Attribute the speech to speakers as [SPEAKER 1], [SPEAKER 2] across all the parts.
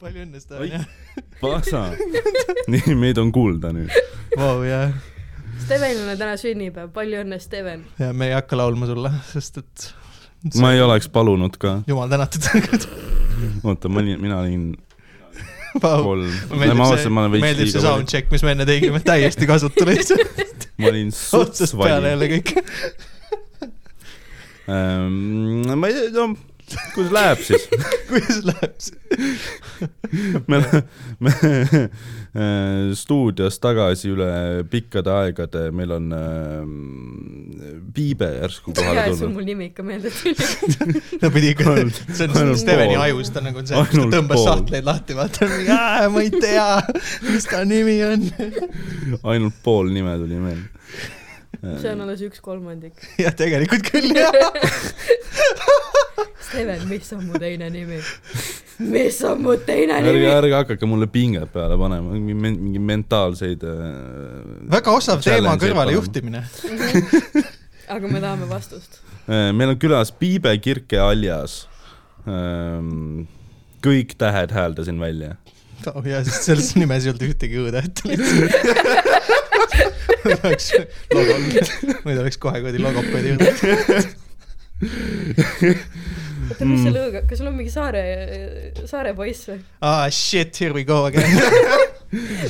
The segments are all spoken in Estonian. [SPEAKER 1] palju õnne , Sten .
[SPEAKER 2] pasa . nii , meid on kuulda nüüd .
[SPEAKER 1] Vau , jah .
[SPEAKER 3] Stevenil on täna sünnipäev , palju õnne , Steven .
[SPEAKER 1] ja me ei hakka laulma sulle , sest et
[SPEAKER 2] ma ei oleks palunud ka .
[SPEAKER 1] jumal tänatud .
[SPEAKER 2] oota , ma olin , mina olin
[SPEAKER 1] Vau .
[SPEAKER 2] kolm . ma
[SPEAKER 1] Oh, meeldib see ,
[SPEAKER 2] avastasin , ma olen veits
[SPEAKER 1] meeldib see
[SPEAKER 2] liiga vali .
[SPEAKER 1] soundcheck , mis me enne tegime , täiesti kasutu lihtsalt .
[SPEAKER 2] ma olin suts
[SPEAKER 1] otsast peale
[SPEAKER 2] vali .
[SPEAKER 1] jälle kõik .
[SPEAKER 2] Ehm, ma ei tea , no kuidas läheb siis ?
[SPEAKER 1] kuidas läheb siis ?
[SPEAKER 2] me oleme stuudios tagasi üle pikkade aegade , meil on äh, Piibe järsku
[SPEAKER 3] hea ,
[SPEAKER 2] kohale
[SPEAKER 3] et sul
[SPEAKER 2] tulnud .
[SPEAKER 3] mul nimi ikka meelde tuli .
[SPEAKER 1] ta pidi ikka ,
[SPEAKER 2] Ainult-
[SPEAKER 1] see on
[SPEAKER 2] ainult
[SPEAKER 1] Steveni
[SPEAKER 2] pool.
[SPEAKER 1] ajus , ta nagu on see , kus ta
[SPEAKER 2] Ainult
[SPEAKER 1] tõmbas
[SPEAKER 2] pool.
[SPEAKER 1] sahtleid lahti , vaata , ma ei tea , mis ta nimi on .
[SPEAKER 2] ainult pool nime tuli meelde .
[SPEAKER 3] see on alles üks kolmandik .
[SPEAKER 1] jah , tegelikult küll jah .
[SPEAKER 3] Steven , mis on mu teine nimi ? mis on mu teine
[SPEAKER 2] ärge ,
[SPEAKER 3] nimi ?
[SPEAKER 2] ärge hakake mulle pinget peale panema , mingi men- , mingi mentaalseid äh, .
[SPEAKER 1] väga osav teema
[SPEAKER 2] Challenge'id
[SPEAKER 1] kõrvalejuhtimine .
[SPEAKER 3] Mhm. aga me tahame vastust .
[SPEAKER 2] äh, meil on külas Piibe Kirke Aljas ähm, . kõik tähed hääldasin välja .
[SPEAKER 1] oh jaa , sest selles nimes ei olnud ühtegi õ-täht lihtsalt . muidu oleks logo , muidu oleks kohe kuradi logopeedi juurde .
[SPEAKER 3] oota , mis
[SPEAKER 2] Mm.
[SPEAKER 3] selle õõga , kas sul on mingi saare , saare poiss või ?
[SPEAKER 1] aa , Ah, shit , here we go again .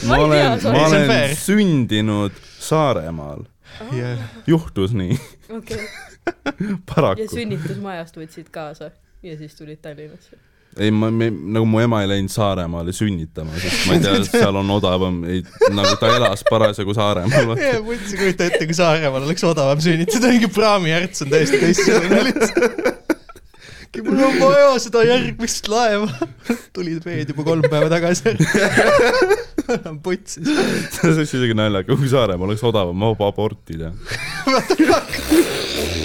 [SPEAKER 3] Ma
[SPEAKER 2] ma
[SPEAKER 3] ei tea,
[SPEAKER 2] olen ,
[SPEAKER 3] sorry.
[SPEAKER 2] ma
[SPEAKER 1] See on fair.
[SPEAKER 2] olen sündinud Saaremaal , juhtus nii ,
[SPEAKER 3] okei , ja
[SPEAKER 2] paraku .
[SPEAKER 3] sünnitusmajast võtsid kaasa ja siis tulid Tallinnasse .
[SPEAKER 2] ei , ma , nagu mu ema ei läinud Saaremaale sünnitama , sest ma ei tea , seal on odavam , nagu ta elas parasjagu Saaremaal .
[SPEAKER 1] jaa , ma üldse ei kujuta ette , kui Saaremaal oleks odavam sünnitada , mingi praamijärts on täiesti teistsugune lihtsalt . mul on vaja seda järgmist laeva . tulid veed juba kolm päeva tagasi . annan putsi .
[SPEAKER 2] see oleks isegi naljakas , kui Saaremaa oleks odavam , ma juba abortida .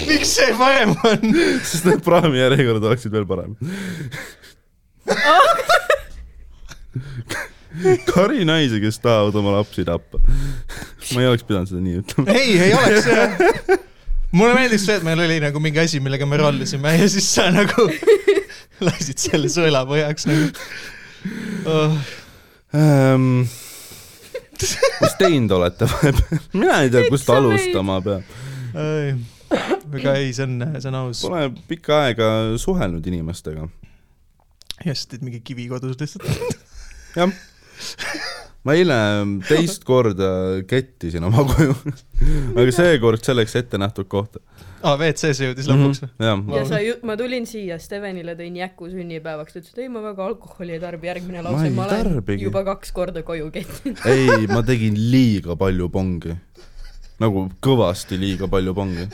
[SPEAKER 1] miks see parem on ?
[SPEAKER 2] sest need praamijärjekorrad oleksid veel paremad . kari naisi , kes tahavad oma lapsi tappa . ma ei oleks pidanud seda nii ütlema .
[SPEAKER 1] ei , ei oleks jah . mulle meeldis see , et meil oli nagu mingi asi , millega me rollisime ja siis sa nagu lasid selle sõelapõhjaks nagu oh, .
[SPEAKER 2] ähm, . mis teinud olete vahepeal ? mina ei tea , kust alustama peab .
[SPEAKER 1] aga ei , see on , see on aus .
[SPEAKER 2] Pole pikka aega suhelnud inimestega .
[SPEAKER 1] jah , sa teed mingi kivi kodus lihtsalt .
[SPEAKER 2] jah . ma eile teist korda kettisin oma koju . aga seekord selleks ette nähtud kohta .
[SPEAKER 1] aa , WC-sse jõudis lõpuks või ?
[SPEAKER 2] jah ,
[SPEAKER 3] ja
[SPEAKER 1] Vau.
[SPEAKER 3] sa ju- , ma tulin siia , Stevenile tõin jäku sünnipäevaks , ta ütles , et ei , ma väga alkoholi ei tarbi , järgmine
[SPEAKER 2] Ma
[SPEAKER 3] lause
[SPEAKER 2] ei
[SPEAKER 3] ma olen
[SPEAKER 2] tarbigi.
[SPEAKER 3] juba kaks korda koju kettinud .
[SPEAKER 2] ei , ma tegin liiga palju pongi . nagu kõvasti liiga palju pongi .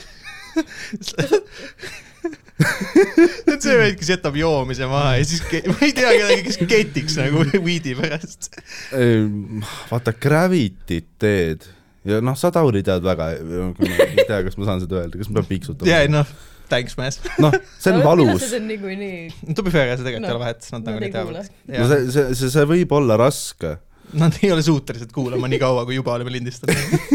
[SPEAKER 1] et see vend , kes jätab joomise maha ja siis ke- , ma ei tea kedagi , kes ketiks nagu viidi pärast .
[SPEAKER 2] vaata Gravity't teed ja noh , sa Tauri tead väga , ma ei tea , kas ma saan seda öelda , kas ma pean piiksutama
[SPEAKER 1] ja ei noh , thanks mees .
[SPEAKER 2] noh , see on valus .
[SPEAKER 3] see on niikuinii ,
[SPEAKER 1] to be fair , see tegelikult ei
[SPEAKER 3] No,
[SPEAKER 1] ole vahet , nad
[SPEAKER 3] nad
[SPEAKER 1] nagu
[SPEAKER 3] ei
[SPEAKER 1] ei
[SPEAKER 3] kuule
[SPEAKER 1] teavad ..
[SPEAKER 2] no see , see , see , see võib olla raske .
[SPEAKER 1] Nad ei ole suutelised kuulama nii kaua , kui juba oleme lindistanud .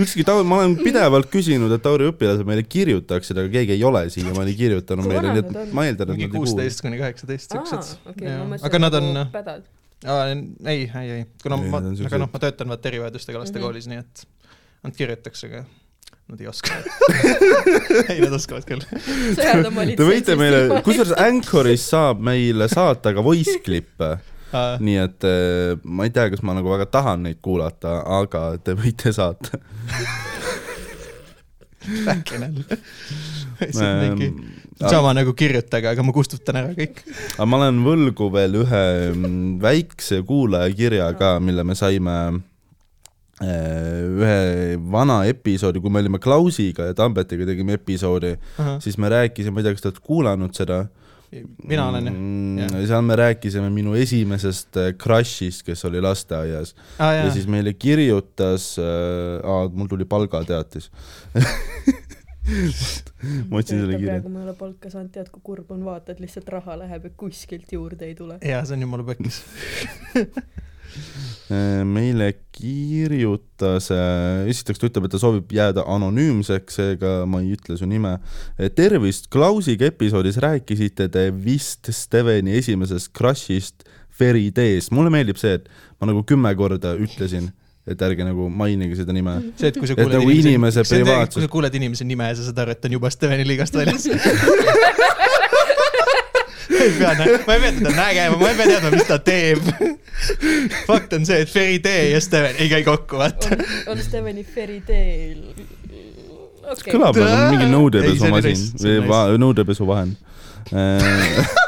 [SPEAKER 2] ükski Tauri , ma olen pidevalt küsinud , et Tauri õpilased meile kirjutaksid , aga keegi ei ole siiamaani kirjutanud
[SPEAKER 3] Kui
[SPEAKER 2] meile , nii
[SPEAKER 3] vanad nad on?
[SPEAKER 2] et ma eeldan , et
[SPEAKER 1] mingi
[SPEAKER 2] nad ei kuule .
[SPEAKER 1] kuusteist kuni kaheksateist siuksed . Jaa.
[SPEAKER 3] aga
[SPEAKER 1] aga nad on ,
[SPEAKER 2] äh,
[SPEAKER 3] pädad .
[SPEAKER 1] ei , ei , ei , kuna
[SPEAKER 2] Ei,
[SPEAKER 1] ma ,
[SPEAKER 2] nad on siuksed-
[SPEAKER 1] aga noh , ma töötan vaata erivajadustega laste
[SPEAKER 3] Mhm.
[SPEAKER 1] koolis , nii et nad kirjutaks , aga nad ei oska . ei , nad oskavad küll .
[SPEAKER 2] Te võite meile , kusjuures Anchoris saab meile saata ka voice klippe , nii et eh, ma ei tea , kas ma nagu väga tahan neid kuulata , aga te võite saata .
[SPEAKER 1] äkki neil . see on mingi
[SPEAKER 2] Ehm, aga
[SPEAKER 1] sama nagu kirjutage , aga ma kustutan ära kõik .
[SPEAKER 2] aga ma olen võlgu veel ühe mm, väikse kuulajakirja ka , mille me saime eh, ühe vana episoodi , kui me olime Klausiga ja Tambetiga tegime episoodi , siis me rääkisime , ma ei tea , kas te olete kuulanud seda .
[SPEAKER 1] mina olen jah .
[SPEAKER 2] jah
[SPEAKER 1] jah. .
[SPEAKER 2] seal me rääkisime minu esimesest eh, crush'ist , kes oli lasteaias ja,
[SPEAKER 1] aa
[SPEAKER 2] ja
[SPEAKER 1] jaa ,
[SPEAKER 2] siis meile kirjutas äh, , mul tuli palgateatis . ma otsin selle kirja .
[SPEAKER 3] praegu ma ei ole palka saanud , tead kui kurb on vaata , et lihtsalt raha läheb ja kuskilt juurde ei tule .
[SPEAKER 1] jaa , see on jumala pekkis .
[SPEAKER 2] Äh, meile kirjutas , esiteks ta ütleb , et ta soovib jääda anonüümseks , seega ma ei ütle su nime . Äh, tervist , Klausiga episoodis rääkisite te vist Steveni esimesest crush'ist Ferides , mulle meeldib see , et ma nagu kümme korda ütlesin , et ärge nagu mainige seda nime .
[SPEAKER 1] see , et kui sa
[SPEAKER 2] Et
[SPEAKER 1] kuuled
[SPEAKER 2] nagu inimese
[SPEAKER 1] see on tegelikult , kui
[SPEAKER 2] privaatsus-
[SPEAKER 1] sa kuuled inimese nime ja sa saad aru , et ta on juba Steveni liigast väljas . ei pea , ma ei pea teda nägema , ma ei pea teadma , mis ta teeb . fakt on see , et Feridee ja Steven ei käi kokku , vaata .
[SPEAKER 3] on , on Steveni Fairytale . okei okay. ,
[SPEAKER 2] kõlab nagu mingi
[SPEAKER 1] Ei, see
[SPEAKER 2] nõudepesu
[SPEAKER 1] oli
[SPEAKER 2] masin
[SPEAKER 1] nice, see
[SPEAKER 2] või
[SPEAKER 1] oli
[SPEAKER 2] va- nõudepesu vahend . Äh,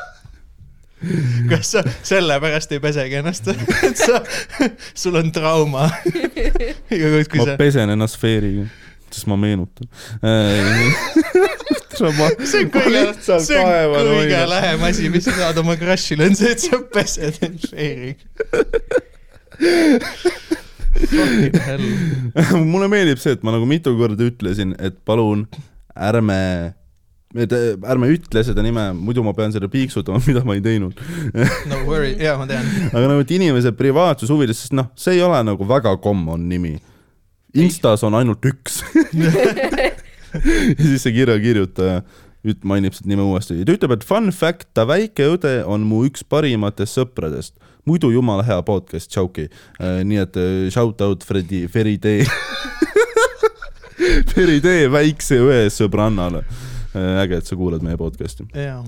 [SPEAKER 1] kas sa sellepärast ei pesegi ennast , et sa , sul on trauma ? iga kord , kui
[SPEAKER 2] ma
[SPEAKER 1] sa ,
[SPEAKER 2] pesen ennast Feriga , sest ma meenutan . Äh,
[SPEAKER 1] see on kõige , see on kõige lähem asi , mis sa saad oma crush'ile , on see , et sa pesed end Feeriga . Fucking hell .
[SPEAKER 2] mulle meeldib see , et ma nagu mitu korda ütlesin , et palun ärme , et äh, ärme ütle seda nime , muidu ma pean seda piiksutama , mida ma ei teinud .
[SPEAKER 1] no worry , jaa , ma tean .
[SPEAKER 2] aga nagu , et inimese privaatsuse huvides , sest noh , see ei ole nagu väga common nimi . Instas on ainult üks . ja siis see kirjakirjutaja üt- , mainib seda nime uuesti ja ta ütleb , et fun fact , ta väike õde on mu üks parimatest sõpradest . muidu jumala hea podcast , tšauki . nii et äh, shout out Fredi , Feri tee . Feri tee väikse õe sõbrannale . äge , et sa kuulad meie podcast'i .
[SPEAKER 1] jaa .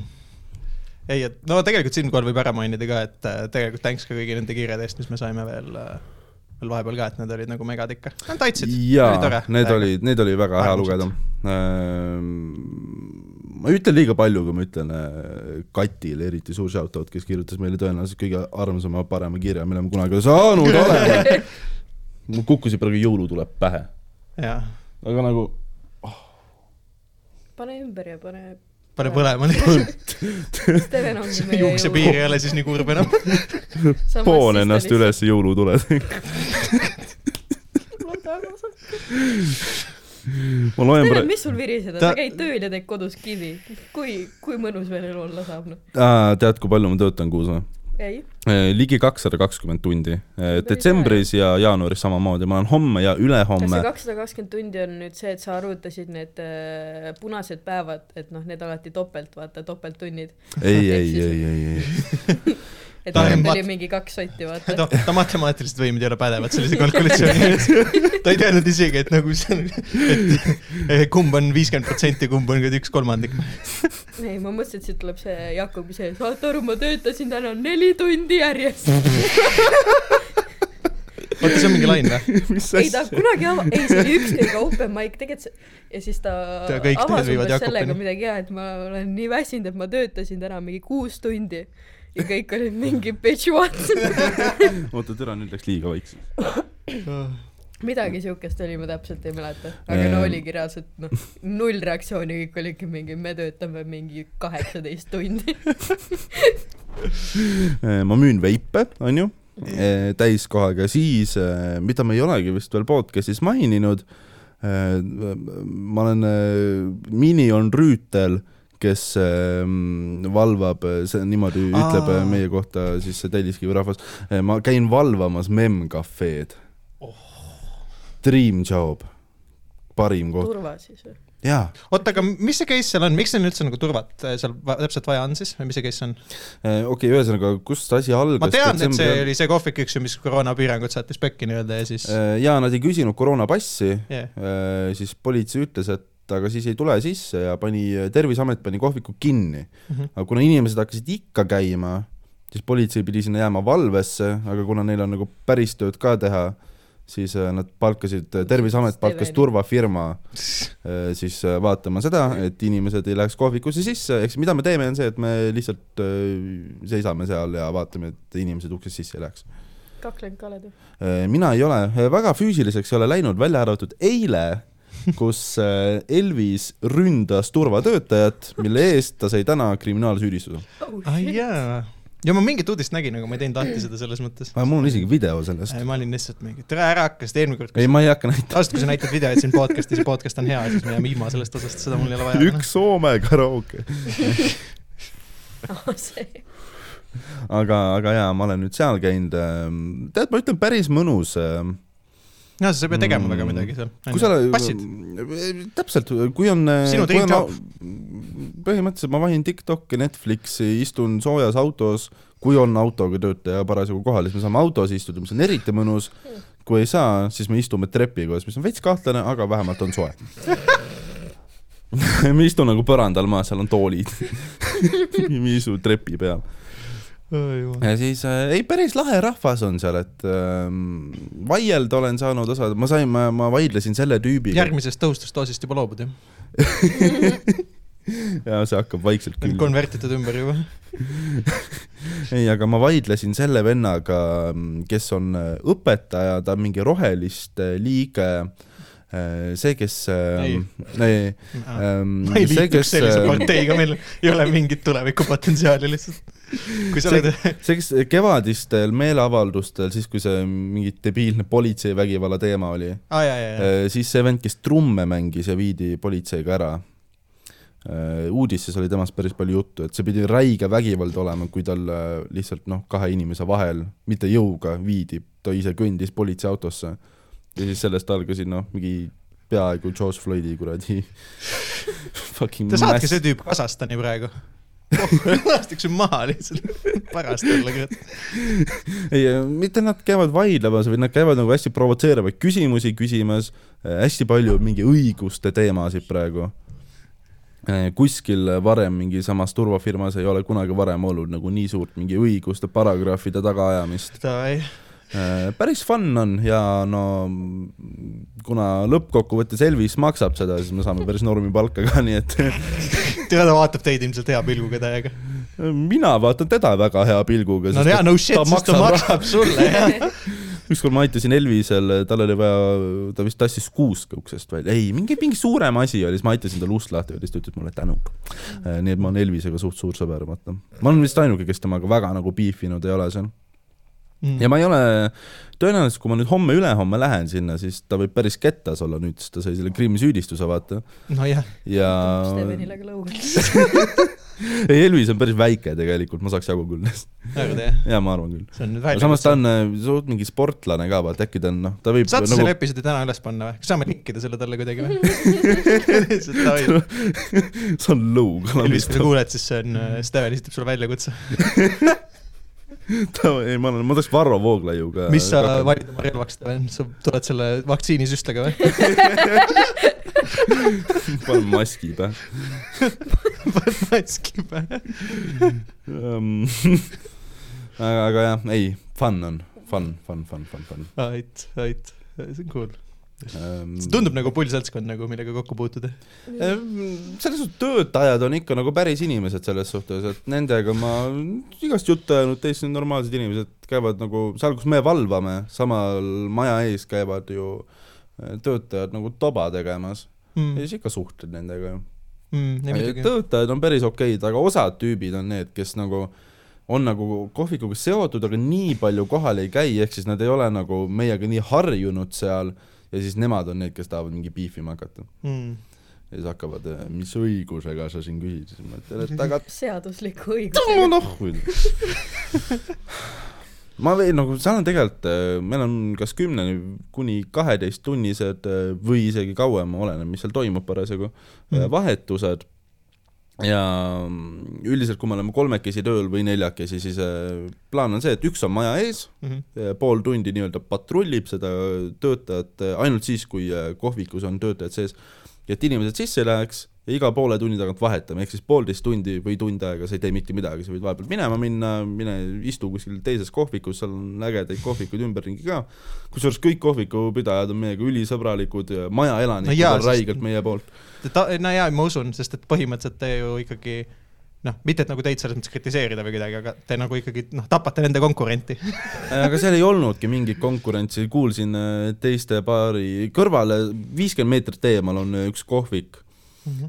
[SPEAKER 1] ei , et no tegelikult siinkohal võib ära mainida ka , et äh, tegelikult thanks ka kõigi nende kirjade eest , mis me saime veel , veel vahepeal ka , et need olid nagu megad ikka . Nad aitasid .
[SPEAKER 2] jaa , need . olid , neid oli väga hea
[SPEAKER 1] Armsad.
[SPEAKER 2] lugeda . ma ütlen liiga palju , kui ma ütlen äh, Katile eriti suur shout-out , kes kirjutas meile tõenäoliselt kõige armsama , parema kirja , mille me kunagi saanud oleme . mul kukkusid praegu jõulutuled pähe ,
[SPEAKER 1] jaa ,
[SPEAKER 2] aga nagu
[SPEAKER 3] pane ümber ja pane .
[SPEAKER 1] pane põlema lihtsalt .
[SPEAKER 3] Steven ongi meie
[SPEAKER 1] juuksepiir ei ole siis nii kurb enam .
[SPEAKER 3] Samas
[SPEAKER 2] poon
[SPEAKER 3] siis ta
[SPEAKER 2] ennast
[SPEAKER 3] lihtsalt-
[SPEAKER 2] üles jõulutuled . ma loen
[SPEAKER 3] Steven ,
[SPEAKER 2] praegu ,
[SPEAKER 3] mis sul viriseda ,
[SPEAKER 1] Ta-
[SPEAKER 3] sa käid tööl ja teed kodus kivi . kui , kui mõnus veel elu olla saab , noh .
[SPEAKER 2] tead , kui palju ma töötan kuus või ?
[SPEAKER 3] ei ,
[SPEAKER 2] ligi kakssada kakskümmend tundi . detsembris ja jaanuaris samamoodi , ma olen homme ja
[SPEAKER 3] kas
[SPEAKER 2] ülehomme
[SPEAKER 3] see kakssada kakskümmend tundi on nüüd see , et sa arvutasid need äh, punased päevad , et noh , need alati topelt , vaata , topelttunnid .
[SPEAKER 2] ei , ei , ei , ei , ei ,
[SPEAKER 3] et
[SPEAKER 1] Ta-
[SPEAKER 3] meil
[SPEAKER 1] ma-
[SPEAKER 3] oli mingi kaks sotti , vaata .
[SPEAKER 1] Noh, ta , ta matemaatilised võimed ei ole pädevad sellise kalkulatsiooni ees . ta ei teadnud isegi , et nagu see , et eh, kumb on viiskümmend protsenti , kumb on üks kolmandik .
[SPEAKER 3] ei , ma mõtlesin , et siit tuleb see Jakobi see , saad aru , ma töötasin täna neli tundi järjest .
[SPEAKER 1] oota , see on mingi lain või ?
[SPEAKER 2] mis
[SPEAKER 3] ei , ta kunagi ava- , ei , see oli ükskõik open mic , tegelikult see ja siis ta
[SPEAKER 1] Tea, kõik teed viivad
[SPEAKER 3] avas umbes
[SPEAKER 1] Jakobini.
[SPEAKER 3] sellega midagi ja et ma olen nii väsinud , et ma töötasin täna mingi kuus tundi ja kõik olid mingi bitch what
[SPEAKER 2] oota , türa nüüd läks liiga vaikseks .
[SPEAKER 3] midagi siukest oli , ma täpselt ei mäleta , aga no
[SPEAKER 2] Ähm.
[SPEAKER 3] oligi reaalselt noh , null reaktsiooni , kõik olid ikka mingi , me töötame mingi kaheksateist tundi .
[SPEAKER 2] Eh, ma müün veipe , onju , täiskohaga , siis eh, mida me ei olegi vist veel podcast'is maininud , ma olen , Mini on rüütel , kes eh, m, valvab , see niimoodi
[SPEAKER 1] Aa.
[SPEAKER 2] ütleb eh, meie kohta siis see Telliskivi rahvas , ma käin valvamas memmcafe'd .
[SPEAKER 1] Oh.
[SPEAKER 2] Dream job , parim koht ,
[SPEAKER 3] turva siis või ?
[SPEAKER 2] jaa
[SPEAKER 1] oota , aga mis see case seal on , miks neil üldse nagu turvat eh, seal va- täpselt vaja on siis või mis see case on ?
[SPEAKER 2] Eh, okei okay, , ühesõnaga , kust asi algas ?
[SPEAKER 1] ma tean , et see oli see kohvik , eks ju , mis koroonapiirangud saatis pekki nii-öelda ja siis
[SPEAKER 2] Eh, jaa , nad ei küsinud koroonapassi ,
[SPEAKER 1] yeah.
[SPEAKER 2] Äh, siis politsei ütles , et aga siis ei tule sisse ja pani , Terviseamet pani kohviku kinni .
[SPEAKER 1] mm . -hmm.
[SPEAKER 2] aga kuna inimesed hakkasid ikka käima , siis politsei pidi sinna jääma valvesse , aga kuna neil on nagu päris tööd ka teha , siis eh, nad palkasid , Terviseamet palkas
[SPEAKER 3] Steveni.
[SPEAKER 2] turvafirma eh, siis eh, vaatama seda , et inimesed ei läheks kohvikusse sisse , ehk siis mida me teeme , on see , et me lihtsalt eh, seisame seal ja vaatame , et inimesed uksest sisse ei läheks .
[SPEAKER 3] kaklenud Kalev .
[SPEAKER 2] Äh, mina ei ole , väga füüsiliseks ei ole läinud , välja arvatud eile , kus äh, Elvis ründas turvatöötajat , mille eest ta sai täna kriminaalsüüdistuse .
[SPEAKER 3] Oh,
[SPEAKER 1] Ah, jaa. ja ma mingit uudist nägin , aga ma ei teinud lahti seda selles mõttes .
[SPEAKER 2] mul on isegi video sellest .
[SPEAKER 1] ma olin lihtsalt mingi , tere ära hakka , sest eelmine kord , kui
[SPEAKER 2] ei , ma ei hakka näitama .
[SPEAKER 1] sa , kui sa näitad videoid siin podcast'is ja podcast on hea , siis me jääme ilma sellest osast , seda mul ei ole vaja . noh.
[SPEAKER 2] üks Soome karaoke .
[SPEAKER 3] Ah, see ,
[SPEAKER 2] aga , aga jaa , ma olen nüüd seal käinud . tead , ma ütlen , päris mõnus . ähm,
[SPEAKER 1] no sa ei pea tegema
[SPEAKER 2] Mm.
[SPEAKER 1] mm. väga midagi seal .
[SPEAKER 2] kui sa
[SPEAKER 1] passid ,
[SPEAKER 2] oled , täpselt , kui on .
[SPEAKER 1] Sinu
[SPEAKER 2] kui
[SPEAKER 1] dream
[SPEAKER 2] on
[SPEAKER 1] job.
[SPEAKER 2] põhimõtteliselt ma vahin Tiktoki , Netflixi , istun soojas autos , kui on autoga töötaja parasjagu kohal , siis me saame autos istuda , mis on eriti mõnus . kui ei saa , siis me istume trepi koos , mis on veits kahtlane , aga vähemalt on soe . me ei istu nagu põrandal maas , seal on toolid . me istume trepi peal .
[SPEAKER 1] jumal .
[SPEAKER 2] ja siis äh, ei , päris lahe rahvas on seal , et ähm, vaielda olen saanud osa , ma sain , ma , ma vaidlesin selle tüübiga .
[SPEAKER 1] järgmisest tõhustusdoosist juba loobud jah ?
[SPEAKER 2] ja see hakkab vaikselt
[SPEAKER 1] Need
[SPEAKER 2] külma .
[SPEAKER 1] konvertitud ümber juba .
[SPEAKER 2] ei , aga ma vaidlesin selle vennaga , kes on äh, õpetaja , ta on mingi roheliste liige . see , kes .
[SPEAKER 1] Ei. Ah.
[SPEAKER 2] ei ,
[SPEAKER 1] ma ei
[SPEAKER 2] Äh, mm, see ,
[SPEAKER 1] liituks
[SPEAKER 2] kes , äh,
[SPEAKER 1] sellise parteiga , meil ei ole mingit tulevikupotentsiaali lihtsalt . kui sa oled ,
[SPEAKER 2] see , kes kevadistel meeleavaldustel , siis kui see mingi debiilne politseivägivalla teema oli ,
[SPEAKER 1] aa jaa , jaa , jaa .
[SPEAKER 2] Äh, siis see vend , kes trumme mängis ja viidi politseiga ära . uudistes oli temast päris palju juttu , et see pidi räige vägivald olema , kui tal äh, lihtsalt noh , kahe inimese vahel , mitte jõuga viidi , ta ise kõndis politseiautosse . ja siis sellest algasid noh , mingi peaaegu George Floydi kuradi fucking
[SPEAKER 1] Te saatke
[SPEAKER 2] mass-
[SPEAKER 1] see tüüp Kasahstani praegu oh, . lastakse maha lihtsalt , pärast jälle kurat .
[SPEAKER 2] ei , mitte nad käivad vaidlemas , vaid nad käivad nagu hästi provotseerivaid küsimusi küsimas , hästi palju mingi õiguste teemasid praegu . kuskil varem mingi samas turvafirmas ei ole kunagi varem olnud nagu nii suurt mingi õiguste paragrahvide tagaajamist .
[SPEAKER 1] Davai ,
[SPEAKER 2] päris fun on ja no kuna lõppkokkuvõttes Elvis maksab seda , siis me saame päris normi palka ka , nii et
[SPEAKER 1] teada vaatab teid ilmselt hea pilguga täiega .
[SPEAKER 2] mina vaatan teda väga hea pilguga .
[SPEAKER 1] no jaa , no shit , siis ta maksab sulle jah .
[SPEAKER 2] ükskord ma aitasin Elvisel , tal oli vaja , ta vist tassis kuusk uksest välja , ei , mingi , mingi suurem asi oli , siis ma aitasin tal ust lahti ja siis ta ütles mulle tänu . nii et ma olen Elvisega suht suur sõber , vaata . ma olen vist ainuke , kes temaga väga nagu piifinud ei ole seal .
[SPEAKER 1] Mm.
[SPEAKER 2] ja ma ei ole , tõenäoliselt kui ma nüüd homme-ülehomme lähen sinna , siis ta võib päris kettas olla nüüd , sest ta sai selle krimsüüdistuse , vaata .
[SPEAKER 1] nojah ,
[SPEAKER 2] ja
[SPEAKER 3] Stevenile ka lõugaks .
[SPEAKER 2] ei , Elvis on päris väike tegelikult , ma saaks jagu küll .
[SPEAKER 1] nagu teie ,
[SPEAKER 2] jaa , ma arvan küll .
[SPEAKER 1] see on nüüd
[SPEAKER 2] aga
[SPEAKER 1] välja .
[SPEAKER 2] samas ta on äh, suht mingi sportlane ka , vaata äkki ta on noh , ta võib
[SPEAKER 1] saate
[SPEAKER 2] nagu
[SPEAKER 1] selle episoodi täna üles panna või ? kas saame linkida selle talle kuidagi või ? lihtsalt davai .
[SPEAKER 2] see on lõug
[SPEAKER 1] Elvis , kui sa kuuled , siis see on , Steven esitab sulle väljakutse .
[SPEAKER 2] ei , ma olen , ma tahaks Varro Vooglaiuga .
[SPEAKER 1] mis sa valid oma relvaks , Steven , sa tuled selle vaktsiinisüstega või ?
[SPEAKER 2] panen maski pähe
[SPEAKER 1] paned maski pähe .
[SPEAKER 2] um, . aga , aga jah , ei , fun on , fun , fun , fun , fun , fun
[SPEAKER 1] ait , ait , see on cool .
[SPEAKER 2] um,
[SPEAKER 1] see . tundub nagu pull seltskond nagu , millega kokku puutuda .
[SPEAKER 2] selles suhtes töötajad on ikka nagu päris inimesed selles suhtes , et nendega ma igast juttu ajanud , teised on normaalsed inimesed , käivad nagu seal , kus me valvame , samal maja ees käivad ju äh, töötajad nagu toba tegemas ja
[SPEAKER 1] Mm,
[SPEAKER 2] siis ikka suhtled nendega ju .
[SPEAKER 1] mm, ei muidugi.
[SPEAKER 2] töötajad on päris okeid , aga osad tüübid on need , kes nagu on nagu kohvikuga seotud , aga nii palju kohal ei käi , ehk siis nad ei ole nagu meiega nii harjunud seal ja siis nemad on need , kes tahavad mingi piifima hakata .
[SPEAKER 1] mm.
[SPEAKER 2] ja siis hakkavad , mis õigusega sa siin küsid , siis ma ütlen , et aga
[SPEAKER 3] seadusliku
[SPEAKER 2] tõmba
[SPEAKER 3] õigusega .
[SPEAKER 2] nahku . ma veel nagu , seal on tegelikult , meil on kas kümneni kuni kaheteisttunnised äh, või isegi kauem , oleneb , mis seal toimub parasjagu mm. ,
[SPEAKER 1] Mhm.
[SPEAKER 2] vahetused . ja mm, üldiselt , kui me oleme kolmekesi tööl või neljakesi , siis äh, plaan on see , et üks on maja ees ,
[SPEAKER 1] Mm
[SPEAKER 2] Eh, pool tundi nii-öelda patrullib seda töötajat äh, ainult siis , kui äh, kohvikus on töötajad sees , et inimesed sisse ei läheks ja iga poole tunni tagant vahetame , ehk siis poolteist tundi või tund aega sa ei tee mitte midagi , sa võid vahepeal minema minna , mine istu kuskil teises kohvikus , seal on ägedaid kohvikuid ümberringi ka , kusjuures kõik kohvikupidajad on meiega ülisõbralikud , majaelanikud
[SPEAKER 1] No jaa,
[SPEAKER 2] on
[SPEAKER 1] sest-
[SPEAKER 2] räigelt meie poolt .
[SPEAKER 1] ta , no jaa , ma usun , sest et põhimõtteliselt te ju ikkagi noh , mitte et nagu teid selles mõttes kritiseerida või kuidagi , aga te nagu ikkagi noh , tapate nende konkurenti .
[SPEAKER 2] Eh, aga seal ei olnudki mingit konkurentsi , kuulsin äh, teiste paari kõrvale , viiskümmend meetrit eemal on äh, üks kohvik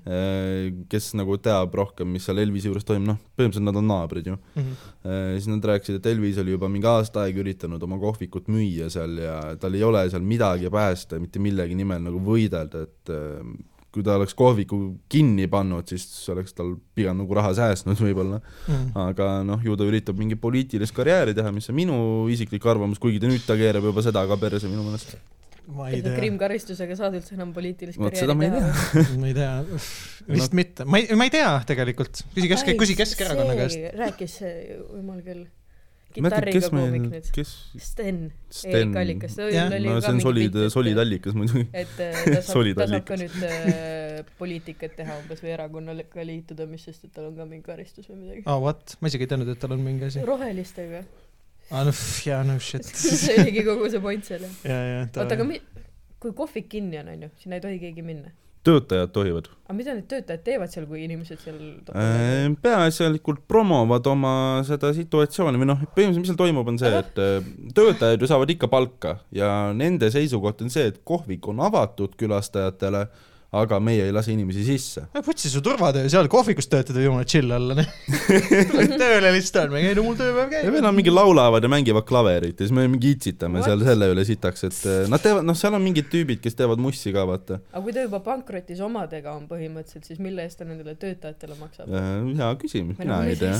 [SPEAKER 2] Eh, kes nagu teab rohkem , mis seal Elvise juures toimub , noh , põhimõtteliselt nad on naabrid ju .
[SPEAKER 1] Mhm.
[SPEAKER 2] siis nad rääkisid , et Elvis oli juba mingi aasta aega üritanud oma kohvikut müüa seal ja tal ei ole seal midagi päästa , mitte millegi nimel nagu võidelda , et eh, kui ta oleks kohviku kinni pannud , siis oleks tal pigem nagu raha säästnud võib-olla .
[SPEAKER 1] Mhm.
[SPEAKER 2] aga noh , ju ta üritab mingit poliitilist karjääri teha , mis on minu isiklik arvamus , kuigi ta nüüd ta keerab juba seda ka perse minu meelest .
[SPEAKER 1] ma ei
[SPEAKER 3] et
[SPEAKER 1] tea ,
[SPEAKER 3] krimkaristusega saad üldse enam poliitilist
[SPEAKER 2] vot seda ma
[SPEAKER 3] karjääri
[SPEAKER 1] ma ei
[SPEAKER 2] ei tea .
[SPEAKER 3] teha .
[SPEAKER 1] tea , vist mitte , ma ei , ma ei tea tegelikult , küsi kesk , küsi Keskerakonnaga just .
[SPEAKER 3] rääkis see , jumal küll .
[SPEAKER 2] ma ei tea,
[SPEAKER 3] kitarriga
[SPEAKER 2] kes meil
[SPEAKER 3] koomik nüüd ,.
[SPEAKER 2] kes ?
[SPEAKER 3] Sten ,
[SPEAKER 2] Sten
[SPEAKER 3] Erik . Allikas , ta
[SPEAKER 1] Jah.
[SPEAKER 3] oli
[SPEAKER 2] no
[SPEAKER 3] ka
[SPEAKER 2] see on
[SPEAKER 3] mingi
[SPEAKER 2] solid
[SPEAKER 3] pilt, , et-
[SPEAKER 2] solid allikas muidugi .
[SPEAKER 3] et äh, ta saab ,
[SPEAKER 2] Solid
[SPEAKER 3] ta saab ka
[SPEAKER 2] allikas.
[SPEAKER 3] nüüd äh, poliitikat teha umbes või erakonnaga liituda , mis sest , et tal on ka mingi karistus
[SPEAKER 2] Ah,
[SPEAKER 3] või midagi .
[SPEAKER 1] aa , what , ma isegi ei teadnud , et tal on mingi asi .
[SPEAKER 3] rohelistega ,
[SPEAKER 1] aa , noh , jaa , no shit .
[SPEAKER 3] see oligi kogu see point seal .
[SPEAKER 1] jaa , jaa .
[SPEAKER 3] oota , aga mi- , kui kohvik kinni on , onju , sinna ei tohi keegi minna .
[SPEAKER 2] töötajad tohivad .
[SPEAKER 3] aga mida need töötajad teevad seal , kui inimesed seal
[SPEAKER 2] Äh.
[SPEAKER 3] topavad ?
[SPEAKER 2] Ehm, peaasjalikult promovad oma seda situatsiooni või noh , põhimõtteliselt , mis seal toimub , on see , et äh, töötajad ju saavad ikka palka ja nende seisukoht on see , et kohvik on avatud külastajatele , aga meie ei lase inimesi sisse .
[SPEAKER 1] võtsi su turvatöö seal kohvikus töötada , jumala chill olla , noh . tuled tööle lihtsalt , ma käin , mul tööpäev
[SPEAKER 2] ja
[SPEAKER 1] käib .
[SPEAKER 2] veel on mingi laulavad ja mängivad klaverit ja siis me mingi itsitame
[SPEAKER 3] What?
[SPEAKER 2] seal selle üle sitaks , et äh, nad teevad , noh , seal on mingid tüübid , kes teevad mussi ka , vaata .
[SPEAKER 3] aga kui ta juba pankrotis omadega on põhimõtteliselt , siis mille eest ta nendele töötajatele maksab ?
[SPEAKER 2] Äh, hea küsimus , mina ei tea .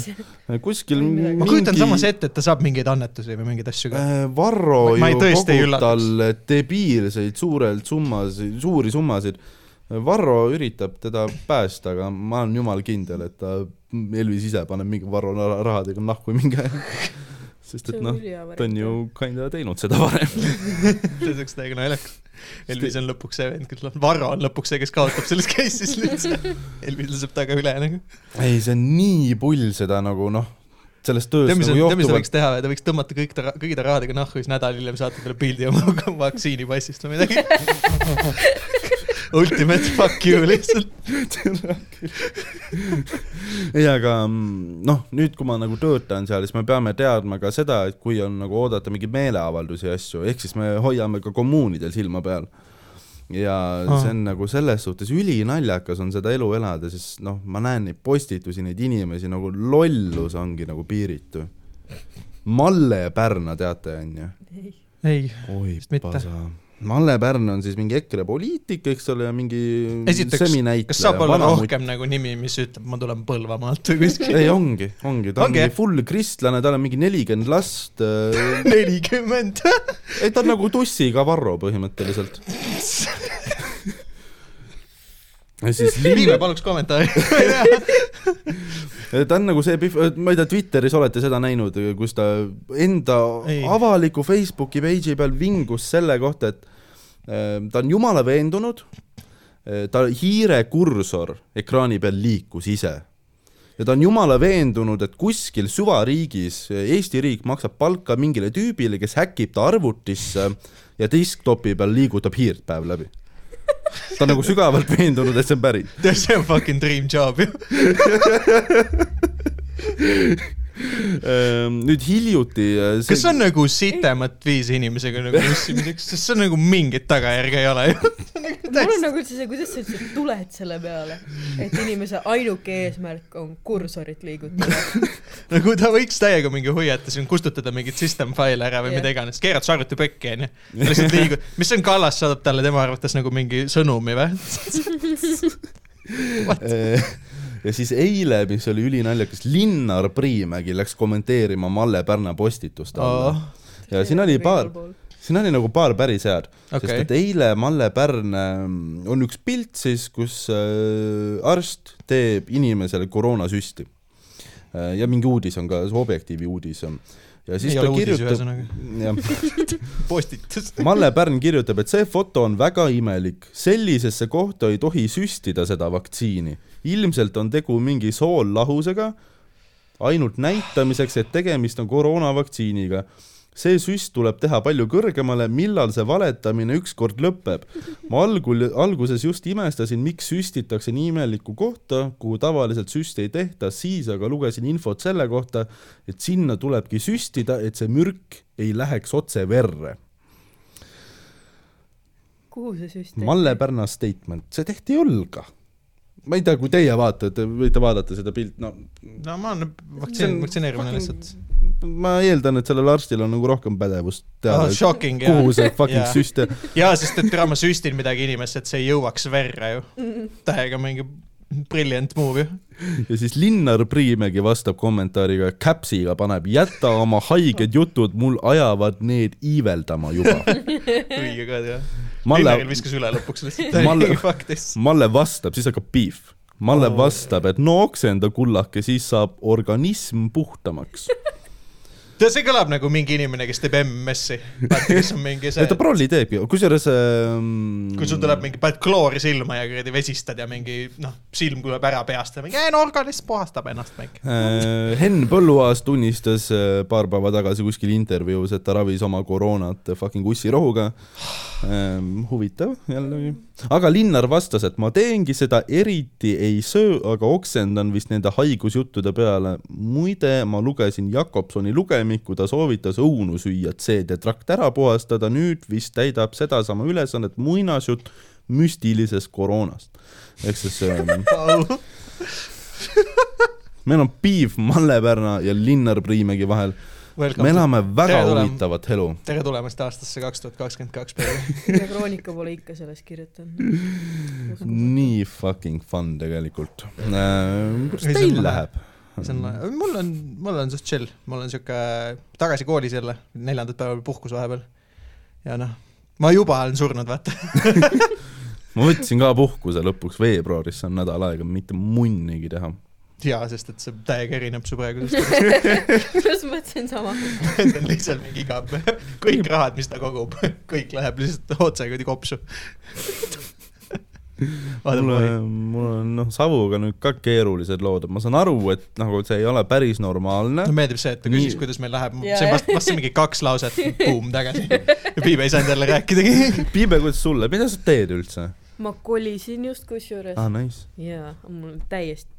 [SPEAKER 2] kuskil
[SPEAKER 3] Ma ei
[SPEAKER 2] mingi
[SPEAKER 3] midagi-
[SPEAKER 1] ma kujutan samas ette , et ta saab mingeid annetusi või mingeid asju ka .
[SPEAKER 2] Äh, Varro
[SPEAKER 1] Ma- ma ei
[SPEAKER 2] ju
[SPEAKER 1] tõesti ei
[SPEAKER 2] kogub
[SPEAKER 1] üllataks.
[SPEAKER 2] tal debiilseid suurelt summasid , suuri summasid . Varro üritab teda päästa , aga ma olen jumal kindel , et ta , Elvis ise paneb mingi Varro ra- rahadega nahku mingi aja . sest et noh , ta on ju kinda teinud seda varem .
[SPEAKER 1] see oleks täiega naljakas . Elvis on lõpuks see vend , kes , Varro on lõpuks see , kes kaotab selles case'is lihtsalt . Elvis laseb taga üle nagu .
[SPEAKER 2] ei , see on nii pull seda nagu noh , sellest tööst
[SPEAKER 1] tead , mis , tead , mis
[SPEAKER 2] nagu
[SPEAKER 1] ta
[SPEAKER 2] johtuvalt
[SPEAKER 1] võiks teha , ta võiks tõmmata kõik ta , kõigi ta rahadega nahku ja siis nädal hiljem saata talle pildi oma vaktsiinipassist või midagi . Ultimate fuck you lihtsalt .
[SPEAKER 2] ei , aga mm, noh , nüüd , kui ma nagu töötan seal , siis me peame teadma ka seda , et kui on nagu oodata mingeid meeleavaldusi ja asju , ehk siis me hoiame ka kommuunidel silma peal . ja
[SPEAKER 1] Aa.
[SPEAKER 2] see on nagu selles suhtes ülinaljakas on seda elu elada , sest noh , ma näen neid postitusi , neid inimesi nagu lollus ongi nagu piiritu . Malle Pärna teate , onju ?
[SPEAKER 1] ei ,
[SPEAKER 2] oi
[SPEAKER 1] Vist , mitte.
[SPEAKER 2] pasa . Malle Pärn on siis mingi EKRE poliitik , eks ole , ja mingi
[SPEAKER 1] esiteks , kas saab olla
[SPEAKER 2] vanamutt-
[SPEAKER 1] rohkem nagu nimi , mis ütleb , ma tulen Põlvamaalt või kuskilt ?
[SPEAKER 2] ei , ongi , ongi , ta on
[SPEAKER 1] Ongi,
[SPEAKER 2] mingi
[SPEAKER 1] jah?
[SPEAKER 2] full kristlane , tal on mingi nelikümmend last . ei ,
[SPEAKER 1] nelikümmend .
[SPEAKER 2] ta on nagu tussiga Varro põhimõtteliselt . ja siis
[SPEAKER 1] Liive
[SPEAKER 2] Liive ,
[SPEAKER 1] paluks kommentaari . ma ei tea .
[SPEAKER 2] ta on nagu see , ma ei tea , Twitteris olete seda näinud , kus ta enda
[SPEAKER 1] Ei.
[SPEAKER 2] ei. avaliku Facebooki page'i peal vingus selle kohta , et äh, ta on jumala veendunud , ta hiire kursor ekraani peal liikus ise ja ta on jumala veendunud , et kuskil süvariigis Eesti riik maksab palka mingile tüübile , kes häkib ta arvutisse ja desktopi peal liigutab hiirt päev läbi . ta on nagu sügavalt veendunud , et see on päris .
[SPEAKER 1] tead , see on fucking dream job ju .
[SPEAKER 2] Ähm, nüüd hiljuti . äh,
[SPEAKER 1] kas see on nagu sitemat viisi inimesega nagu ussimiseks , sest see on nagu mingit tagajärge ei ole ju .
[SPEAKER 3] mul on nagu üldse see , kuidas sa üldse tuled selle peale , et inimese ainuke eesmärk on kursorit liigutada .
[SPEAKER 1] nagu ta võiks täiega mingi hoiata , siin kustutada mingit system faile ära või
[SPEAKER 3] Jah.
[SPEAKER 1] yeah. mida iganes , keerad su arvuti pekki onju . lihtsalt liigud , mis on Kallas saadab talle tema arvates nagu mingi sõnumi või ?
[SPEAKER 2] Eh, ja siis eile , mis oli ülinaljakas , Linnar Priimägi läks kommenteerima Malle Pärna postitust alla
[SPEAKER 1] Oh.
[SPEAKER 2] oh. . ja siin oli paar , siin oli nagu paar päris head okay. ,
[SPEAKER 1] Okei.
[SPEAKER 2] sest et eile Malle Pärn ähm, on üks pilt siis , kus äh, arst teeb inimesele koroonasüsti äh, . ja mingi uudis on ka , see Objektiivi uudis on . ja siis
[SPEAKER 1] Ei
[SPEAKER 2] ei ta
[SPEAKER 1] ole uudis,
[SPEAKER 2] kirjutab
[SPEAKER 1] ühesõnaga. ,
[SPEAKER 2] jah ,
[SPEAKER 1] postitus .
[SPEAKER 2] Malle Pärn kirjutab , et see foto on väga imelik , sellisesse kohta ei tohi süstida seda vaktsiini . ilmselt on tegu mingi soollahusega , ainult näitamiseks , et tegemist on koroonavaktsiiniga . see süst tuleb teha palju kõrgemale , millal see valetamine ükskord lõpeb . ma algul , alguses just imestasin , miks süstitakse nii imelikku kohta , kuhu tavaliselt süsti ei tehta , siis aga lugesin infot selle kohta , et sinna tulebki süstida , et see mürk ei läheks otse verre
[SPEAKER 3] kuhu see süst ?
[SPEAKER 2] Malle Pärna statement , see tehti õlga . ma ei tea , kui teie vaatate , võite vaadata seda pilti , no
[SPEAKER 1] no ma olen
[SPEAKER 2] See
[SPEAKER 1] vaktsiin
[SPEAKER 2] on ,
[SPEAKER 1] vaktsineerimine
[SPEAKER 2] fucking-
[SPEAKER 1] lihtsalt .
[SPEAKER 2] ma eeldan , et sellel arstil on nagu rohkem pädevust teada oh, ,
[SPEAKER 1] Shocking Ah, jah
[SPEAKER 2] kuhu see fucking
[SPEAKER 1] Jaa.
[SPEAKER 2] süst ja
[SPEAKER 1] jaa , sest et täna ma süstin midagi inimesse , et see ei jõuaks verre ju . täiega mingi brilliant move ju .
[SPEAKER 2] ja siis Linnar Priimägi vastab kommentaariga , käpsiga paneb , jäta oma haiged jutud , mul ajavad need iiveldama juba .
[SPEAKER 1] õige ka teha .
[SPEAKER 2] Malle
[SPEAKER 1] Linneril , viskas üle lõpuks lihtsalt .
[SPEAKER 2] Malle-
[SPEAKER 1] täiega fuck this .
[SPEAKER 2] Malle vastab , siis hakkab piif . Malle
[SPEAKER 1] Oo.
[SPEAKER 2] oh. vastab , et nookse enda kullake , siis saab organism puhtamaks .
[SPEAKER 1] tead , see kõlab nagu mingi inimene , kes teeb MMS-i . vaata , kes on mingi see
[SPEAKER 2] et ta , prolli teeb ju , kusjuures ehm,
[SPEAKER 1] kui
[SPEAKER 2] kui
[SPEAKER 1] sul tuleb mingi , paned kloori silma ja kuradi vesistad ja mingi noh , silm kuleb ära peast ja mingi ei no organism puhastab ennast mingi .
[SPEAKER 2] Äh, Henn Põlluaas tunnistas äh, paar päeva tagasi kuskil intervjuus , et ta ravis oma koroonat fucking ussirohuga . huvitav jällegi . aga Linnar vastas , et ma teengi seda , eriti ei söö , aga oksendan vist nende haigusjuttude peale . muide , ma lugesin Jakobsoni lugemikku , ta soovitas õunu süüa , et seedetrakt ära puhastada , nüüd vist täidab sedasama ülesannet muinasjutt müstilisest koroonast . ehk siis ähm, meil on piiv Malle-Pärna ja Linnar Priimägi vahel . me elame väga
[SPEAKER 1] Tere tulemast.
[SPEAKER 2] huvitavat elu .
[SPEAKER 1] tere tulemast aastasse kaks tuhat kakskümmend kaks peale .
[SPEAKER 3] ja Kroonika pole ikka sellest kirjutanud .
[SPEAKER 2] nii fucking fun tegelikult . kuidas teil läheb ?
[SPEAKER 1] see on ,
[SPEAKER 2] Mm.
[SPEAKER 1] mul on , mul on suht chill , mul on sihuke tagasi koolis jälle , neljandat päeva oli puhkus vahepeal . ja noh , ma juba olen surnud , vaata .
[SPEAKER 2] ma võtsin ka puhkuse lõpuks veebruaris , see on nädal aega , mitte munnigi teha .
[SPEAKER 1] jaa , sest et see täiega erineb su praegusest ,
[SPEAKER 3] just mõtlesin sama .
[SPEAKER 1] see on lihtsalt mingi igav , kõik rahad , mis ta kogub , kõik läheb lihtsalt otse kuidagi kopsu .
[SPEAKER 2] mul
[SPEAKER 1] vaatame ,
[SPEAKER 2] mul on noh , Savuga nüüd ka keerulised lood , et ma saan aru , et nagu see ei ole päris normaalne
[SPEAKER 1] mulle . meeldib see , et ta küsis
[SPEAKER 2] Nii. ,
[SPEAKER 1] kuidas meil läheb ,
[SPEAKER 3] Jaa,
[SPEAKER 1] see
[SPEAKER 3] jah.
[SPEAKER 1] vast- , vastas mingi kaks lauset , buum tagasi . ja Piibe ei saanud jälle rääkidagi .
[SPEAKER 2] Piibe , kuidas sulle , mida sa teed üldse ?
[SPEAKER 3] ma kolisin just kusjuures
[SPEAKER 2] aa , nice .
[SPEAKER 3] jaa , mul on täiesti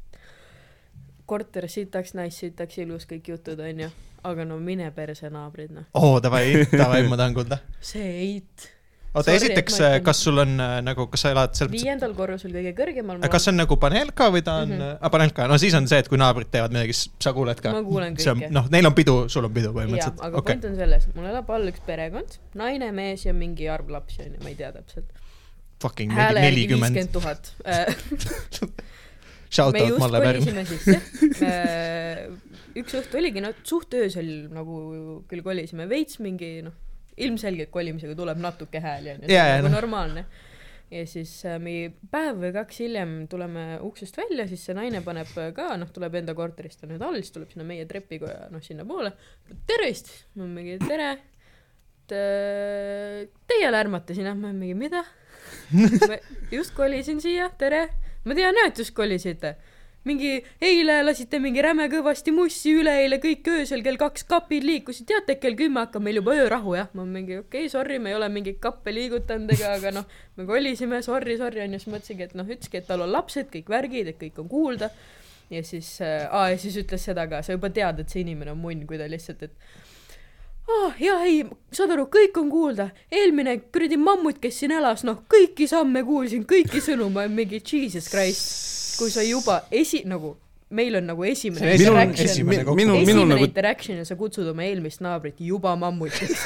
[SPEAKER 3] korter sitaks , nice sitaks , ilus kõik jutud onju , aga no mine perse naabrid noh ,
[SPEAKER 1] oo , davai , davai , ma tahan kuulda .
[SPEAKER 3] see eit .
[SPEAKER 1] oota ,
[SPEAKER 3] Sorry,
[SPEAKER 1] esiteks
[SPEAKER 3] et ma ei , tea.
[SPEAKER 1] kas sul on äh, nagu , kas sa elad selles mõttes ,
[SPEAKER 3] viiendal korrusel kõige kõrgemal
[SPEAKER 1] kas see on nagu Panelka või ta on mm ,
[SPEAKER 3] Mhm.
[SPEAKER 1] -hmm. Panelka , no siis on see , et kui naabrid teevad midagi , siis sa kuuled ka .
[SPEAKER 3] Ma kuulen
[SPEAKER 1] see on
[SPEAKER 3] kõike. ,
[SPEAKER 1] noh , neil on pidu , sul on pidu
[SPEAKER 3] jaa ,
[SPEAKER 1] põhimõtteliselt ,
[SPEAKER 3] aga
[SPEAKER 1] okei .
[SPEAKER 3] okay. point on selles , mul elab all üks perekond , naine , mees ja mingi arv lapsi onju , ma ei tea täpselt .
[SPEAKER 1] Fucking mingi
[SPEAKER 3] hääle järgi
[SPEAKER 1] nelikümmend ,
[SPEAKER 3] viiskümmend tuhat . Äh,
[SPEAKER 1] shout
[SPEAKER 3] me
[SPEAKER 1] out
[SPEAKER 3] just
[SPEAKER 1] Malle Pärn .
[SPEAKER 3] kolisime sisse . üks õhtu oligi , no suht öösel nagu küll kolisime veits mingi noh , ilmselgelt kolimisega tuleb natuke hääli onju , see
[SPEAKER 1] Jaa, jaa,
[SPEAKER 3] on nagu
[SPEAKER 1] noh.
[SPEAKER 3] normaalne . ja siis äh, mingi päev või kaks hiljem tuleme uksest välja , siis see naine paneb äh, ka noh , tuleb enda korterist on nüüd all , siis tuleb sinna meie trepikoja noh , sinnapoole . tervist , ma mingi tere . Teie lärmate siin , ma mingi mida ? ma just kolisin siia , tere . ma tean jah , et just kolisite . mingi eile lasite mingi räme kõvasti mussi , üleeile kõik öösel kell kaks kapid liikusid , teate , kell kümme hakkab meil juba öörahu jah . ma mingi okei okay, , sorry , me ei ole mingeid kappe liigutanud ega , aga noh , me kolisime , sorry , sorry onju , siis mõtlesingi , et noh , ütleski , et tal on lapsed , kõik värgid , et kõik on kuulda . ja siis äh, , aa ja siis ütles seda ka , sa juba tead , et see inimene on munn , kui ta lihtsalt , et oh, . ja ei , saad aru , kõik on kuulda , eelmine kuradi mammut , kes siin elas , noh , kõiki samme kuulsin , kõiki sõnu , ma olin mingi jesus christ , kui sa juba esi- , nagu meil on nagu esimene
[SPEAKER 1] See on
[SPEAKER 2] minul ,
[SPEAKER 1] esimene
[SPEAKER 3] interaction .
[SPEAKER 1] kokku-
[SPEAKER 2] minul ,
[SPEAKER 3] esimene
[SPEAKER 2] minul nagu
[SPEAKER 3] interaction ja sa kutsud oma eelmist naabrit juba mammutiks .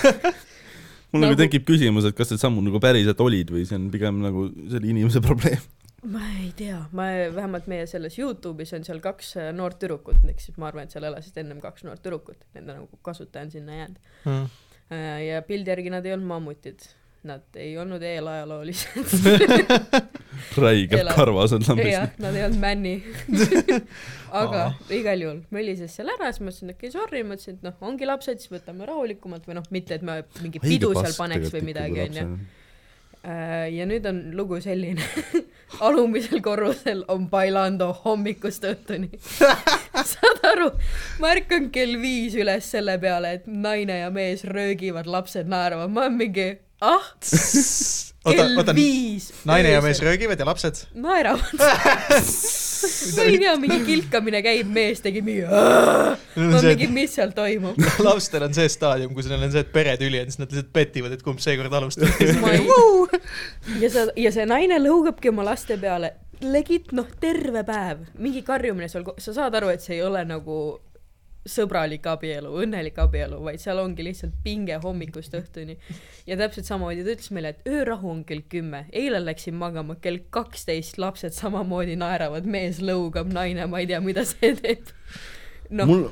[SPEAKER 2] mul nagu
[SPEAKER 3] Nagu-
[SPEAKER 2] tekib küsimus , et kas need sammud nagu päriselt olid või see on pigem nagu selle inimese probleem .
[SPEAKER 3] ma ei tea , ma vähemalt meie selles Youtube'is on seal kaks äh, noort tüdrukut , eks siis ma arvan , et seal elasid ennem kaks noort tüdrukut , nende nagu kasutaja on sinna jäänud .
[SPEAKER 1] Hmm.
[SPEAKER 3] Äh, ja pildi järgi nad ei olnud mammutid , nad ei olnud eelajaloolised .
[SPEAKER 2] räigelt
[SPEAKER 3] Elab.
[SPEAKER 2] karvas on
[SPEAKER 3] jah
[SPEAKER 2] lambis .,
[SPEAKER 3] nad ei olnud männi . aga igal juhul ma helises seal ära , siis mõtlesin , et okei , sorry , mõtlesin , et noh , ongi lapsed , siis võtame rahulikumalt või noh , mitte et me mingi pidu seal paneks või midagi , onju . ja nüüd on lugu selline . alumisel korrusel on bailando hommikust õhtuni . saad aru , ma ärkan kell viis üles selle peale , et naine ja mees röögivad , lapsed naeravad , ma olen mingi , ah ,
[SPEAKER 1] oota ,
[SPEAKER 3] kell
[SPEAKER 1] oota ,
[SPEAKER 3] viis .
[SPEAKER 1] naine ja mees röögivad ja lapsed .
[SPEAKER 3] naeravad . ma ei tea , mingi kilkamine käib , mees tegi mingi . ma mingi , mis seal toimub ?
[SPEAKER 1] lastel on see staadium , kus neil on see , et peretüli on , siis nad lihtsalt petivad , et kumb seekord alustab .
[SPEAKER 3] Ma ei- ja sa , ja see naine lõugabki oma laste peale , legit noh , terve päev , mingi karjumine seal , sa saad aru , et see ei ole nagu sõbralik abielu , õnnelik abielu , vaid seal ongi lihtsalt pinge hommikust õhtuni . ja täpselt samamoodi ta ütles meile , et öörahu on kell kümme , eile läksin magama kell kaksteist , lapsed samamoodi naeravad , mees lõugab , naine , ma ei tea , mida see teeb . noh ,
[SPEAKER 2] mul ,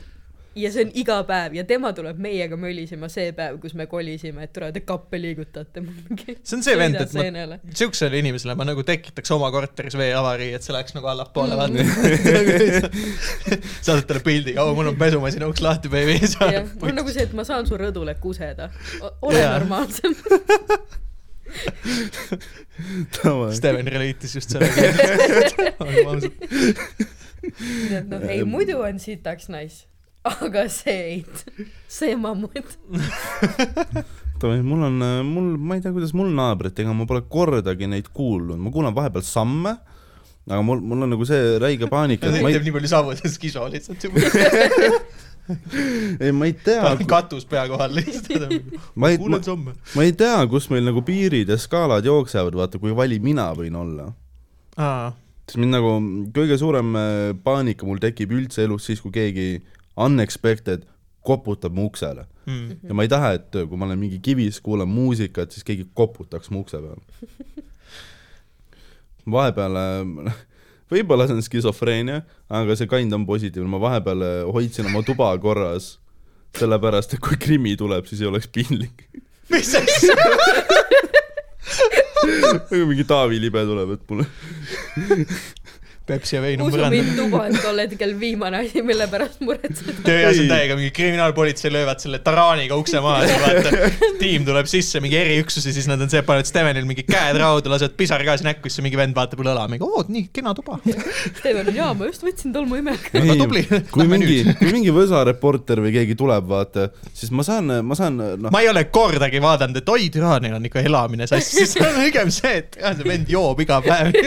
[SPEAKER 3] ja see on iga päev ja tema tuleb meiega mölisema see päev , kus me kolisime , et tule te kappe liigutate .
[SPEAKER 1] see on see vend , et ma , siuksele inimesele ma nagu tekitaks oma korteris veeavarii , et see läheks nagu allapoole , vaata . saadad talle pildi , oo , mul on pesumasina uks lahti , baby .
[SPEAKER 3] jah , mul on nagu see , et ma saan su rõdule kuseda . ole
[SPEAKER 1] Jaa.
[SPEAKER 3] yeah. normaalsem .
[SPEAKER 1] Steven reliitis just sellega .
[SPEAKER 3] noh , ei muidu on sitaks nice , aga see ei , see mammut .
[SPEAKER 2] oota , mul on , mul , ma ei tea , kuidas mul naabritega , ma pole kordagi neid kuulnud , ma kuulan vahepeal samme , aga mul , mul on nagu see räige paanika , et
[SPEAKER 1] ta
[SPEAKER 2] ma
[SPEAKER 1] teeb
[SPEAKER 2] ei ,
[SPEAKER 1] nii palju savu , et siis kiso lihtsalt
[SPEAKER 2] ei ma ei tea ,
[SPEAKER 1] katus pea kohal lihtsalt .
[SPEAKER 2] ma ei ,
[SPEAKER 1] kuulen samme .
[SPEAKER 2] ma ei tea , kus meil nagu piirid ja skaalad jooksevad , vaata kui vali mina võin olla . sest mind nagu kõige suurem äh, paanika mul tekib üldse elus siis , kui keegi unexpected koputab mu uksele .
[SPEAKER 1] hmm.
[SPEAKER 2] ja ma ei taha , et äh, kui ma olen mingi kivis , kuulan muusikat , siis keegi koputaks mu ukse peal . vahepeal , võib-olla see on skisofreenia , aga see kind on positiivne , ma vahepeal äh, hoidsin oma tuba korras , sellepärast et kui krimi tuleb , siis ei oleks piinlik .
[SPEAKER 1] mis asja ?
[SPEAKER 2] nagu mingi Taavi Libe tuleb , et mulle
[SPEAKER 1] Pepsi ja vein on
[SPEAKER 3] usu
[SPEAKER 1] põrandal .
[SPEAKER 3] mind , tuba on tol hetkel viimane asi , mille pärast muretseda .
[SPEAKER 1] tööas on
[SPEAKER 2] Ei.
[SPEAKER 1] täiega mingi kriminaalpolitsei löövad selle taraaniga ukse maha , siis vaata , tiim tuleb sisse , mingi eriüksus ja siis nad on see , panevad Stevenil mingi käed raudu , lasevad pisargaasi näkku , siis see mingi vend vaatab üle õla , mingi oo , nii kena tuba .
[SPEAKER 3] Steven , jaa , ma just võtsin tolmuimega .
[SPEAKER 1] Väga tubli.
[SPEAKER 2] kui
[SPEAKER 1] Lähme
[SPEAKER 2] mingi , kui mingi Võsa reporter või keegi tuleb , vaata , siis ma saan , ma saan , noh ,
[SPEAKER 1] ma ei ole kordagi vaadanud , et oi , türa , neil on ikka elamine sassi , siis on pigem see , et jah, see vend joob iga päev .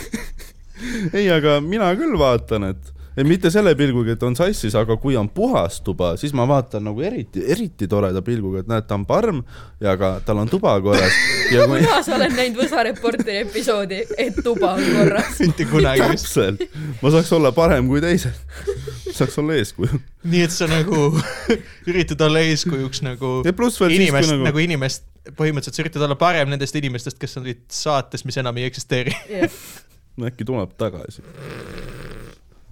[SPEAKER 2] ei , aga mina küll vaatan , et et mitte selle pilguga , et on sassis , aga kui on puhas tuba , siis ma vaatan nagu eriti , eriti toreda pilguga , et näed , ta on parm ja ka tal on tuba korras ja kui
[SPEAKER 3] mina olen näinud Võsa Reporteri episoodi , et tuba on korras .
[SPEAKER 1] mitte kunagi vist .
[SPEAKER 2] täpselt , ma saaks olla parem kui teised , saaks olla eeskuju .
[SPEAKER 1] nii et sa nagu üritad olla eeskujuks nagu
[SPEAKER 2] ja pluss veel siis , kui
[SPEAKER 1] inimest ,
[SPEAKER 2] nagu,
[SPEAKER 1] nagu
[SPEAKER 2] nagu... ,
[SPEAKER 1] inimest , põhimõtteliselt sa üritad olla parem nendest inimestest , kes olid saates , mis enam ei eksisteeri . nagu-
[SPEAKER 2] äkki tuleb tagasi .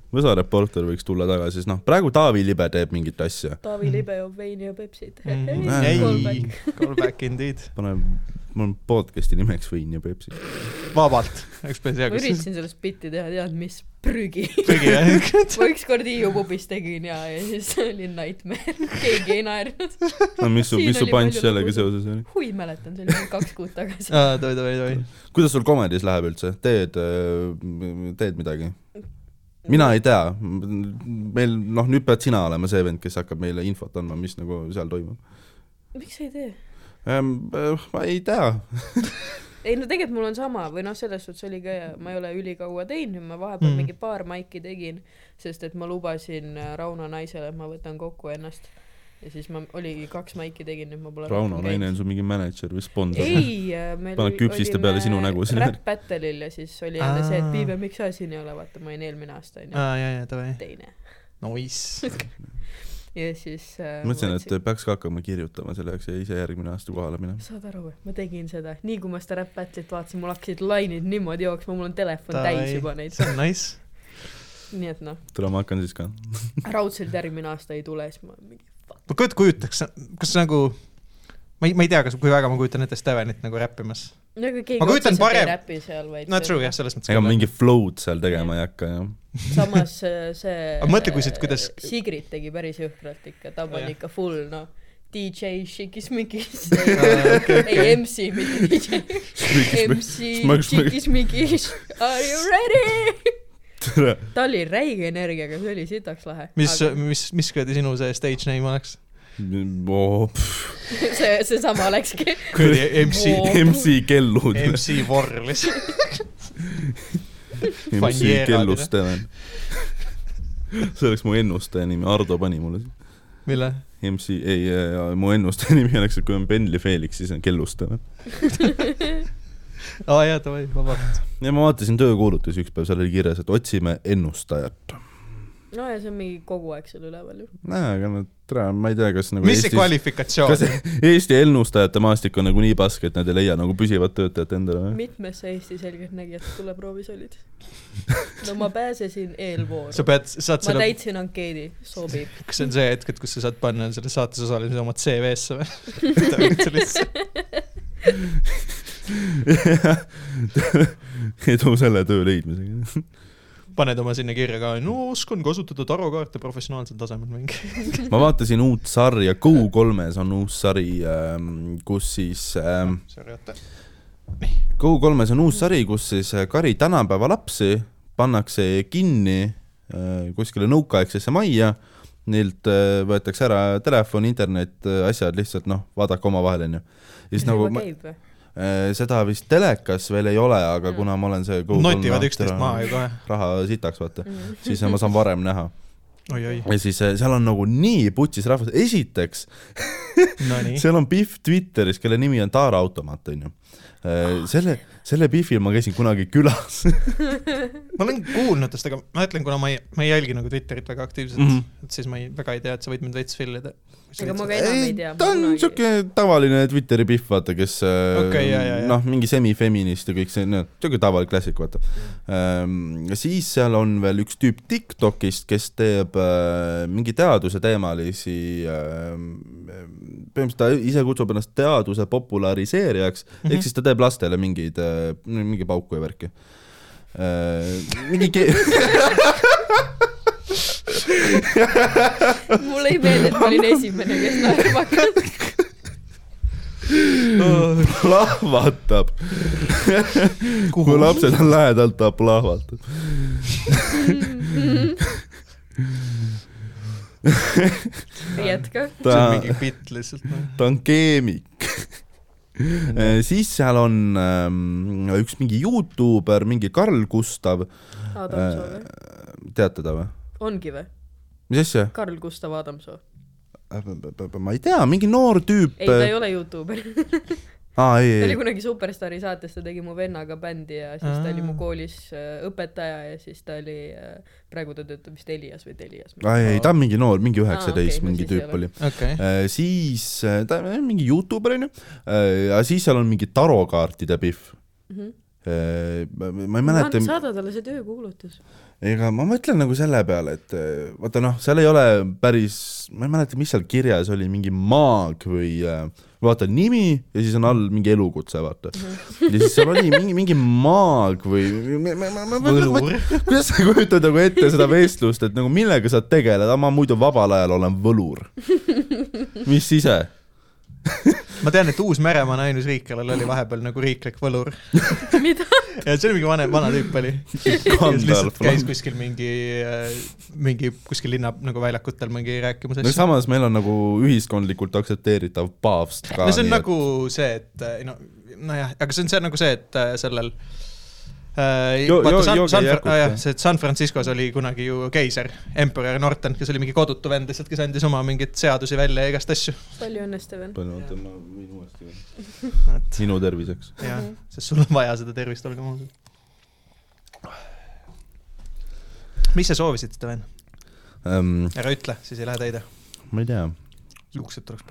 [SPEAKER 2] Võsa reporter võiks tulla tagasi , sest noh , praegu Taavi Libe teeb mingit asja ,
[SPEAKER 3] Taavi Libe joob veini ja Pepsit .
[SPEAKER 2] Ei,
[SPEAKER 1] Mm-hmm. ei , callback indeed .
[SPEAKER 2] paneb , mul on podcast'i nimeks Võin ja Pepsi .
[SPEAKER 1] vabalt , eks ma ei tea ,
[SPEAKER 3] ma
[SPEAKER 1] kas
[SPEAKER 3] üritasin sellest bitti teha , tead mis , prügi .
[SPEAKER 1] kõigi jah .
[SPEAKER 3] ma ükskord Hiiu pubis tegin ja , ja siis oli nightmare , keegi ei naernud .
[SPEAKER 2] no mis su ,
[SPEAKER 3] Siin
[SPEAKER 2] mis su
[SPEAKER 3] oli
[SPEAKER 2] punch
[SPEAKER 3] palju
[SPEAKER 2] sellega
[SPEAKER 3] lugusid.
[SPEAKER 2] seoses oli ?
[SPEAKER 3] hui mäletan , see oli mingi kaks kuud tagasi .
[SPEAKER 1] oi , oi , oi .
[SPEAKER 2] kuidas sul komedis läheb üldse , teed , teed midagi ? mina ei tea , meil noh , nüüd pead sina olema see vend , kes hakkab meile infot andma , mis nagu seal toimub
[SPEAKER 3] miks sa ei tee ?
[SPEAKER 2] ähm, . ma ei tea ,
[SPEAKER 3] ei no tegelikult mul on sama või noh , selles suhtes oli ka , ma ei ole ülikaua teinud , ma vahepeal
[SPEAKER 1] Mm.
[SPEAKER 3] mm. mingi paar maiki tegin , sest et ma lubasin äh, Rauno naisele , et ma võtan kokku ennast . ja siis ma oligi kaks maiki tegin , nüüd ma pole
[SPEAKER 2] Rauno
[SPEAKER 3] rohkem
[SPEAKER 2] naine
[SPEAKER 3] käinud.
[SPEAKER 2] on sul mingi mänedžer või sponsor ?
[SPEAKER 3] ei , meil
[SPEAKER 2] Paned küpsiste peale sinu nägu sinna.
[SPEAKER 3] Rap Battle'il ja siis oli jälle see , et
[SPEAKER 1] Aa.
[SPEAKER 3] Piibe , miks sa siin ei ole , vaata ma olin eelmine aasta onju ,
[SPEAKER 1] aa , ja , ja davai .
[SPEAKER 3] teine .
[SPEAKER 1] Nice .
[SPEAKER 3] ja siis äh,
[SPEAKER 2] mõtlesin ,
[SPEAKER 3] võtsin-
[SPEAKER 2] et peaks ka hakkama kirjutama selle jaoks ja ise järgmine aasta kohale minema .
[SPEAKER 3] saad aru või , ma tegin seda , nii kui ma seda Rap Battle'it vaatasin , mul hakkasid lainid niimoodi jooksma , mul on telefon
[SPEAKER 1] Davai.
[SPEAKER 3] täis juba neid ,
[SPEAKER 1] see on nice .
[SPEAKER 3] nii et noh ,
[SPEAKER 2] tule , ma hakkan siis ka .
[SPEAKER 3] raudselt järgmine aasta ei tule , siis ma mingi
[SPEAKER 1] ma kujut- , kujutaks , kas nagu , ma ei , ma ei tea , kas , kui väga ma kujutan ette Stevenit nagu räppimas .
[SPEAKER 3] no aga keegi
[SPEAKER 1] Ma kujutan
[SPEAKER 3] otseselt
[SPEAKER 1] parem-
[SPEAKER 3] ei räpi seal , vaid
[SPEAKER 1] no true jah , selles mõttes .
[SPEAKER 2] ega ma mingi flow'd seal tegema ei hakka jah .
[SPEAKER 3] samas äh, see äh,
[SPEAKER 1] Aga mõtle, kui siit- kuidas-
[SPEAKER 3] Sigrid tegi päris jõhkralt ikka , ta
[SPEAKER 1] Jah.
[SPEAKER 3] pani ikka full noh , DJ šikis mingi
[SPEAKER 1] Aa, Ah, okei, okei.
[SPEAKER 3] ei MC , mitte DJ , MC
[SPEAKER 2] Smõks- smõks-
[SPEAKER 3] šikis mingi Are you ready ?
[SPEAKER 2] tere .
[SPEAKER 3] ta oli räige energiaga , see oli sitaks lahe .
[SPEAKER 1] mis , mis , mis kuradi sinu see stage name oleks ?
[SPEAKER 3] see , seesama läkski
[SPEAKER 1] kuradi MC ,
[SPEAKER 3] Voo.
[SPEAKER 2] MC kellud .
[SPEAKER 1] MC Vorlis .
[SPEAKER 2] MC
[SPEAKER 1] Fanjeerad,
[SPEAKER 2] kellus Steven . see oleks mu ennustaja nimi , Ardo pani mulle .
[SPEAKER 1] mille ?
[SPEAKER 2] MC , ei , mu ennustaja nimi oleks , et kui on Bentley Felix , siis on kellus Steven .
[SPEAKER 1] aa jaa , davai , vabalt .
[SPEAKER 2] ja ma vaatasin töökuulutusi üks päev , seal oli kirjas , et otsime ennustajat .
[SPEAKER 3] no ja see on mingi kogu aeg seal üleval ju .
[SPEAKER 2] nojah , aga no tere , ma ei tea , kas nagu
[SPEAKER 1] mis see
[SPEAKER 2] Eestis , kas
[SPEAKER 1] kvalifikatsioon ?
[SPEAKER 2] Eesti ennustajate maastik on nagu nii paske , et nad ei leia nagu püsivat töötajat endale või ?
[SPEAKER 3] mitmes sa Eesti selgeltnägijat tuleproovis olid ? no ma pääsesin eelvooru .
[SPEAKER 1] sa pead , saad
[SPEAKER 3] ma
[SPEAKER 1] selle ,
[SPEAKER 3] täitsin ankeedi , sobib .
[SPEAKER 1] kas see on see hetk , et kus sa saad panna selle saates osalemise oma CV-sse või ?
[SPEAKER 2] edu selle töö leidmisega .
[SPEAKER 1] paned oma sinna kirja ka , no oskan kasutada tarokaarte professionaalsel tasemel mingi .
[SPEAKER 2] ma vaatasin uut sarja , Go3-s on uus sari , kus siis ähm, Go3-s on uus sari , kus siis äh, kari tänapäeva lapsi pannakse kinni äh, kuskile nõukaaegsesse majja , neilt äh, võetakse ära telefon , internet , asjad lihtsalt noh , vaadake omavahel onju . siis
[SPEAKER 3] see
[SPEAKER 2] nagu
[SPEAKER 3] juba
[SPEAKER 2] ma,
[SPEAKER 3] käib või ?
[SPEAKER 2] äh, seda vist telekas veel ei ole , aga kuna ma olen see Go3
[SPEAKER 1] notivad
[SPEAKER 2] aktör-
[SPEAKER 1] üksteist maha ju kohe .
[SPEAKER 2] raha sitaks vaata ,
[SPEAKER 3] Mm.
[SPEAKER 2] siis ma saan varem näha
[SPEAKER 1] oi-oi ,
[SPEAKER 2] ja siis äh, seal on nagu nii putsis rahvas , esiteks
[SPEAKER 1] nonii .
[SPEAKER 2] seal on Pihv Twitteris , kelle nimi on Taara automaat , onju . selle , selle Pihvil ma käisin kunagi külas .
[SPEAKER 1] ma olen kuulnud tast , aga ma ütlen , kuna ma ei , ma ei jälgi nagu Twitterit väga aktiivselt mm ,
[SPEAKER 2] Mhm.
[SPEAKER 1] -hmm. et siis ma ei , väga ei tea , et sa võid mind veits fillida .
[SPEAKER 3] ega ma ka enam ei tea .
[SPEAKER 2] ta on siuke tavaline Twitteri Pihv , vaata , kes äh,
[SPEAKER 1] Okei, jaa, jaa, jaa.
[SPEAKER 2] noh , mingi semifeminist ja kõik see , noh , siuke tavaline klassik , vaata . siis seal on veel üks tüüp Tiktokist , kes teeb äh, mingi teaduse teemalisi , põhimõtteliselt ta ise kutsub ennast teaduse populariseerijaks mm
[SPEAKER 1] Mhm.
[SPEAKER 2] -hmm. , ehk siis ta teeb lastele mingeid , mingi pauku ja värki . mingi ke- ,
[SPEAKER 3] mulle ei meeldi , et ma olin esimene , kes naerma hakkas .
[SPEAKER 2] plahvatab . kui lapsed on lähedal , ta plahvatab .
[SPEAKER 3] jätka .
[SPEAKER 1] see on
[SPEAKER 2] ta ,
[SPEAKER 1] mingi bitt lihtsalt noh. no. .
[SPEAKER 2] ta on keemik . siis seal on ähm, üks mingi Youtuber , mingi Karl Gustav ,
[SPEAKER 3] Adam Soo või ?
[SPEAKER 2] tead teda või ?
[SPEAKER 3] ongi või ?
[SPEAKER 2] mis asja ?
[SPEAKER 3] Karl Gustav Adam Soo ?
[SPEAKER 2] Äh, ma ei tea , mingi noor tüüp äh,
[SPEAKER 3] ei ,. ta ei ole Youtuber .
[SPEAKER 2] aa , ei ,
[SPEAKER 3] ta oli
[SPEAKER 2] ei ,
[SPEAKER 3] kunagi Superstaari saates , ta tegi mu vennaga bändi ja siis ta oli mu koolis äh, õpetaja ja siis ta oli , praegu ta töötab vist Elias või Telias .
[SPEAKER 2] ei , ei , ta on mingi noor , mingi
[SPEAKER 3] okei,
[SPEAKER 2] üheksateist ,
[SPEAKER 3] no
[SPEAKER 2] mingi
[SPEAKER 3] siis ei
[SPEAKER 2] tüüp
[SPEAKER 3] ole.
[SPEAKER 2] oli .
[SPEAKER 1] okei okay. ,
[SPEAKER 2] Äh, siis äh, ta on mingi Youtuber onju , aga siis seal on mingi tarokaartide pihv
[SPEAKER 3] Mhm. .
[SPEAKER 2] ma ma ei mäleta
[SPEAKER 3] Mäleta... , saada talle see töökuulutus .
[SPEAKER 2] ega ma mõtlen nagu selle peale , et äh, vaata noh , seal ei ole päris , ma ei mäleta , mis seal kirjas oli , mingi maag või äh, vaata nimi ja siis on all mingi elukutse , vaata .
[SPEAKER 1] Mhm.
[SPEAKER 2] ja siis seal oli mingi , mingi maag või ma- ma- ma- ma- ma- ma-
[SPEAKER 1] võlur .
[SPEAKER 2] kuidas sa kujutad nagu ette seda vestlust , et nagu millega sa tegeled , ma muidu vabal ajal olen võlur . mis ise
[SPEAKER 1] ma tean , et Uus-Meremaa on ainus riik , kellel oli vahepeal nagu riiklik võlur .
[SPEAKER 3] mida ?
[SPEAKER 1] ja see oli mingi vanem , vana tüüp oli . lihtsalt
[SPEAKER 2] Gandalf
[SPEAKER 1] käis kuskil mingi , mingi kuskil linna nagu väljakutel mingi rääkimas
[SPEAKER 2] no samas meil on nagu ühiskondlikult aktsepteeritav paavst ka .
[SPEAKER 1] no see on nagu see , et äh, no , nojah , aga see on see nagu see , et äh, sellel äh,
[SPEAKER 2] Jo-
[SPEAKER 1] vaata,
[SPEAKER 2] jo-
[SPEAKER 1] San,
[SPEAKER 2] jooge
[SPEAKER 1] San,
[SPEAKER 2] ei jakuta.
[SPEAKER 1] ah, jah, see et San Franciscos oli kunagi ju keiser , emperor Norton , kes oli mingi kodutu vend lihtsalt , kes andis oma mingeid seadusi välja ja igast asju .
[SPEAKER 3] palju õnne , Steven .
[SPEAKER 2] palju , oota ma võin uuesti veel .
[SPEAKER 1] et
[SPEAKER 2] sinu terviseks .
[SPEAKER 1] jah ,
[SPEAKER 3] Mhm.
[SPEAKER 1] sest sul on vaja seda tervist , olgem ausad . mis sa soovisid , Steven ?
[SPEAKER 2] Ähm,
[SPEAKER 1] ära ütle , siis ei lähe täide .
[SPEAKER 2] ma ei tea .
[SPEAKER 1] juuksed tuleks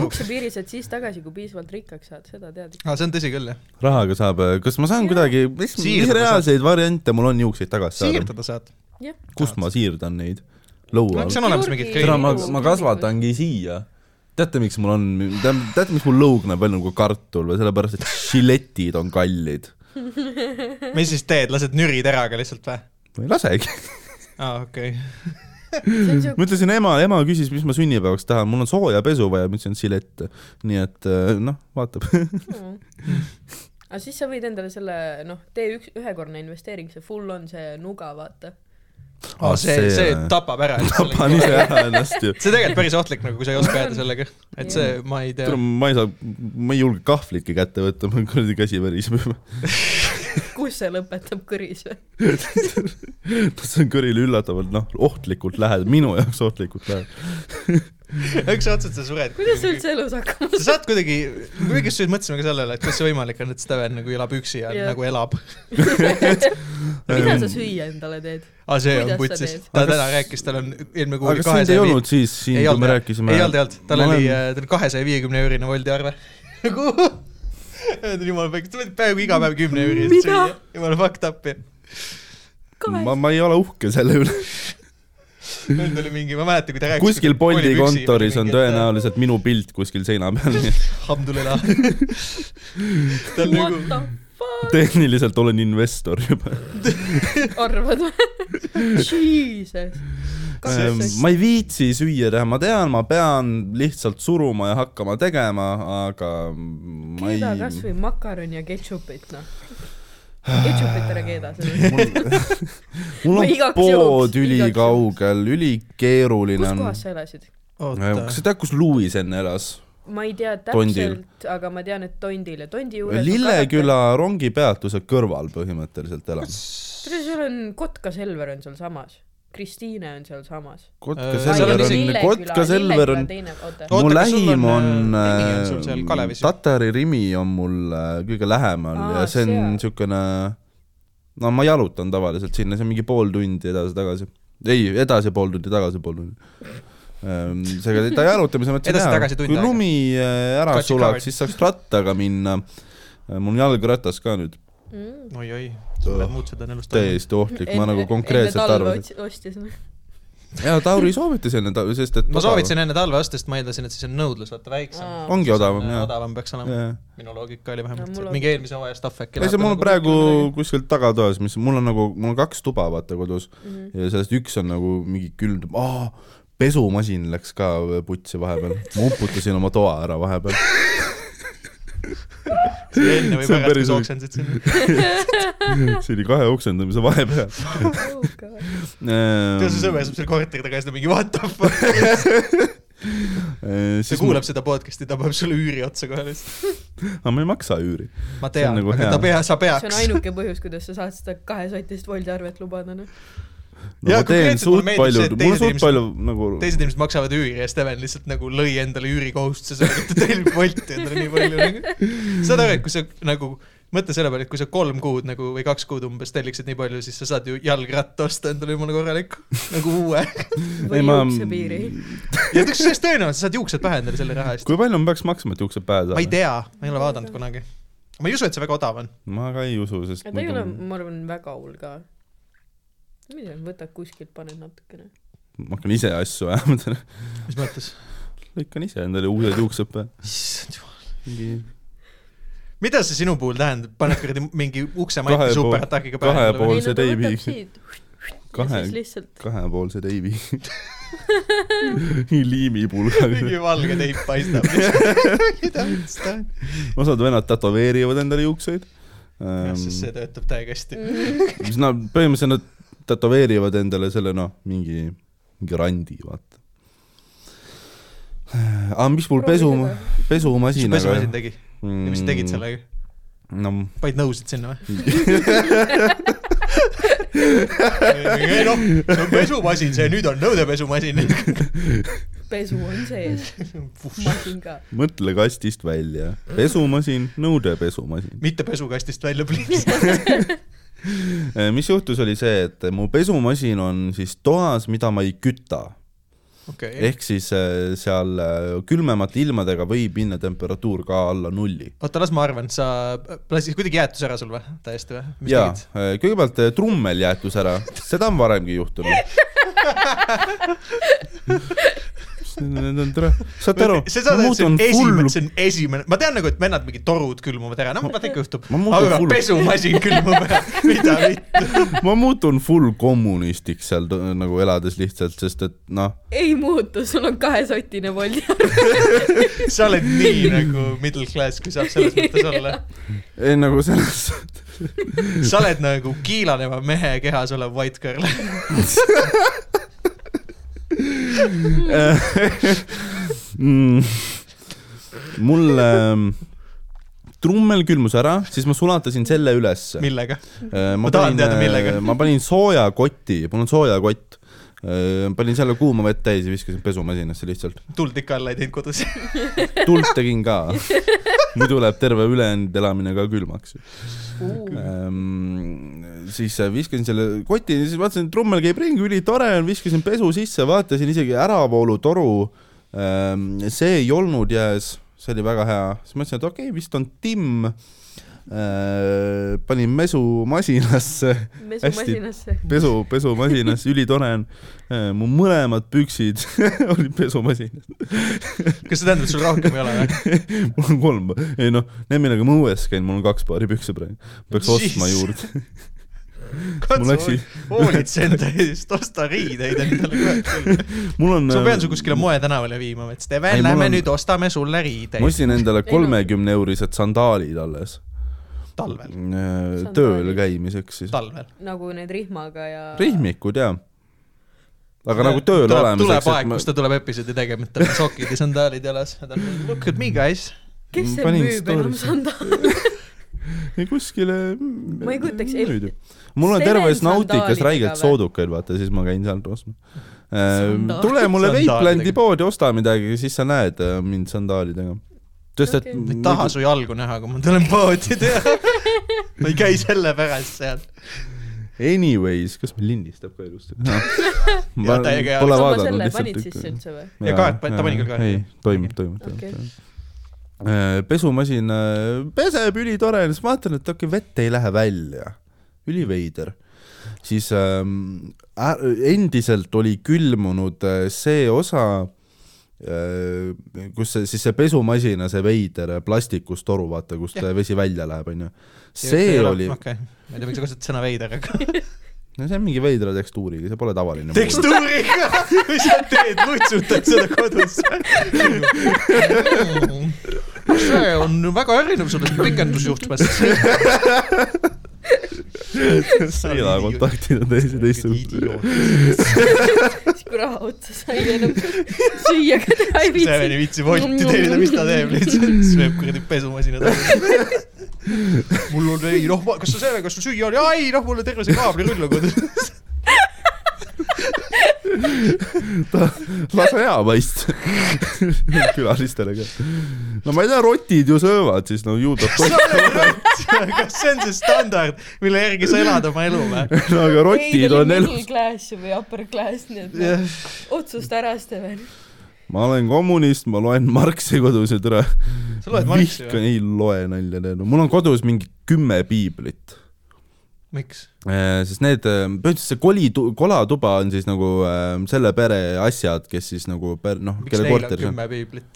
[SPEAKER 3] juukse
[SPEAKER 1] pähe .
[SPEAKER 3] piiri saad siis tagasi , kui piisavalt rikkaks saad , seda tead .
[SPEAKER 1] aa , see on tõsi küll , jah .
[SPEAKER 2] rahaga saab , kas ma saan kuidagi , mis mis
[SPEAKER 1] Siirdada
[SPEAKER 2] reaalseid variante mul on juukseid tagasi saada ?
[SPEAKER 1] siirdada saad .
[SPEAKER 2] kust ma siirdan neid ? lõua
[SPEAKER 1] no eks on
[SPEAKER 2] all ?
[SPEAKER 1] olemas mingid
[SPEAKER 3] Kirurgi-
[SPEAKER 2] tere , ma
[SPEAKER 1] kreemid .
[SPEAKER 3] Kirurgi- ,
[SPEAKER 2] ma kasvatangi siia . teate , miks mul on , teate , miks mul lõug näeb välja nagu kartul või sellepärast , et žiletid on kallid .
[SPEAKER 1] mis siis teed , lased nüri teraga lihtsalt või ?
[SPEAKER 2] ma ei lasegi .
[SPEAKER 1] aa , okei okay. .
[SPEAKER 3] see on siuke ,
[SPEAKER 2] ma ütlesin ema , ema küsis , mis ma sünnipäevaks tahan , mul on sooja pesu vaja , ma ütlesin silette . nii et äh, noh , vaatab .
[SPEAKER 3] Hmm. aga siis sa võid endale selle , noh , tee üks , ühekordne investeering , see full on see nuga , vaata .
[SPEAKER 1] oh, . see ,
[SPEAKER 2] see-
[SPEAKER 1] see tapab ära .
[SPEAKER 2] tapan
[SPEAKER 1] see
[SPEAKER 2] ise ära ennast ju .
[SPEAKER 1] on tegelikult päris ohtlik nagu , kui sa ei oska jääda sellega , et see , ma ei tea .
[SPEAKER 2] ma ei saa , ma ei julge kahvlitki kätte võtta , mul kuradi käsi väriseb juba .
[SPEAKER 3] kus see lõpetab kõris või ?
[SPEAKER 2] see on kõrile üllatavalt noh , ohtlikult lähedal , minu jaoks ohtlikult lähedal .
[SPEAKER 1] ükskord sa sured .
[SPEAKER 3] kuidas sa üldse elus hakkama
[SPEAKER 1] sa saad kuidagi , me kõik just mõtlesime ka sellele , et kas see võimalik on , et Steven nagu elab üksi ja
[SPEAKER 3] Jah.
[SPEAKER 1] nagu elab .
[SPEAKER 3] saad ? mida sa süüa endale teed ?
[SPEAKER 1] aga Ah, see on
[SPEAKER 3] Kuidas sa
[SPEAKER 1] putsis
[SPEAKER 3] teed? .
[SPEAKER 1] ta
[SPEAKER 2] Aga
[SPEAKER 1] täna
[SPEAKER 2] kas-
[SPEAKER 1] rääkis , tal on eelmine kuu
[SPEAKER 2] aga
[SPEAKER 1] oli
[SPEAKER 2] kas sind ei
[SPEAKER 1] kahesaja
[SPEAKER 2] olnud siis siin ,
[SPEAKER 1] ei
[SPEAKER 2] kui
[SPEAKER 1] olnud
[SPEAKER 2] me
[SPEAKER 1] jah.
[SPEAKER 2] rääkisime ?
[SPEAKER 1] ei olnud , ei olnud , tal
[SPEAKER 2] Ma
[SPEAKER 1] oli
[SPEAKER 2] olen- ,
[SPEAKER 1] tal oli kahesaja viiekümne eurine Woldi arve . nagu , jumala päik- , ta võtab peaaegu iga päev kümne eurist
[SPEAKER 3] Mida?
[SPEAKER 1] süüa , jumala fucked up ja .
[SPEAKER 2] ma , ma ei ole uhke selle üle .
[SPEAKER 1] meil oli mingi , ma mäletan , kui ta rääkis .
[SPEAKER 2] kuskil Bolti kontoris on .
[SPEAKER 1] äh,
[SPEAKER 2] tõenäoliselt minu pilt kuskil seina peal , nii et
[SPEAKER 1] Alhamdulillah . ta on
[SPEAKER 3] What
[SPEAKER 1] nagu ,
[SPEAKER 3] the fuck ,
[SPEAKER 2] tehniliselt olen investor juba .
[SPEAKER 3] arvad või ? Jesus .
[SPEAKER 2] Ehm, ma ei viitsi süüa teha , ma tean , ma pean lihtsalt suruma ja hakkama tegema , aga ma ei .
[SPEAKER 3] keeda kasvõi makaroni ja ketšupit , noh . ketšupit ära keeda , see on .
[SPEAKER 2] mul
[SPEAKER 3] Ma
[SPEAKER 2] on
[SPEAKER 3] igaks
[SPEAKER 2] pood
[SPEAKER 3] juhuks- igaks
[SPEAKER 2] ülikaugel , ülikeeruline
[SPEAKER 3] kus
[SPEAKER 2] on .
[SPEAKER 3] kohas sa elasid ?
[SPEAKER 2] kas sa tead , kus Louis enne elas ?
[SPEAKER 3] ma ei tea
[SPEAKER 2] Tondil.
[SPEAKER 3] täpselt , aga ma tean , et Tondil ja Tondi juures .
[SPEAKER 2] Lilleküla . rongipeatuse kõrval põhimõtteliselt elas .
[SPEAKER 3] kuidas sul on Kotka Selver on sealsamas , Kristiine on sealsamas .
[SPEAKER 2] Kotka
[SPEAKER 1] Äh, seal
[SPEAKER 2] Selver
[SPEAKER 1] on
[SPEAKER 2] on ,
[SPEAKER 1] isegi-
[SPEAKER 2] Kotka Selver on ,
[SPEAKER 3] teine , oota .
[SPEAKER 1] Oota,
[SPEAKER 2] mu
[SPEAKER 1] kas sul
[SPEAKER 2] lähim
[SPEAKER 1] on,
[SPEAKER 2] on
[SPEAKER 1] äh, nimi on
[SPEAKER 2] äh,
[SPEAKER 1] sul seal Kalevis ju?
[SPEAKER 2] Tatari Rimi on mul äh, kõige lähemal
[SPEAKER 3] Aa,
[SPEAKER 2] ja see on
[SPEAKER 3] seal.
[SPEAKER 2] niisugune , no ma jalutan tavaliselt sinna , see on mingi pool tundi edasi-tagasi . ei , edasi pool tundi , tagasi pool tundi . seega ta jalutamise mõttes on hea
[SPEAKER 1] Edasi-tagasi , tund
[SPEAKER 2] kui
[SPEAKER 1] aega.
[SPEAKER 2] lumi äh, ära
[SPEAKER 1] Got you covered.
[SPEAKER 2] sulaks , siis saaks rattaga minna . mul on jalgratas ka nüüd
[SPEAKER 3] Mm.
[SPEAKER 1] oi-oi , suured muutused on elus toimunud .
[SPEAKER 2] täiesti ohtlik , ma nagu konkreetselt arvasin ..
[SPEAKER 3] ostis .
[SPEAKER 2] ja Tauri soovitas enne , sest et
[SPEAKER 1] ma soovitasin enne talve osta , sest ma eeldasin , et siis on nõudlus vaata väiksem .
[SPEAKER 3] Aa.
[SPEAKER 2] ongi odavam
[SPEAKER 1] Äh,
[SPEAKER 2] jah .
[SPEAKER 1] odavam peaks olema
[SPEAKER 2] Jaa. .
[SPEAKER 1] minu loogika oli vähemalt see ,
[SPEAKER 3] No mul
[SPEAKER 1] et
[SPEAKER 3] on-
[SPEAKER 1] mingi eelmise hooaja stuff äkki
[SPEAKER 2] ei , see mul on
[SPEAKER 1] nagu
[SPEAKER 2] praegu
[SPEAKER 1] rohkem
[SPEAKER 2] kuskilt tagatoas , mis mul on nagu , mul on kaks tuba vaata kodus mm
[SPEAKER 3] Mhm.
[SPEAKER 2] -hmm. ja sellest üks on nagu mingi külm , aa , pesumasin läks ka putsi vahepeal , ma uputasin oma toa ära vahepeal .
[SPEAKER 1] midagi. enne või
[SPEAKER 2] see
[SPEAKER 1] pärast ,
[SPEAKER 2] on
[SPEAKER 1] kui
[SPEAKER 2] päris
[SPEAKER 1] sa
[SPEAKER 2] huvitav.
[SPEAKER 1] oksendasid sinna .
[SPEAKER 2] see oli kahe oksendamise vahepeal . Ehm,
[SPEAKER 1] tead , su sõber saab seal korteri taga ja siis ta mingi what the fuck . ta
[SPEAKER 2] ehm, siis
[SPEAKER 1] kuulab seda podcast'i , ta paneb sulle üüri otsa kohe lihtsalt .
[SPEAKER 2] ma , aga ma ei maksa üüri .
[SPEAKER 1] ma tean ,
[SPEAKER 2] nagu
[SPEAKER 1] nagu aga
[SPEAKER 2] hea.
[SPEAKER 1] hea. ta pea , sa
[SPEAKER 3] see on
[SPEAKER 1] peaks .
[SPEAKER 3] ainuke põhjus , kuidas sa saad seda kahesotist Woldi arvet lubada , noh .
[SPEAKER 2] no,
[SPEAKER 1] Jaa,
[SPEAKER 2] ma teen
[SPEAKER 1] konkreetselt mulle
[SPEAKER 2] suht
[SPEAKER 1] meeldib
[SPEAKER 2] palju
[SPEAKER 1] see, et ,
[SPEAKER 2] mul
[SPEAKER 1] teised inimesed-
[SPEAKER 2] on suht palju nagu
[SPEAKER 1] teised inimesed maksavad üüri ja Steven lihtsalt nagu lõi endale üürikohustuse sellega , et ta tellib Wolti endale nii palju nagu. . saad aru , et kui sa nagu , mõtle selle peale , et kui sa kolm kuud nagu või kaks kuud umbes telliksid nii palju , siis sa saad ju jalgratta osta endale jumala korraliku , nagu uue .
[SPEAKER 3] või juuksepiiri .
[SPEAKER 1] ja kusjuures tõenäoliselt saad juuksed pähe endale selle raha eest .
[SPEAKER 2] kui palju ma peaks maksma , et juuksed pähe
[SPEAKER 1] ma ei
[SPEAKER 2] saada ?
[SPEAKER 1] tea , ma ei ole vaadanud kunagi . ma ei usu , et see väga odav on .
[SPEAKER 2] ma ka ei usu , sest
[SPEAKER 3] aga ta ei ole , ma arvan , väga hull ka . ma ei tea , võtad kuskilt , paned natukene .
[SPEAKER 2] ma hakkan ise asju ajama ,
[SPEAKER 1] mis mõttes ?
[SPEAKER 2] lõikan ise endale uued juuksed peale .
[SPEAKER 1] issand jumal .
[SPEAKER 2] mingi
[SPEAKER 1] mida see sinu puhul tähendab , paned kuradi mingi ukse
[SPEAKER 2] Kahe
[SPEAKER 1] maipi
[SPEAKER 2] pool-
[SPEAKER 1] superatakiga
[SPEAKER 2] kahe
[SPEAKER 1] pähe või ?
[SPEAKER 2] pool- Mul see teibi-
[SPEAKER 3] kahe .
[SPEAKER 2] kahe
[SPEAKER 3] siis lihtsalt
[SPEAKER 2] kahepoolse teibi . liimipulgaga .
[SPEAKER 1] mingi valge teip paistab . mida ta on ?
[SPEAKER 2] osad vennad tätoveerivad endale juukseid . Ehm,
[SPEAKER 1] jah , sest see töötab täiega hästi .
[SPEAKER 2] mis nad , põhimõtteliselt nad tätoveerivad endale selle noh , mingi , mingi randi , vaata . aga mis mul
[SPEAKER 3] Proovi
[SPEAKER 2] pesu
[SPEAKER 3] seda. ,
[SPEAKER 1] mis
[SPEAKER 2] pesumasinaga .
[SPEAKER 1] pesumasin tegi ja mis tegid ? sellega ?
[SPEAKER 2] Mm. no
[SPEAKER 1] panid nõusid sinna või ? ei noh , see on pesumasin , see nüüd on nõudepesumasin .
[SPEAKER 3] pesu on sees . masin ka .
[SPEAKER 2] mõtle kastist välja ,
[SPEAKER 1] Mm.
[SPEAKER 2] pesumasin , nõudepesumasin .
[SPEAKER 1] mitte pesukastist välja pliis .
[SPEAKER 2] Eh, mis juhtus , oli see , et mu pesumasin on siis toas , mida ma ei küta
[SPEAKER 1] okei ,
[SPEAKER 2] ehk siis äh, seal äh, külmemate ilmadega võib minna temperatuur ka alla nulli .
[SPEAKER 1] oota , las ma arvan , sa lasid kuidagi jäätus ära sul või , täiesti või ? mis
[SPEAKER 2] jaa
[SPEAKER 1] tegid ?,
[SPEAKER 2] kõigepealt äh, trummel jäätus ära , seda on varemgi juhtunud . Need on tere , saate aru ,
[SPEAKER 1] see saad
[SPEAKER 2] ma
[SPEAKER 1] aru , see on
[SPEAKER 2] muutun
[SPEAKER 1] esimene ,
[SPEAKER 2] hulluks
[SPEAKER 1] see , on esimene , ma tean nagu , et vennad mingid torud külmuvad ära , noh , vaata ikka juhtub
[SPEAKER 2] Ma . muutun
[SPEAKER 1] aga
[SPEAKER 2] hulluks.
[SPEAKER 1] pesumasin külmub ära , mida vittu .
[SPEAKER 2] ma muutun full kommunistiks seal tõ- nagu elades lihtsalt , sest et noh ,
[SPEAKER 3] ei muutu , sul on kahesotine Woldi arve .
[SPEAKER 1] sa oled nii nagu middle class , kui saab selles mõttes olla .
[SPEAKER 2] ei nagu selles ,
[SPEAKER 1] sa oled nagu kiilaneva mehe kehas olev white girl .
[SPEAKER 2] mm, . mul ähm, trummel külmus ära , siis ma sulatasin selle ülesse .
[SPEAKER 1] millega ?
[SPEAKER 2] ma, äh,
[SPEAKER 1] Ma tahan teada, millega.
[SPEAKER 2] ma panin soojakoti , mul on soojakott , Äh, panin selle kuuma vett täis ja viskasin pesumasinasse lihtsalt .
[SPEAKER 1] tuld ikka alla ei teinud kodus .
[SPEAKER 2] tuld tegin ka . muidu läheb terve ülejäänud elamine ka külmaks . siis äh, viskasin selle koti , siis vaatasin , trummel käib ringi , ülitore on , viskasin pesu sisse , vaatasin isegi äravoolutoru . see ei olnud jääs , see oli väga hea , siis mõtlesin , et okei okay, , vist on timm . panin mesu masinasse ,
[SPEAKER 3] mesumasinasse .
[SPEAKER 2] pesu , pesumasinasse , ülitore on . mu mõlemad püksid olid pesumasinas .
[SPEAKER 1] kas see tähendab , et sul rohkem ei ole või ?
[SPEAKER 2] mul on kolm , ei noh , need millega ma õues käin , mul on kaks paari pükse praegu , peaks ostma
[SPEAKER 1] Jeez.
[SPEAKER 2] juurde . Mul
[SPEAKER 1] katsu
[SPEAKER 2] läksid- ,
[SPEAKER 1] hoolitse enda eest , osta riideid endale kohe küll .
[SPEAKER 2] mul on . äh,
[SPEAKER 1] ma pean su kuskile . moetänavale viima , ma ütlesin , Steven
[SPEAKER 2] Ei, , mul
[SPEAKER 1] lähme
[SPEAKER 2] on-
[SPEAKER 1] nüüd ostame sulle riideid
[SPEAKER 2] ma ostsin endale
[SPEAKER 3] no.
[SPEAKER 2] kolmekümne eurised sandaalid alles äh,
[SPEAKER 1] talvel ,
[SPEAKER 2] tööl käimiseks siis .
[SPEAKER 1] talvel .
[SPEAKER 3] nagu need rihmaga ja .
[SPEAKER 2] rihmikud jaa . aga nagu tööl
[SPEAKER 1] tuleb,
[SPEAKER 2] olemiseks .
[SPEAKER 1] tuleb aeg , kus ta tuleb episoodi tegema , et tal on sokid ja sandaalid jalas . ta on mingi look at me guys .
[SPEAKER 3] kes see
[SPEAKER 2] Mm, Panin
[SPEAKER 3] müüb enam
[SPEAKER 2] story'sse.
[SPEAKER 3] sandaale ?
[SPEAKER 2] ei kuskile .
[SPEAKER 3] Ma ei kujutaks ette. .
[SPEAKER 2] mul on
[SPEAKER 3] Steven
[SPEAKER 2] terves Nauticas
[SPEAKER 3] sandaalidega
[SPEAKER 2] räigelt
[SPEAKER 3] või?
[SPEAKER 2] soodukaid , vaata siis ma käin sealt ostmas .
[SPEAKER 3] Sandaalid.
[SPEAKER 2] tule mulle
[SPEAKER 1] Sandaalidega.
[SPEAKER 2] Veiplandi poodi , osta midagi , siis sa näed äh, mind sandaalidega . sest et
[SPEAKER 3] Okei.
[SPEAKER 1] ma ei taha
[SPEAKER 2] muidu-
[SPEAKER 1] su jalgu näha , kui ma tulen poodi teha . ma ei käi selle pärast seal .
[SPEAKER 2] Anyways , kas meil lindistab ka ilusti ?
[SPEAKER 1] Jaa, täiega hea. Kas
[SPEAKER 2] Pole
[SPEAKER 3] kas oma
[SPEAKER 2] vaadanud
[SPEAKER 3] selle
[SPEAKER 2] lihtsalt
[SPEAKER 3] panid sisse . üldse või ?
[SPEAKER 1] Ja kaart pan- ta pani küll kaarti.
[SPEAKER 2] ei , toimib , toimib ,
[SPEAKER 3] Okei.
[SPEAKER 2] toimib . pesumasin äh, peseb , ülitore , siis vaatan , et okei , vett ei lähe välja . üliveider . siis ähm, ä- endiselt oli külmunud äh, see osa , kus see siis see pesumasina , see veider plastikust toru , vaata , kust
[SPEAKER 1] Jah.
[SPEAKER 2] äh, vesi välja läheb , onju . see oli ,
[SPEAKER 1] okei , ma ei tea , miks sa kasutasid sõna veider , aga .
[SPEAKER 2] no see on mingi veidra tekstuuriga , see pole tavaline .
[SPEAKER 1] tekstuuriga , mis sa teed , lutsutad seda kodus . see on väga erinev sellest pikendusjuhtmest .
[SPEAKER 2] ei taha kontaktida teisi teistsugust .
[SPEAKER 3] siis kui raha otsa sai , enam süüa ka teha ei
[SPEAKER 1] Seveni
[SPEAKER 3] viitsi .
[SPEAKER 1] viitsi volti teenida , mis ta teeb lihtsalt , sööb kuradi pesumasina taga . mul on , ei noh , kas sa selle , kas sul süüa oli , ai noh , mul on terve see kaablirull on kodus .
[SPEAKER 2] lase hea paista . külalistele ka . no ma ei tea , rotid ju söövad , siis no ju ta toit ,
[SPEAKER 1] kas see on see standard , mille järgi sa elad oma elu või ?
[SPEAKER 2] no aga rotid on elus .
[SPEAKER 3] middle class või upper class , nii et yeah.
[SPEAKER 1] jah ,
[SPEAKER 3] otsusta ära , Steven .
[SPEAKER 2] ma olen kommunist , ma loen Marxi kodus ja türa .
[SPEAKER 1] sa loed Marxi või ?
[SPEAKER 2] ei loe nalja , no mul on kodus mingi kümme piiblit .
[SPEAKER 1] miks ?
[SPEAKER 2] sest need , põhimõtteliselt see koli , kolatuba on siis nagu äh, selle pere asjad , kes siis nagu per- , noh ,
[SPEAKER 1] miks
[SPEAKER 2] kelle
[SPEAKER 1] neil on
[SPEAKER 2] korteris on .
[SPEAKER 1] kümme piiblit ?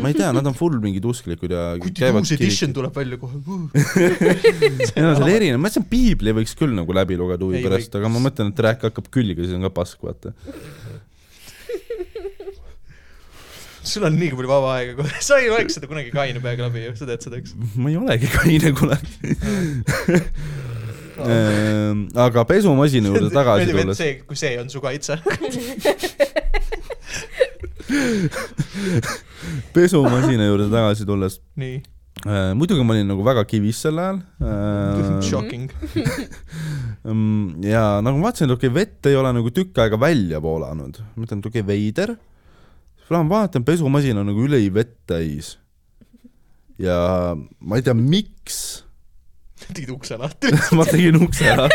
[SPEAKER 2] ma ei tea , nad on full mingid usklikud ja
[SPEAKER 1] kuidagi
[SPEAKER 2] käivad
[SPEAKER 1] uus edition tuleb välja kohe .
[SPEAKER 2] ei no see on erinev , ma mõtlesin , et piibli võiks küll nagu läbi lugeda huvi
[SPEAKER 1] Ei
[SPEAKER 2] pärast ,
[SPEAKER 1] võiks.
[SPEAKER 2] aga ma mõtlen , et rääk hakkab külge , siis on ka pask , vaata .
[SPEAKER 1] sul on nii palju vaba aega kohe , sa ei loeks seda kunagi kaine peaga läbi ju , sa teed seda , eks ?
[SPEAKER 2] ma ei olegi kaine kunagi . Ehm, aga pesumasina juurde tagasi tulles ,
[SPEAKER 1] see , kui see on su kaitse .
[SPEAKER 2] pesumasina juurde tagasi tulles ,
[SPEAKER 1] nii ,
[SPEAKER 2] muidugi ma olin nagu väga kivis sel ajal .
[SPEAKER 1] shocking .
[SPEAKER 2] ja nagu ma vaatasin , et okei , vett ei ole nagu tükk aega välja voolanud , mõtlen , et okei , veider . siis lähen vaatan , pesumasin on nagu üli vett täis . ja ma ei tea , miks
[SPEAKER 1] tegid ukse lahti ,
[SPEAKER 2] ma tegin ukse ära ,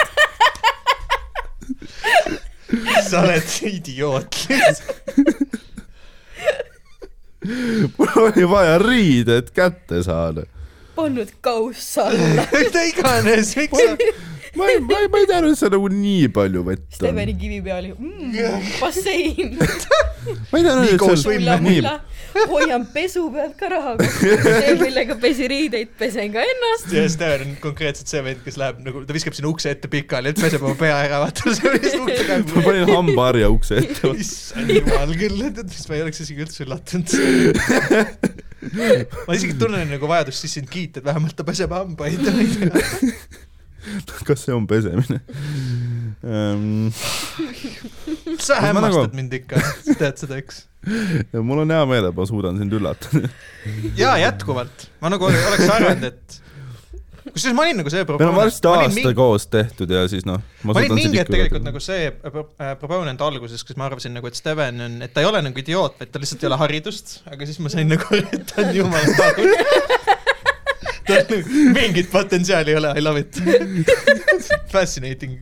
[SPEAKER 1] sa oled idioot .
[SPEAKER 2] mul oli vaja riided kätte saada .
[SPEAKER 3] pannud kaussa alla .
[SPEAKER 1] mida iganes , miks sa ,
[SPEAKER 2] ma ei , ma ei , ma ei teadnud , et seal nagu nii palju vett on .
[SPEAKER 3] Steveni kivi peal ju mm, , bassein ,
[SPEAKER 2] ma ei teadnud ,
[SPEAKER 1] Nii
[SPEAKER 2] et
[SPEAKER 1] koos
[SPEAKER 2] seal
[SPEAKER 3] mulla ,
[SPEAKER 2] nii ,
[SPEAKER 3] mulla , hoian pesu pealt ka raha kokku , see , millega pesi riideid , pesen ka ennast .
[SPEAKER 1] see Steven on konkreetselt see vend , kes läheb nagu , ta viskab sinna ukse ette pikali , et peseb oma pea ära , vaata , see oli lihtsalt ukse
[SPEAKER 2] ma
[SPEAKER 1] käigus .
[SPEAKER 2] panin hambaharja ukse ette ,
[SPEAKER 1] issand jumal küll , tead , siis ma ei oleks isegi üldse üllatunud . ma isegi tunnen nagu vajadust siis sind kiita , et vähemalt ta peseb hambaid , ma ei tea .
[SPEAKER 2] kas see on pesemine . Ehm,
[SPEAKER 1] sa
[SPEAKER 2] Ma nagu-
[SPEAKER 1] hämmastad mind ikka , tead seda , eks ?
[SPEAKER 2] mul on hea meel , et ma suudan sind üllatada .
[SPEAKER 1] jaa , jätkuvalt . ma nagu ole- oleks arvanud , et kusjuures ma olin nagu see
[SPEAKER 2] meil on
[SPEAKER 1] proponent-
[SPEAKER 2] varsti
[SPEAKER 1] ma olin
[SPEAKER 2] aasta
[SPEAKER 1] mingi-
[SPEAKER 2] koos tehtud ja siis noh .
[SPEAKER 1] ma olin mingi hetk tegelikult nagu see pro- äh, proponent alguses , kus ma arvasin nagu , et Steven on , et ta ei ole nagu idioot , vaid tal lihtsalt ei ole haridust , aga siis ma sain nagu aru , et ta on jumala tark . tal nagu mingit potentsiaali ei ole , I love it . Fascinating .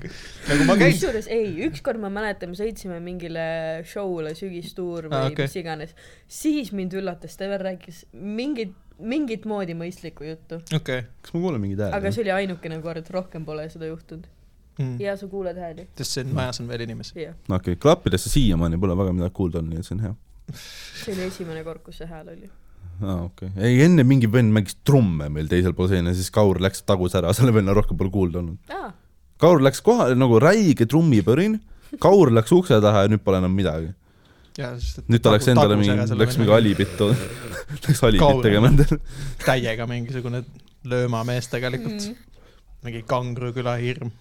[SPEAKER 1] nagu ma käin ,
[SPEAKER 3] kusjuures ei , ükskord ma mäletan , me sõitsime mingile show'le , sügistuur või
[SPEAKER 1] Aa,
[SPEAKER 3] ah,
[SPEAKER 1] okei.
[SPEAKER 3] okay. mis iganes , siis mind üllatas , Steven rääkis mingit , mingit moodi mõistlikku juttu ,
[SPEAKER 1] okei .
[SPEAKER 2] kas ma kuulen mingeid
[SPEAKER 3] aga
[SPEAKER 2] hääli ?
[SPEAKER 3] see oli ainukene kord , rohkem pole seda juhtunud .
[SPEAKER 1] Mm.
[SPEAKER 3] ja sa kuuled hääli ,
[SPEAKER 1] Hmm. sest siin majas on veel inimesi .
[SPEAKER 3] jah ,
[SPEAKER 2] okei , klappidesse siiamaani pole väga midagi kuulda olnud , nii et see on hea .
[SPEAKER 3] see oli esimene kord , kus see hääl oli .
[SPEAKER 2] aa , okei . ei , enne mingi vend mängis trumme meil teisel pool seina , siis Kaur läks , tagus ära , selle venna rohkem pole kuulda olnud .
[SPEAKER 3] aa ,
[SPEAKER 2] Kaur läks kohale nagu räige trummipõrin , Kaur läks ukse taha ja nüüd pole enam midagi . nüüd ta läks endale mingi , läks
[SPEAKER 1] nagu
[SPEAKER 2] mingi . alibit , läks
[SPEAKER 1] Kaur.
[SPEAKER 2] alibit tegema endale .
[SPEAKER 1] täiega mingisugune löömamees tegelikult .
[SPEAKER 3] Mm.
[SPEAKER 1] mingi Kangro küla hirm .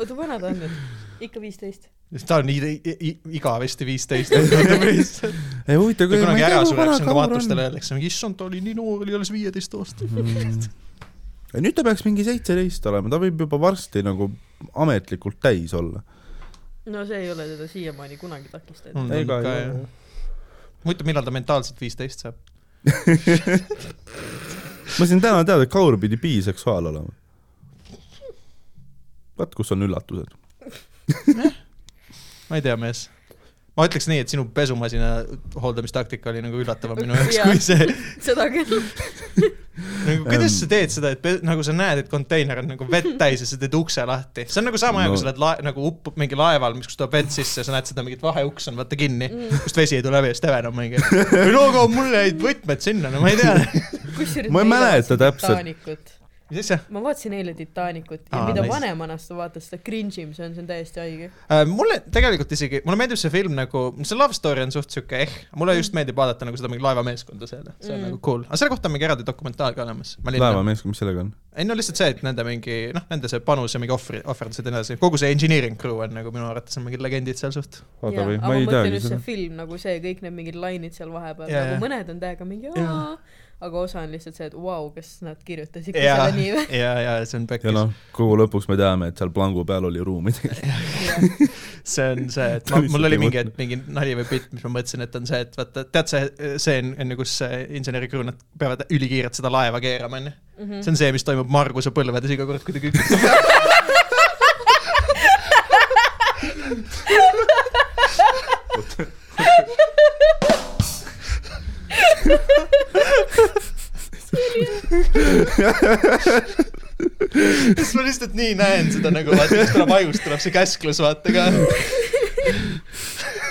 [SPEAKER 3] oota , vana ta on nüüd ? ikka viisteist .
[SPEAKER 1] ta on i- i- i- igavesti viisteist aastat .
[SPEAKER 2] ei huvitav ,
[SPEAKER 1] kui
[SPEAKER 2] kui ma
[SPEAKER 1] kunagi
[SPEAKER 2] ei
[SPEAKER 1] ära
[SPEAKER 2] tea , kui
[SPEAKER 1] sureb ,
[SPEAKER 2] vana
[SPEAKER 1] siis on ka
[SPEAKER 2] Kaur
[SPEAKER 1] vaatustele
[SPEAKER 2] on .
[SPEAKER 1] öeldakse , issand , ta oli nii noor , oli alles viieteist aastane .
[SPEAKER 2] Mhm. nüüd ta peaks mingi seitseteist olema , ta võib juba varsti nagu ametlikult täis olla .
[SPEAKER 3] no see ei ole teda siiamaani kunagi takistanud .
[SPEAKER 1] huvitav , millal ta mentaalselt viisteist saab ?
[SPEAKER 2] ma sain täna teada , et Kaur pidi biseksuaal olema . vaat kus on üllatused .
[SPEAKER 1] ma ei tea , mees . ma ütleks nii , et sinu pesumasina hooldamistaktika oli nagu üllatavam minu jaoks
[SPEAKER 3] Jaa.
[SPEAKER 1] kui see .
[SPEAKER 3] seda küll .
[SPEAKER 1] nagu kuidas sa teed seda , et pe- nagu sa näed , et konteiner on nagu vett täis ja sa teed ukse lahti . see on nagu sama no. ,
[SPEAKER 2] No.
[SPEAKER 1] kui sa oled lae- , nagu uppub mingi laeval , mis , kus tuleb vett sisse ja sa näed seda mingit vaheuks on vaata kinni mm. , kust vesi ei tule läbi ja Steven on mingi . no aga mul jäid võtmed sinna , no ma ei tea .
[SPEAKER 3] kusjuures
[SPEAKER 2] Ma ei
[SPEAKER 3] ma
[SPEAKER 2] mäleta
[SPEAKER 3] vaatasin
[SPEAKER 2] täpselt.
[SPEAKER 3] Titanicut.
[SPEAKER 1] mis asja ?
[SPEAKER 3] ma vaatasin eile Titanicut ja
[SPEAKER 1] Aa,
[SPEAKER 3] mida
[SPEAKER 1] nice.
[SPEAKER 3] vanemana sa vaatad , seda cringe im see on , see on täiesti haige .
[SPEAKER 1] Äh, mulle tegelikult isegi , mulle meeldib see film nagu , see love story on suht siuke eh , mulle just meeldib vaadata nagu seda mingi laevameeskonda seal , see on mm.
[SPEAKER 3] Mm.
[SPEAKER 1] nagu cool , aga selle kohta on mingi eraldi dokumentaal ka olemas .
[SPEAKER 2] laevamees , mis sellega on ?
[SPEAKER 1] ei no lihtsalt see , et nende mingi noh , nende see panus ja mingi ohvri , ohverdused ja nii edasi , kogu see engineering crew on nagu minu arvates on mingid legendid seal suht .
[SPEAKER 2] vaata või ,
[SPEAKER 3] aga
[SPEAKER 2] ma ei
[SPEAKER 3] mõtlen
[SPEAKER 2] teagi
[SPEAKER 3] just
[SPEAKER 2] seda
[SPEAKER 3] see . film nagu see , kõik need mingid lainid seal vahepeal ,
[SPEAKER 1] Jaa, jaa.
[SPEAKER 3] nagu mõned on täiega mingi
[SPEAKER 1] Jaa.
[SPEAKER 3] aa , aga osa on lihtsalt see , et vau , kas nad kirjutasid ikka
[SPEAKER 1] ja
[SPEAKER 3] selle , nii või ?
[SPEAKER 1] ja , ja see on
[SPEAKER 2] ja
[SPEAKER 1] pekkis ,
[SPEAKER 2] noh , kogu lõpuks me teame , et seal plangu peal oli ruumi .
[SPEAKER 1] see on see , et
[SPEAKER 2] Ta
[SPEAKER 1] ma,
[SPEAKER 2] lihtsalt
[SPEAKER 1] mul oli
[SPEAKER 2] ei
[SPEAKER 1] mingi
[SPEAKER 2] mõtle. ,
[SPEAKER 1] mingi nali või bitt , mis ma mõtlesin , et on see , et vaata , tead see stseen enne , kus see inseneri crew , nad peavad ülikiirelt seda laeva keerama , onju . see on see , mis toimub Marguse põlvedes iga kord , kui ta kükitab . siis ma lihtsalt nii näen seda nagu , vaata , siis tuleb ajust tuleb see käsklus , vaata ka .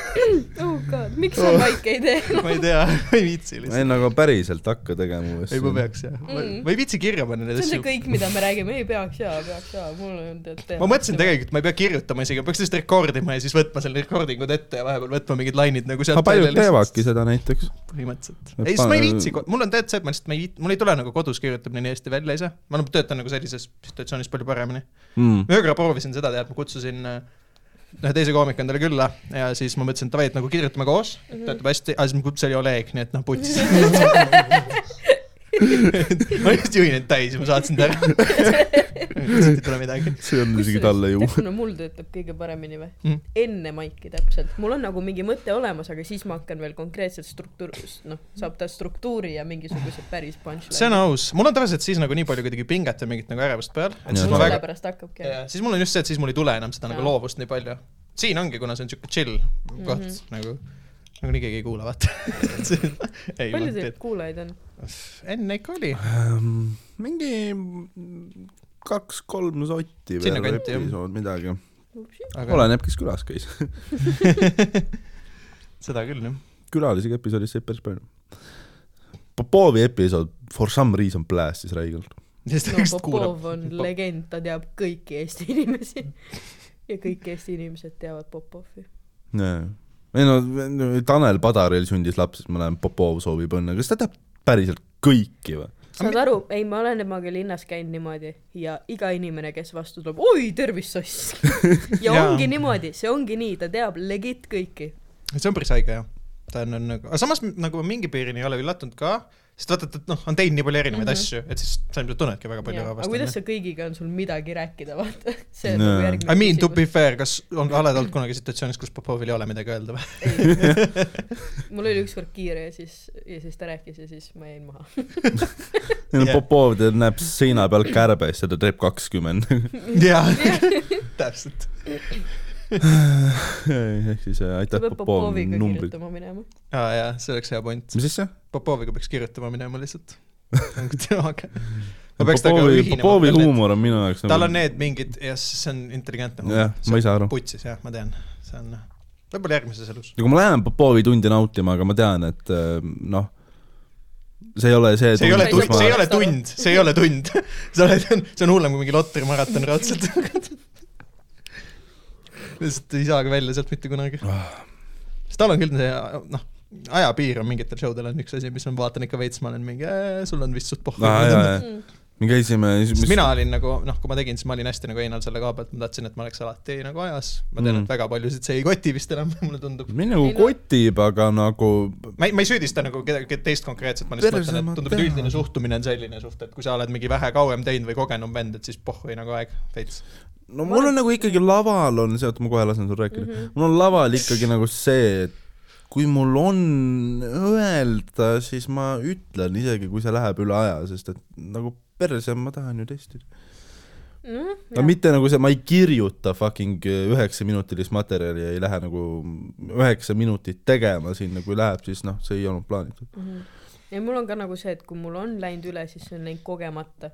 [SPEAKER 3] oh god , miks sa vaike ei tee ?
[SPEAKER 1] ma ei tea , ma ei viitsi lihtsalt .
[SPEAKER 2] ei no aga päriselt hakka tegema .
[SPEAKER 1] ei , ma . peaks jah .
[SPEAKER 3] Mm.
[SPEAKER 1] ma ei viitsi kirja panna neid
[SPEAKER 3] see on nagu see
[SPEAKER 1] asju .
[SPEAKER 3] kõik , mida me räägime , ei peaks jaa , peaks jaa , mul on tead teha .
[SPEAKER 1] ma mõtlesin . tegelikult , ma ei pea kirjutama isegi , ma peaks lihtsalt rekordima ja siis võtma selle recording'ud ette ja vahepeal võtma mingid lainid nagu sealt
[SPEAKER 2] aga paljud teevadki seda näiteks .
[SPEAKER 1] põhimõtteliselt .
[SPEAKER 2] Et
[SPEAKER 1] ei , sest ma ei
[SPEAKER 2] pane-
[SPEAKER 1] viitsi , mul on tegelikult see , et ma lihtsalt , ma ei viit- , mul ei tule nagu kodus kirjutamine nii hästi välja ise . ma nagu töötan nagu sellises situatsioonis palju paremini . ma ühe korra proovisin seda teha , et ma kutsusin äh, ühe teise koomiku endale külla ja siis ma mõtlesin , et davai , et nagu kirjutame koos ,
[SPEAKER 3] Mhm.
[SPEAKER 1] et töötab hästi , aga siis mu kuts oli Oleg , nii et noh , putsis . ma just juhin end täis ja ma saatsin ta ära . lihtsalt ei tule midagi .
[SPEAKER 2] see on isegi talle ju .
[SPEAKER 3] kuna mul töötab kõige paremini või
[SPEAKER 1] Mm.
[SPEAKER 3] mm. ? enne maiki täpselt , mul on nagu mingi mõte olemas , aga siis ma hakkan veel konkreetselt struktuur , noh , saab ta struktuuri ja mingisuguse päris punchline'i .
[SPEAKER 1] see on aus , mul on tavaliselt siis nagu nii palju kuidagi pinget ja mingit nagu ärevust peal , et siis
[SPEAKER 2] Jaa.
[SPEAKER 1] ma väga ,
[SPEAKER 3] sellepärast hakkabki .
[SPEAKER 1] siis mul on just see , et siis mul ei tule enam seda nagu
[SPEAKER 3] Jaa.
[SPEAKER 1] loovust nii palju . siin ongi , kuna see on siuke chill koht mm -hmm. nagu , nagunii keegi ei kuula , vaata . ei ,
[SPEAKER 3] Mhm. palju teil kuulajaid on ?
[SPEAKER 1] enne ikka oli ,
[SPEAKER 2] Ehm, mingi kaks-kolm sotti
[SPEAKER 1] Sinna
[SPEAKER 2] veel
[SPEAKER 1] kanti, jah.
[SPEAKER 2] episood , midagi .
[SPEAKER 1] aga
[SPEAKER 2] oleneb , kes külas käis .
[SPEAKER 1] seda küll jah .
[SPEAKER 2] külalisega episoodis sai päris palju . Popovi episood For some reason blästis räigelt .
[SPEAKER 1] sest ta
[SPEAKER 3] no
[SPEAKER 1] lihtsalt kuulab
[SPEAKER 3] Popov on
[SPEAKER 1] Popov.
[SPEAKER 3] legend , ta teab kõiki Eesti inimesi . ja kõik Eesti inimesed teavad Popovi .
[SPEAKER 2] ei no , Tanel Padaril sündis laps , siis ma näen , Popov soovib õnne , kas ta teab päriselt kõiki või ?
[SPEAKER 3] saad aru , ei , ma olen temaga linnas käinud niimoodi ja iga inimene , kes vastu tuleb , oi , tervist , soss . ja
[SPEAKER 1] Jaa.
[SPEAKER 3] ongi niimoodi , see ongi nii , ta teab legit kõiki .
[SPEAKER 1] see on päris haige jah . ta on, on nagu , aga samas m- nagu ma mingi piirini ei ole üllatunud ka , sest vaata , et noh , on teinud nii palju erinevaid mm
[SPEAKER 3] Mhm.
[SPEAKER 1] -hmm. asju , et siis sa ilmselt tunnedki väga palju
[SPEAKER 3] aga kuidas
[SPEAKER 1] rahvast .
[SPEAKER 3] sa kõigiga on sul midagi rääkida , vaata . see on
[SPEAKER 2] Jaa.
[SPEAKER 3] nagu järgmine
[SPEAKER 1] I mean , to be fair , kas on ka oled olnud kunagi situatsioonis , kus Popovil ei ole midagi öelda või ?
[SPEAKER 3] mul oli ükskord kiire ja siis , ja siis ta rääkis ja siis ma jäin maha .
[SPEAKER 1] Jah.
[SPEAKER 2] Popov tead, näeb seina peal kärbes ja ta teeb kakskümmend .
[SPEAKER 1] jaa , täpselt .
[SPEAKER 2] ehk siis äh,
[SPEAKER 3] ta
[SPEAKER 2] aitäh
[SPEAKER 3] peab
[SPEAKER 2] Popov
[SPEAKER 3] Popoviga
[SPEAKER 2] numbrid .
[SPEAKER 3] kirjutama minema .
[SPEAKER 1] aa jaa , see oleks hea point .
[SPEAKER 2] mis asja ?
[SPEAKER 1] Popoviga peaks kirjutama minema lihtsalt . temaga . ma peaks temaga
[SPEAKER 2] Popovi ,
[SPEAKER 1] ühinema .
[SPEAKER 2] Popovi . huumor on minu jaoks nagu-
[SPEAKER 1] tal on need mingid , jah , see on intelligentne
[SPEAKER 2] jah , ma ei saa aru .
[SPEAKER 1] putsis jah , ma tean , see on noh, võib-olla järgmises elus .
[SPEAKER 2] nagu ma lähen Popovi tundi nautima , aga ma tean , et äh, noh , see ei ole see
[SPEAKER 1] see ei ole
[SPEAKER 3] tund-
[SPEAKER 1] tund , see ei ole
[SPEAKER 3] ma-
[SPEAKER 1] tund , see ei ole tund . sa oled , see on hullem kui mingi Lotari maraton raudselt . lihtsalt ei saagi välja sealt mitte kunagi .
[SPEAKER 2] Ah.
[SPEAKER 1] sest tal on küll see , noh , ajapiir on mingitel show del on üks asi , mis on , vaatan ikka veits , ma olen mingi , sul on vist suht pohhu
[SPEAKER 2] ah, .
[SPEAKER 3] Mm.
[SPEAKER 2] me käisime ,
[SPEAKER 1] sest mina olin nagu noh , kui ma tegin , siis ma olin hästi nagu einal selle koha pealt , ma tahtsin , et ma oleks alati nagu ajas . ma tean
[SPEAKER 2] Mm.
[SPEAKER 1] mm. , et väga paljusid see ei koti vist enam , mulle tundub .
[SPEAKER 2] mind nagu
[SPEAKER 3] Ei, no-
[SPEAKER 2] kotib , aga nagu
[SPEAKER 1] ma ei , ma ei süüdista nagu kedagi teist konkreetselt , ma lihtsalt
[SPEAKER 2] Tervise
[SPEAKER 1] mõtlen ,
[SPEAKER 2] oma
[SPEAKER 1] et tundub , et
[SPEAKER 2] pea.
[SPEAKER 1] üldine suhtumine on selline suht , et kui sa oled mingi vähe kauem teinud või kogenum vend , et siis pohhui nagu aeg veits .
[SPEAKER 2] no mul on nagu ikkagi laval on see , oota ma kohe lasen sul rääkida
[SPEAKER 3] Mhm.
[SPEAKER 2] mm , -hmm. mul on laval ikkagi nagu see , et kui mul on öelda , siis ma ütlen , isegi kui see läheb üle aja , sest et nagu perse , ma tahan ju testida .
[SPEAKER 3] noh ,
[SPEAKER 2] no mitte nagu see , ma ei kirjuta fucking äh, üheksaminutilist materjali ja ei lähe nagu üheksa minutit tegema sinna , kui läheb , siis noh , see ei olnud plaanitud .
[SPEAKER 3] ja mul on ka nagu see , et kui mul on läinud üle , siis see on läinud kogemata .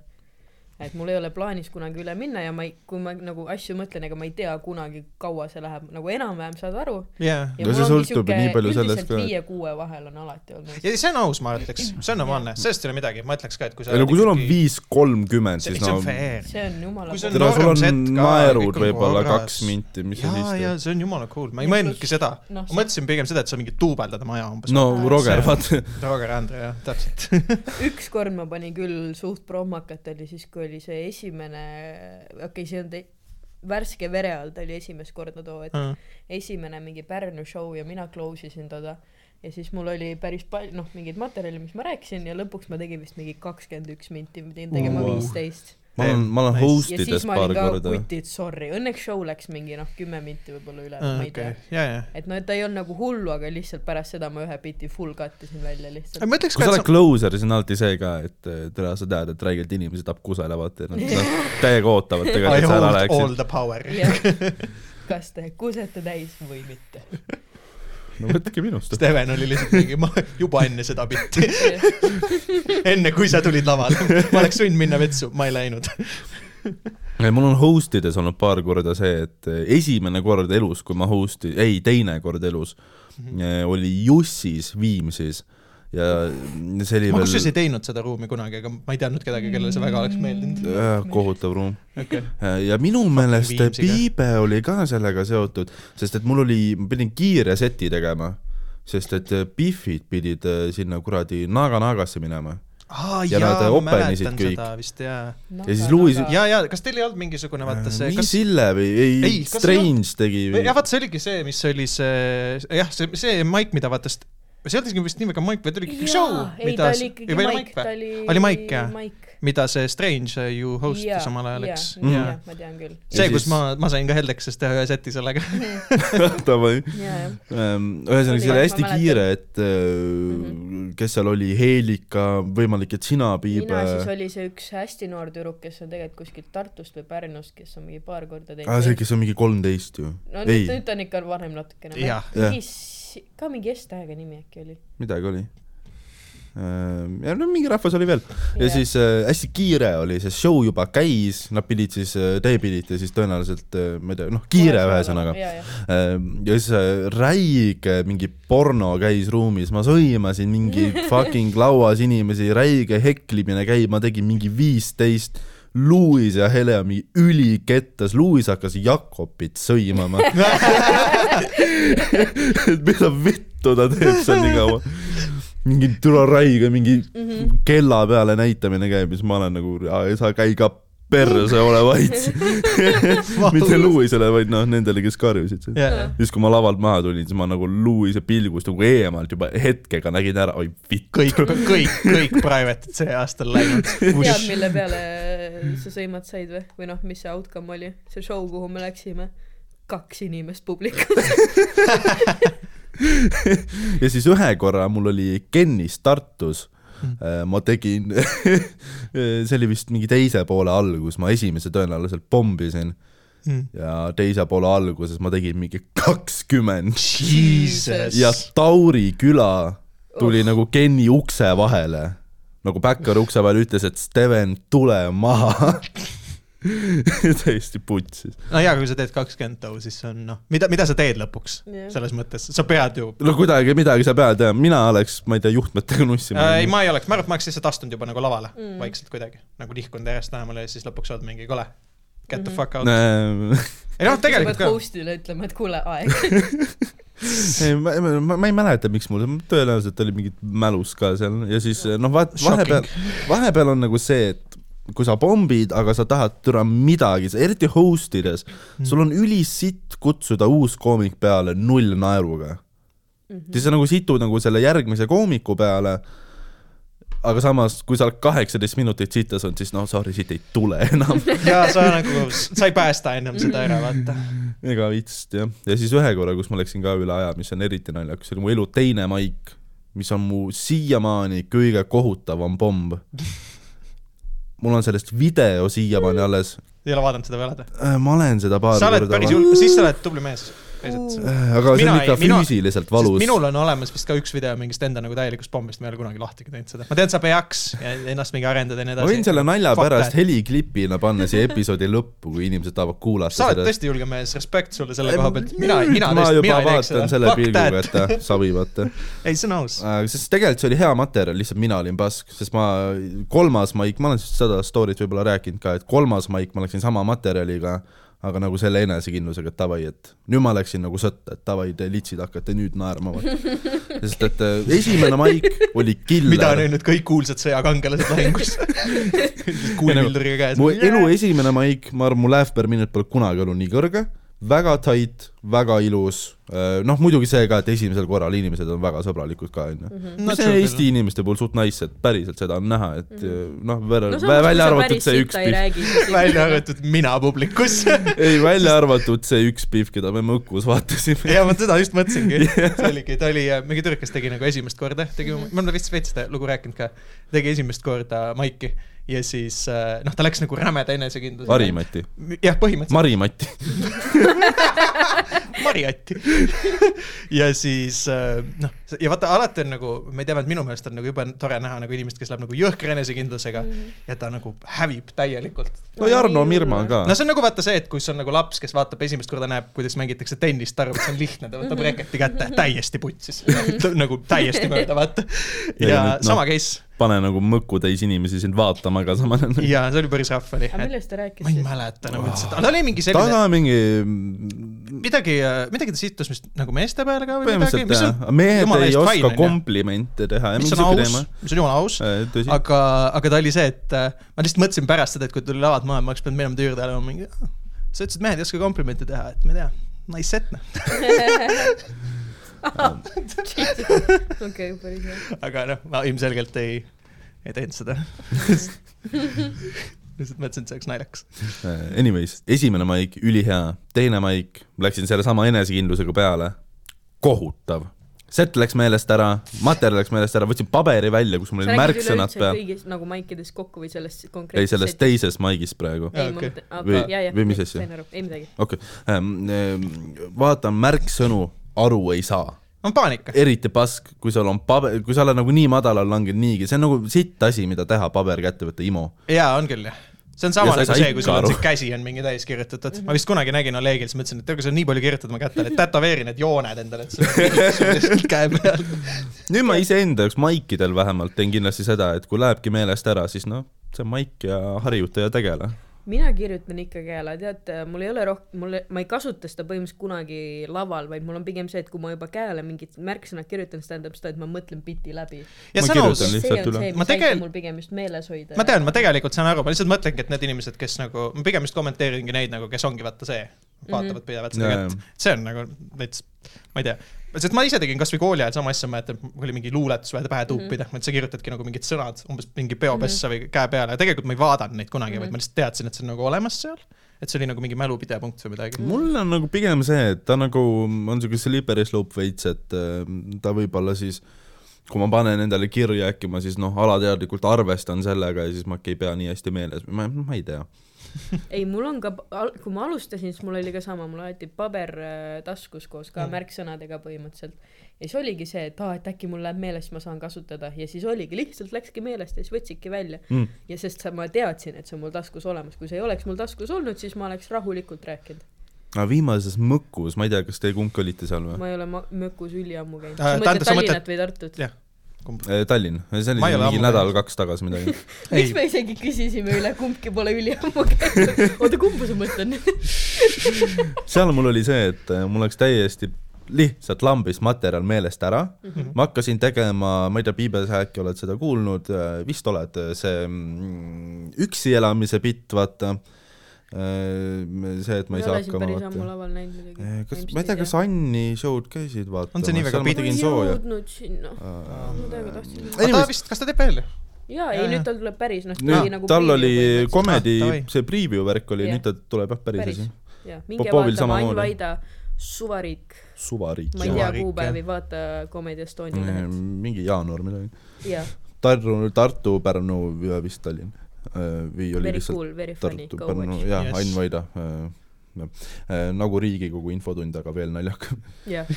[SPEAKER 3] et mul ei ole plaanis kunagi üle minna ja ma ei , kui ma nagu asju mõtlen , ega ma ei tea kunagi , kaua see läheb , nagu enam-vähem saad aru .
[SPEAKER 1] jaa .
[SPEAKER 2] No see sõltub nii palju sellest ka, et-
[SPEAKER 3] viie-kuue vahel on alati olnud .
[SPEAKER 1] ja see on aus , ma ütleks , see on normaalne , sellest ei ole midagi , ma ütleks ka , et kui sa
[SPEAKER 2] ei no kui sul on
[SPEAKER 1] ikkagi-
[SPEAKER 2] viis kolmkümmend ,
[SPEAKER 1] see
[SPEAKER 2] siis
[SPEAKER 1] see
[SPEAKER 2] no
[SPEAKER 1] on fair .
[SPEAKER 3] see on jumala
[SPEAKER 1] Kui see on
[SPEAKER 2] tere , sul
[SPEAKER 1] noorem
[SPEAKER 2] on
[SPEAKER 1] set ka, kõik
[SPEAKER 2] naerud
[SPEAKER 1] on
[SPEAKER 2] võib-olla
[SPEAKER 1] korras.
[SPEAKER 2] kaks minti , mis sa
[SPEAKER 1] jaa ,
[SPEAKER 2] siis
[SPEAKER 1] jaa ,
[SPEAKER 2] teed .
[SPEAKER 1] see on jumala cool , ma ei
[SPEAKER 3] Ja
[SPEAKER 1] mõelnudki
[SPEAKER 3] pluss-
[SPEAKER 1] seda .
[SPEAKER 3] noh,
[SPEAKER 1] ma mõtlesin pigem seda , et sa mingi duubeldad oma aja umbes .
[SPEAKER 2] no Roger , vaata .
[SPEAKER 1] Roger ja Andre , jah , täpselt .
[SPEAKER 3] ükskord ma panin küll suht prohmakat oli siis , kui oli see esimene , okei okay, , see on te- , värske vere all ta oli esimest korda too hetk , esimene mingi Pärnu show ja mina close isin teda . ja siis mul oli päris palju , noh , mingeid materjale , mis ma rääkisin ja lõpuks ma tegin vist mingi kakskümmend üks minti , ma pidin tegema
[SPEAKER 2] Wow.
[SPEAKER 3] viisteist .
[SPEAKER 2] ma olen , ma olen
[SPEAKER 1] Nice.
[SPEAKER 2] host
[SPEAKER 3] ja
[SPEAKER 2] ides
[SPEAKER 3] siis ma
[SPEAKER 2] paar
[SPEAKER 3] olin ka
[SPEAKER 2] korda .
[SPEAKER 3] kutid , sorry , õnneks show läks mingi noh , kümme minti võib-olla üle , ma ei
[SPEAKER 1] Ah, okei
[SPEAKER 3] tea .,
[SPEAKER 1] jaa , jaa .
[SPEAKER 3] et noh , et ta ei olnud nagu hullu , aga lihtsalt pärast seda ma ühe biti full cut isin välja lihtsalt .
[SPEAKER 1] ma ütleks
[SPEAKER 2] kui
[SPEAKER 1] ka ,
[SPEAKER 2] sa
[SPEAKER 1] et
[SPEAKER 2] oled closer , siis on alati see ka , et eh, tere , sa tead , et räigelt inimesed tahab kusagile vaata , et nad- nad täiega ootavad
[SPEAKER 1] I
[SPEAKER 2] tegelikult , et sa ära
[SPEAKER 1] hold all
[SPEAKER 2] läheksid .
[SPEAKER 1] the power .
[SPEAKER 3] jah , kas te kusete täis või mitte .
[SPEAKER 2] no võtke minust .
[SPEAKER 1] Steven oli lihtsalt mingi , ma juba enne seda bitti , enne kui sa tulid lavale , ma oleks võinud minna vetsu , ma ei läinud .
[SPEAKER 2] ei , mul on host ides olnud paar korda see , et eh, esimene kord elus , kui ma host'i , ei , teine kord elus
[SPEAKER 1] Mhm.
[SPEAKER 2] eh, oli Jussis Viimsis ja see oli
[SPEAKER 1] ma kusjuures
[SPEAKER 2] veel
[SPEAKER 1] ei teinud seda ruumi kunagi , aga ma ei teadnud kedagi , kellele see väga oleks meeldinud .
[SPEAKER 2] äh, kohutav ruum Äh,
[SPEAKER 1] okei ,
[SPEAKER 2] ja minu meelest
[SPEAKER 1] Viimsiga.
[SPEAKER 2] Piibe oli ka sellega seotud , sest et mul oli , ma pidin kiire seti tegema , sest et eh, Biffid pidid eh, sinna kuradi Naga-Nagasse minema .
[SPEAKER 1] aa
[SPEAKER 2] Ja nad
[SPEAKER 1] jaa , ma
[SPEAKER 2] openisid
[SPEAKER 1] mäletan
[SPEAKER 2] kõik.
[SPEAKER 1] seda vist jaa .
[SPEAKER 2] Ja siis
[SPEAKER 3] Noh,
[SPEAKER 2] Louis-
[SPEAKER 1] ja , ja kas teil ei olnud mingisugune vaata see ,
[SPEAKER 2] mingi
[SPEAKER 1] kas ,
[SPEAKER 2] Äh, Sille või , ei
[SPEAKER 1] Ei, , kas ei
[SPEAKER 2] Strange tegi või
[SPEAKER 1] jah , vaata see oligi see , mis oli see , jah , see , see maik , mida vaata , see ei olnudki vist nimega maik , vaid oli ikkagi show ,
[SPEAKER 3] ei ,
[SPEAKER 1] mida ,
[SPEAKER 3] ta oli ikkagi Mike , ta oli .
[SPEAKER 1] oli Mike, jah?
[SPEAKER 3] Mike .
[SPEAKER 1] mida see Strange äh, ju host'is omal ajal , eks .
[SPEAKER 3] jah ,
[SPEAKER 2] Jaa.
[SPEAKER 3] jah , ma tean küll .
[SPEAKER 2] Mhm. Ja
[SPEAKER 1] see , kus
[SPEAKER 2] siis-
[SPEAKER 1] ma , ma sain ka Heldekses teha ühe seti sellega .
[SPEAKER 2] Davai.
[SPEAKER 3] ja , jah .
[SPEAKER 2] Ehm, ühesõnaga , see
[SPEAKER 3] Oli,
[SPEAKER 2] oli
[SPEAKER 3] ma
[SPEAKER 2] hästi
[SPEAKER 3] mäletan.
[SPEAKER 2] kiire , et mm
[SPEAKER 3] Mhm.
[SPEAKER 2] -hmm. kes seal oli , Heelika , võimalik , et sina , äh, Piibe
[SPEAKER 3] mina . siis oli see üks hästi noor tüdruk , kes on tegelikult kuskilt Tartust või Pärnust , kes on mingi paar korda teinud .
[SPEAKER 2] aa , Ah, see , kes on mingi kolmteist ju .
[SPEAKER 3] no
[SPEAKER 2] ei
[SPEAKER 3] nüüd , nüüd ta on ikka vanem natukene .
[SPEAKER 1] Jah.
[SPEAKER 2] Jah.
[SPEAKER 3] mingi , ka mingi S-tähega nimi äkki oli .
[SPEAKER 2] midagi oli . ja no mingi rahvas oli veel . ja siis äh, hästi kiire oli , see show juba käis , nad pidid siis , teie pidite siis tõenäoliselt , ma ei tea , noh , kiire ühesõnaga .
[SPEAKER 3] ja , ja ,
[SPEAKER 2] ja siis äh, räige mingi porno käis ruumis , ma sõimasin mingi fucking lauas inimesi , räige heklimine käib , ma tegin mingi viisteist . Louis ja Hele on mingi ülikettas , Louis hakkas Jakobit sõimama . et mida vittu ta teeb seal nii kaua . mingi türa räige , mingi kella peale näitamine käib ja siis ma olen nagu , sa käi ka perre , sa ole vait . mitte Louisele , vaid noh , nendele , kes karjusid .
[SPEAKER 1] jaa ,
[SPEAKER 2] siis , kui ma lavalt maha tulin , siis ma nagu Louise pilgust nagu eemalt juba hetkega nägin ära , oi vitt .
[SPEAKER 1] kõik , kõik , kõik private'id see aastal läinud .
[SPEAKER 3] tead , mille peale äh, sa sõimad said või , või noh , mis see outcome oli , see show , kuhu me läksime ? kaks inimest publikus .
[SPEAKER 2] ja siis ühe korra mul oli Kennis Tartus , ma tegin , see oli vist mingi teise poole algus , ma esimese tõenäoliselt pommisin ja teise poole alguses ma tegin mingi kakskümmend
[SPEAKER 1] Jesus .
[SPEAKER 2] ja Tauri küla tuli oh. nagu Kenni ukse vahele , nagu Päkkar ukse vahel ütles , et Steven , tule maha . täiesti putsis .
[SPEAKER 1] no jaa , kui sa teed kakskümmend tau , siis on noh , mida , mida sa teed lõpuks
[SPEAKER 3] Jah.
[SPEAKER 1] selles mõttes , sa pead ju .
[SPEAKER 2] no kuidagi midagi sa pead teha , mina oleks , ma ei tea , juhtmetega nussima
[SPEAKER 1] ei , ma ei oleks , ma arvan , et ma oleks lihtsalt astunud juba nagu lavale mm. vaikselt kuidagi , nagu nihkunud järjest lähemale ja siis lõpuks oled mingi kole . Get
[SPEAKER 3] Mhm.
[SPEAKER 1] the fuck out .
[SPEAKER 2] Äh,
[SPEAKER 1] ei noh , tegelikult
[SPEAKER 3] ka .
[SPEAKER 1] ka .
[SPEAKER 3] host'ile ütlema , et kuule , aeg .
[SPEAKER 2] ei , ma , ma , ma ei mäleta , miks mul , tõenäoliselt oli mingid mälus ka seal ja siis noh , vaat- , vahepeal , vahepeal on nagu see , et kui sa pommid , aga sa tahad türa midagi , eriti host ides mm. , sul on ülisitt kutsuda uus koomik peale null naeruga mm . -hmm. siis sa nagu situd nagu selle järgmise koomiku peale , aga samas , kui sa oled kaheksateist minutit sitas olnud , siis noh , sorry , siit ei tule enam
[SPEAKER 1] ja sa nagu , sa ei päästa ennem seda ära , vaata .
[SPEAKER 2] ega vitsist jah , ja siis ühe korra , kus ma läksin ka üle aja , mis on eriti naljakas , oli mu elu teine maik , mis on mu siiamaani kõige kohutavam pomm . mul on sellest video siiamaani alles ,
[SPEAKER 1] ei ole vaadanud seda veel alati .
[SPEAKER 2] ma olen seda paar
[SPEAKER 1] sa oled
[SPEAKER 2] korda
[SPEAKER 1] päris julge , siis sa oled tubli mees . päriselt .
[SPEAKER 2] vaadanud. aga see
[SPEAKER 1] mina
[SPEAKER 2] on
[SPEAKER 1] ei-
[SPEAKER 2] ikka
[SPEAKER 1] mina-
[SPEAKER 2] füüsiliselt
[SPEAKER 1] valus .
[SPEAKER 2] valus .
[SPEAKER 1] minul on olemas vist ka üks video mingist enda nagu täielikust pommist , ma ei ole kunagi lahtigi teinud seda . ma tean , sa peaks ja ennast mingi arendada ja nii
[SPEAKER 2] ma
[SPEAKER 1] edasi
[SPEAKER 2] võin . selle nalja
[SPEAKER 1] Fuck
[SPEAKER 2] pärast
[SPEAKER 1] that.
[SPEAKER 2] heliklipina panna siia episoodi lõppu , kui inimesed tahavad
[SPEAKER 1] sa
[SPEAKER 2] kuulata
[SPEAKER 1] oled
[SPEAKER 2] seda .
[SPEAKER 1] tõesti julge mees , respekt sulle selle koha pealt . mina , mina
[SPEAKER 2] ma
[SPEAKER 1] tõesti , mina
[SPEAKER 2] juba
[SPEAKER 1] ei teeks seda
[SPEAKER 2] vaatan selle . pilguga , et ta savi vaata
[SPEAKER 1] ei , see on aus .
[SPEAKER 2] Äh, sest tegelikult see oli hea materjal , lihtsalt mina olin pask , sest ma , kolmas maik , ma olen seda story't võib-olla rääkinud ka , et kolmas maik ma läksin sama materjaliga , aga nagu selle enesekindlusega , et davai , et nüüd ma läksin nagu sõtta , et davai , te litsid hakkate nüüd naerma , vaata . sest et äh, esimene maik oli
[SPEAKER 1] mida on
[SPEAKER 2] killer .
[SPEAKER 1] öelnud kõik kuulsad sõjakangelased lahingus . kuulipilduriga käes .
[SPEAKER 2] nagu mu elu esimene maik , ma arvan , mu laugh per minute pole kunagi olnud nii kõrge , väga tight , väga ilus , noh muidugi see ka , et esimesel korral inimesed on väga sõbralikud ka , onju .
[SPEAKER 1] Not
[SPEAKER 2] see
[SPEAKER 1] sure
[SPEAKER 2] on
[SPEAKER 1] küll.
[SPEAKER 2] Eesti inimeste puhul suht nice , et päriselt seda on näha , et noh ,
[SPEAKER 3] Mhm. no
[SPEAKER 2] välja arvatud
[SPEAKER 3] päris
[SPEAKER 2] see üks
[SPEAKER 3] sita ei
[SPEAKER 2] pihv ,
[SPEAKER 3] räägi .
[SPEAKER 1] välja . arvatud mina publikus .
[SPEAKER 2] ei välja arvatud see üks pihv , keda me Mõkkus vaatasime .
[SPEAKER 1] ja ma seda just mõtlesingi , see oligi , ta oli äh, mingi tüdruk , kes tegi nagu esimest korda , tegi , ma olen vist veits seda lugu rääkinud ka , tegi esimest korda maiki ja siis äh, noh , ta läks nagu rämeda enesekindlusega .
[SPEAKER 2] Mari-Mati ,
[SPEAKER 1] jah , põhimõtteliselt
[SPEAKER 2] Mari-Mati ,
[SPEAKER 1] Ma... Mari-Atti . ja siis äh, noh , ja vaata alati on nagu , ma ei tea , minu meelest on nagu jube tore näha nagu inimest , kes läheb nagu jõhkra enesekindlusega mm. ja ta nagu hävib täielikult
[SPEAKER 2] no Jarno Mirma ka
[SPEAKER 1] no . see on nagu vaata see , et kui sul on nagu laps , kes vaatab esimest korda , näeb , kuidas mängitakse tennist , ta arvab , et see on lihtne , ta
[SPEAKER 3] Mhm.
[SPEAKER 1] võtab reketi kätte , täiesti putsis . nagu täiesti mööda , vaata .
[SPEAKER 2] Ei,
[SPEAKER 1] ja
[SPEAKER 2] nüüd, noh.
[SPEAKER 1] sama case
[SPEAKER 2] pane nagu mõkku täis inimesi sind vaatama ka samal ajal .
[SPEAKER 1] ja see oli päris rahv oli .
[SPEAKER 3] aga millest ta rääkis
[SPEAKER 1] ma ei
[SPEAKER 3] siis ?
[SPEAKER 1] mäleta nagu üldse , ta oli mingi
[SPEAKER 2] ta
[SPEAKER 1] selline ,
[SPEAKER 2] on mingi ,
[SPEAKER 1] midagi , midagi ta sihtus vist nagu meeste peale ka või midagi ,
[SPEAKER 2] põhimõtteliselt
[SPEAKER 1] mis on
[SPEAKER 2] jah , mehed
[SPEAKER 1] jumala
[SPEAKER 2] ei
[SPEAKER 1] eest fine,
[SPEAKER 2] oska
[SPEAKER 1] on ju.
[SPEAKER 2] komplimente teha .
[SPEAKER 1] mis on aus , mis on jumala aus ,
[SPEAKER 2] Eh, tõsi .
[SPEAKER 1] aga , aga ta oli see , et äh, ma lihtsalt mõtlesin pärast seda , et kui tuli lavad maha , ma oleks pidanud minema töö juurde olema mingi , sa ütlesid , et mehed ei oska komplimente teha , et ma ei tea , nice set noh .
[SPEAKER 3] okei , päris hea .
[SPEAKER 1] aga noh , ma ilmselgelt ei , ei teinud seda . lihtsalt mõtlesin , et see oleks naljakas .
[SPEAKER 2] Äh, Anyways , esimene maik , ülihea , teine maik , läksin sellesama enesekindlusega peale , kohutav . set läks meelest ära , materjal läks meelest ära , võtsin paberi välja , kus mul
[SPEAKER 3] sa
[SPEAKER 2] oli
[SPEAKER 3] räägid
[SPEAKER 2] märksõnad
[SPEAKER 3] üleüldse
[SPEAKER 2] peal .
[SPEAKER 3] kõigist nagu maikides kokku või sellest konkreetselt ?
[SPEAKER 2] ei , selles . teises maigis praegu .
[SPEAKER 1] Jaa,
[SPEAKER 3] ei , ma
[SPEAKER 1] okei.
[SPEAKER 3] mõtlen , aga
[SPEAKER 2] Või-
[SPEAKER 3] jaa , jaa .
[SPEAKER 2] või mis asja?
[SPEAKER 3] sain aru , ei midagi .
[SPEAKER 2] okei , vaatan märksõnu , aru ei saa .
[SPEAKER 1] on paanika .
[SPEAKER 2] eriti pask , kui sul on paber , kui sa oled nagu nii madalal langenud niigi , see on nagu sitt asi , mida teha , paber kätte võtta , IMO .
[SPEAKER 1] jaa , on küll jah see on sama
[SPEAKER 2] Ja sa
[SPEAKER 1] nagu
[SPEAKER 2] ei saa
[SPEAKER 1] see , kui sul
[SPEAKER 2] ikka
[SPEAKER 1] on see
[SPEAKER 2] aru.
[SPEAKER 1] käsi on mingi täis kirjutatud , ma vist kunagi nägin Olegil , siis mõtlesin , et tead , kui sa nii palju kirjutad , ma kätte tätoveerin need jooned endale , et sul sul lihtsalt käe peal .
[SPEAKER 2] nüüd ma iseenda jaoks maikidel vähemalt teen kindlasti seda , et kui lähebki meelest ära , siis noh , see on maik ja harjuta ja tegele .
[SPEAKER 3] mina kirjutan ikkagi hääle , tead , mul ei ole rohkem , mul , ma ei kasuta seda põhimõtteliselt kunagi laval , vaid mul on pigem see , et kui ma juba käele mingid märksõnad kirjutan , siis tähendab seda , et ma mõtlen biti läbi .
[SPEAKER 1] ja
[SPEAKER 2] Ma
[SPEAKER 1] see on aus
[SPEAKER 2] kirjutan . lihtsalt
[SPEAKER 3] see on
[SPEAKER 2] üle.
[SPEAKER 3] see ,
[SPEAKER 1] Ma
[SPEAKER 3] mis aitab
[SPEAKER 1] tegel-
[SPEAKER 3] mul pigem just meeles hoida .
[SPEAKER 1] ma tean , ma tegelikult saan aru , ma lihtsalt mõtlengi , et need inimesed , kes nagu , ma pigem just kommenteeringi neid nagu , kes ongi vaata see , vaatavad pidevalt seda
[SPEAKER 2] Jaa,
[SPEAKER 1] kätt . see on nagu veits , ma ei tea , sest ma ise tegin kasvõi kooli ajal sama asja , ma mäletan , mul oli mingi luuletus vaja pähe tuupida , et sa kirjutadki nagu mingid sõnad umbes mingi peopessa või käe peale ja tegelikult ma ei vaadanud neid kunagi , vaid ma lihtsalt teadsin , et see on nagu olemas seal . et see oli nagu mingi mälupidepunkt või midagi .
[SPEAKER 2] mul on nagu pigem see , et ta nagu on siuke slippery slope veits , et äh, ta võib-olla siis , kui ma panen endale kirja , äkki ma siis noh , alateadlikult arvestan sellega ja siis ma äkki ei pea nii hästi meeles , ma , ma ei tea .
[SPEAKER 3] ei , mul on ka , kui ma alustasin , siis mul oli ka sama , mul alati paber äh, taskus koos
[SPEAKER 2] Mhm.
[SPEAKER 3] ka mm. märksõnadega põhimõtteliselt . ja siis oligi see , et aa , et äkki mul läheb meelest , ma saan kasutada ja siis oligi , lihtsalt läkski meelest ja siis võtsidki välja
[SPEAKER 2] Mm. .
[SPEAKER 3] ja sest sa , ma teadsin , et see on mul taskus olemas , kui see ei oleks mul taskus olnud , siis ma oleks rahulikult rääkinud .
[SPEAKER 2] aga viimases Mõkus , ma ei tea , kas te kumbki olite seal või ?
[SPEAKER 3] ma ei ole ma- , Mökus üliammu
[SPEAKER 1] Äh,
[SPEAKER 3] käinud . sa
[SPEAKER 1] tähendab,
[SPEAKER 3] mõtled
[SPEAKER 1] sa mõtled-
[SPEAKER 3] Tallinnat või Tartut ?
[SPEAKER 1] jah , kumb .
[SPEAKER 2] Äh, Tallinn , see oli
[SPEAKER 1] Ma ei ole ammu
[SPEAKER 2] mingi
[SPEAKER 1] käinud.
[SPEAKER 2] nädal-kaks tagasi midagi .
[SPEAKER 1] ei
[SPEAKER 3] miks , me isegi küsisime üle , kumbki pole üliammu käinud . oota , kumba sa mõtled nüüd ?
[SPEAKER 2] seal mul oli see , et äh, mul läks täiesti lihtsalt lambist materjal meelest ära mm .
[SPEAKER 3] Mhm.
[SPEAKER 2] -hmm. ma hakkasin tegema , ma ei tea , Piibes äkki oled seda kuulnud , vist oled , see mm, üksi elamise bitt , vaata . see , et ma ei saa hakkama ,
[SPEAKER 3] päris ammu
[SPEAKER 2] vaata .
[SPEAKER 3] laval näinud midagi
[SPEAKER 2] kas , ma ei tea , kas Anni show'd käisid , vaata .
[SPEAKER 1] On see nii väga
[SPEAKER 2] ma
[SPEAKER 1] pikk?
[SPEAKER 2] tegin
[SPEAKER 3] ma ei
[SPEAKER 2] sooja .
[SPEAKER 3] jõudnud sinna . ma täiega tahtsin .
[SPEAKER 1] ta vist , kas ta teeb veel ?
[SPEAKER 3] jaa ,
[SPEAKER 1] Jaa,
[SPEAKER 3] ei
[SPEAKER 1] jaa.
[SPEAKER 3] nüüd tal tuleb päris , noh , ta
[SPEAKER 2] nüüd
[SPEAKER 3] oli nagu
[SPEAKER 2] tal oli
[SPEAKER 3] põhimõtteliselt-
[SPEAKER 2] komedi
[SPEAKER 1] Ah, davai. ,
[SPEAKER 2] see preview värk oli ,
[SPEAKER 3] Jah.
[SPEAKER 2] nüüd ta tuleb jah , päris
[SPEAKER 3] päris
[SPEAKER 2] asi .,
[SPEAKER 3] jah , minge
[SPEAKER 2] Popovil
[SPEAKER 3] vaatama Ain
[SPEAKER 2] samamoodi.
[SPEAKER 3] Vaida Suvariik ,
[SPEAKER 2] suvariik .
[SPEAKER 3] ma ei tea
[SPEAKER 1] Suvariik,
[SPEAKER 3] kuupäevi , vaata Comedy Estonia lehelt ,
[SPEAKER 2] Mm, mingi jaanuar midagi .
[SPEAKER 3] jah ,
[SPEAKER 2] Tartu , Tartu , Pärnu ja vist Tallinn . või oli
[SPEAKER 3] very
[SPEAKER 2] lihtsalt
[SPEAKER 3] cool , very funny ,
[SPEAKER 2] Tartu ,
[SPEAKER 3] go
[SPEAKER 2] Pärnu
[SPEAKER 3] watch ,
[SPEAKER 2] jah
[SPEAKER 1] Yes. ,
[SPEAKER 2] Ain Vaida . nagu Riigikogu infotund , aga veel naljakam .
[SPEAKER 3] jah .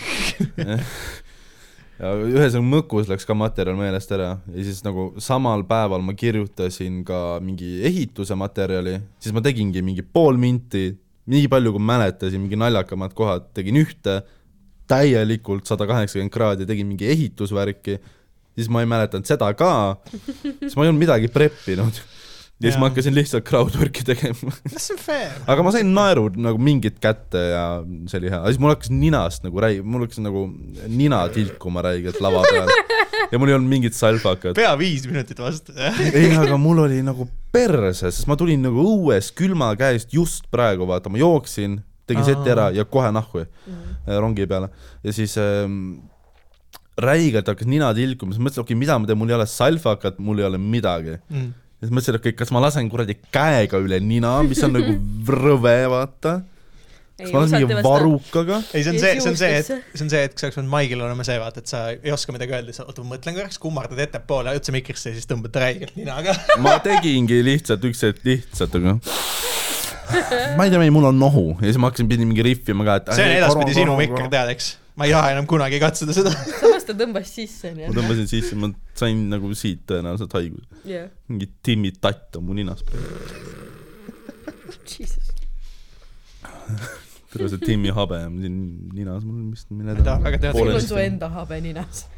[SPEAKER 2] ja ühesõnaga Mõkus läks ka materjal meelest ära ja siis nagu samal päeval ma kirjutasin ka mingi ehituse materjali , siis ma tegingi mingi pool minti , nii palju kui mäletasin , mingi naljakamad kohad , tegin ühte täielikult sada kaheksakümmend kraadi , tegin mingi ehitusvärki , siis ma ei mäletanud seda ka , siis ma ei olnud midagi preppinud . ja siis
[SPEAKER 1] Jaa.
[SPEAKER 2] ma hakkasin lihtsalt crowdwork'i tegema .
[SPEAKER 1] see on fair .
[SPEAKER 2] aga ma sain naeru nagu mingid kätte ja see oli hea , siis mul hakkas ninast nagu räi- , mul hakkas nagu nina tilkuma räigelt lava peal ja mul ei olnud mingit salvakat .
[SPEAKER 1] pea viis minutit vastu , jah .
[SPEAKER 2] ei , aga mul oli nagu perse , sest ma tulin nagu õues külma käest just praegu , vaata , ma jooksin , tegin seti ära ja kohe nahku äh, rongi peale ja siis ähm, räigelt hakkas nina tilkuma , siis mõtlesin , okei okay, , mida ma teen , mul ei ole salvakat , mul ei ole midagi .
[SPEAKER 1] Mm.
[SPEAKER 2] ja siis mõtlesin , et okei okay, , kas ma lasen kuradi käega üle nina , mis on nagu rõve , vaata . kas ma lasen mingi varukaga ?
[SPEAKER 1] ei , see on
[SPEAKER 3] Ja
[SPEAKER 1] see , see
[SPEAKER 3] siis
[SPEAKER 1] on see , et
[SPEAKER 3] juustesse.
[SPEAKER 1] see on see , et kui sa oleks pidanud Maigil olema see , vaata , et sa ei oska midagi öelda , siis oota , ma mõtlen korraks , kummardad ettepoole otse mikrisse ja siis tõmbad räigelt ninaga .
[SPEAKER 2] ma tegingi lihtsalt üks hetk lihtsalt , aga ma ei tea , mul on nohu ja siis ma hakkasin , pidin mingi rihvima ka , et
[SPEAKER 1] see on edaspidi sinu mikker ,. tead , eks . ma ei taha enam kunagi katsuda seda .
[SPEAKER 3] samas ta tõmbas sisse ,
[SPEAKER 2] ma
[SPEAKER 3] onju ,
[SPEAKER 2] tõmbasin sisse , ma sain nagu siit tõenäoliselt haiguse ,
[SPEAKER 3] jah ,
[SPEAKER 2] mingi Timmi tatt on mu ninas .
[SPEAKER 3] jesus .
[SPEAKER 2] terve see Timmi habe on siin ninas mul vist . ma
[SPEAKER 1] ei taha väga teada.
[SPEAKER 3] sul
[SPEAKER 1] Poolenisti.
[SPEAKER 3] on su enda habe ninas .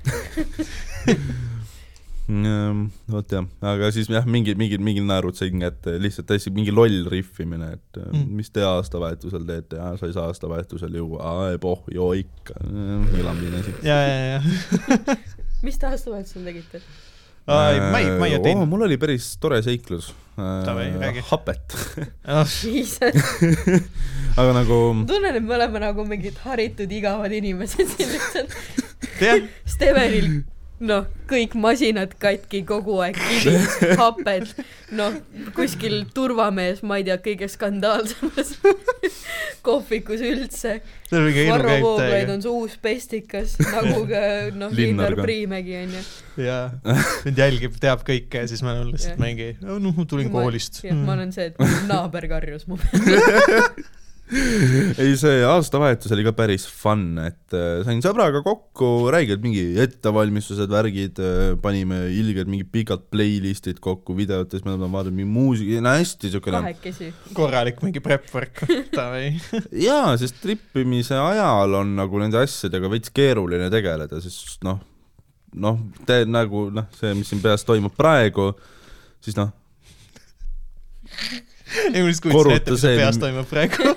[SPEAKER 2] Mm, vot jah , aga siis jah , mingi , mingi , mingi naerud sain kätte , lihtsalt täiesti mingi loll rihvimine , et mm. mis te aastavahetusel teete , sa ei saa aastavahetusel juua , aa epoh , joo ikka , Ehm, elamine asi .
[SPEAKER 1] ja , ja , ja .
[SPEAKER 3] mis te aastavahetusel tegite ?
[SPEAKER 1] ei , ma ei , ma ei
[SPEAKER 2] oh, .
[SPEAKER 1] teinud .
[SPEAKER 2] mul oli päris tore seiklus Ehm,
[SPEAKER 1] Davai, räägi. .
[SPEAKER 2] hapet ,
[SPEAKER 1] Ah,
[SPEAKER 3] jesus ,
[SPEAKER 2] aga nagu
[SPEAKER 3] ma tunnen , et me oleme nagu mingid haritud igavad inimesed siin lihtsalt .
[SPEAKER 1] jah ,
[SPEAKER 3] Stevenil noh , kõik masinad katki kogu aeg , kivid , happed , noh , kuskil turvamees , ma ei tea , kõige skandaalsemas kohvikus üldse .
[SPEAKER 1] see on mingi elu
[SPEAKER 3] Varro
[SPEAKER 1] käib
[SPEAKER 3] Vooglaid
[SPEAKER 1] täiega .
[SPEAKER 3] on su uus pestikas , nagu ka noh ,
[SPEAKER 2] Linnar
[SPEAKER 3] Linnar
[SPEAKER 2] ka.
[SPEAKER 3] Priimägi onju .
[SPEAKER 1] jaa , mind jälgib , teab kõike ja siis ma olen
[SPEAKER 3] Jah.
[SPEAKER 1] lihtsalt mingi , noh , ma tulin koolist .
[SPEAKER 3] jah , ma olen see , et mu naaber karjus mu peale .
[SPEAKER 2] ei , see aastavahetus oli ka päris fun , et äh, sain sõbraga kokku , räigelt mingi ettevalmistused , värgid , panime ilgelt mingid pikad playlist'id kokku videotes , me oleme vaadanud mingi muusika , no hästi siukene
[SPEAKER 3] kahekesi .
[SPEAKER 1] korralik mingi prep work , davai .
[SPEAKER 2] jaa , sest trippimise ajal on nagu nende asjadega veits keeruline tegeleda , sest noh , noh , te nagu noh , see , mis siin peas toimub praegu , siis noh ,
[SPEAKER 1] ei ma lihtsalt kujutasin ette , mis
[SPEAKER 2] Korruta see-
[SPEAKER 1] sul peas toimub praegu .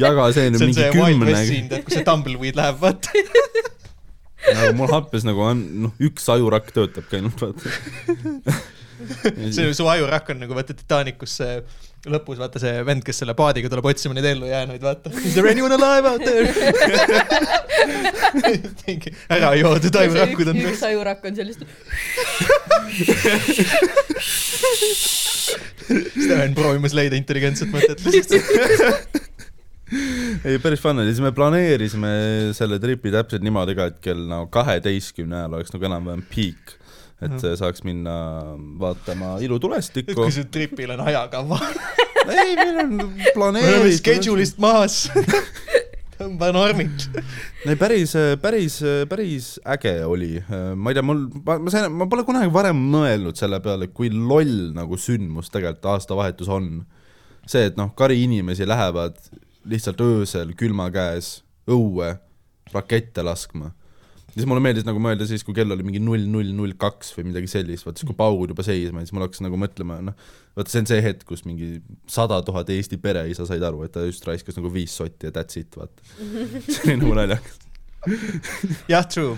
[SPEAKER 2] jaga see
[SPEAKER 1] see on
[SPEAKER 2] nüüd mingi
[SPEAKER 1] see Wild
[SPEAKER 2] kümne
[SPEAKER 1] West , siin , tead , kus see Tumbleweed läheb , vaata .
[SPEAKER 2] nagu mul happes nagu on , noh , üks ajurakk töötabki ainult ,
[SPEAKER 1] see
[SPEAKER 2] vaata .
[SPEAKER 1] su ajurakk on nagu vaata Titanicus see lõpus vaata see vend , kes selle paadiga tuleb otsima neid ellujäänuid , vaata . Is there anyone alive out there ? mingi ära joodud ajurakud on
[SPEAKER 3] üks ajurakk on sellist ,
[SPEAKER 1] Steven proovimas leida intelligentset mõtet lihtsalt .
[SPEAKER 2] ei , päris fun oli , siis me planeerisime selle tripi täpselt niimoodi ka , et kell nagu kaheteistkümne ajal oleks nagu enam-vähem peak , et
[SPEAKER 1] Mhm.
[SPEAKER 2] saaks minna vaatama ilutulestikku
[SPEAKER 1] kui . sul tripil on ajakava .
[SPEAKER 2] ei , meil on
[SPEAKER 1] me oleme
[SPEAKER 2] planeeritud .
[SPEAKER 1] schedule'ist maas . tõmba normid .
[SPEAKER 2] ei , päris , päris , päris äge oli . ma ei tea , mul , ma ma sain , ma pole kunagi varem mõelnud selle peale , kui loll nagu sündmus tegelikult aastavahetus on . see , et noh , kari inimesi lähevad lihtsalt öösel külma käes õue rakette laskma . siis mulle meeldis nagu mõelda siis , kui kell oli mingi null , null , null kaks või midagi sellist , vaata siis kui paugud juba seisma , siis mul hakkas nagu mõtlema , noh , vaata see on see hetk , kus mingi sada tuhat Eesti pereisa said aru , et ta just raiskas nagu viis sotti ja that's it , vaata . see oli nagu naljakas .
[SPEAKER 1] jah , true .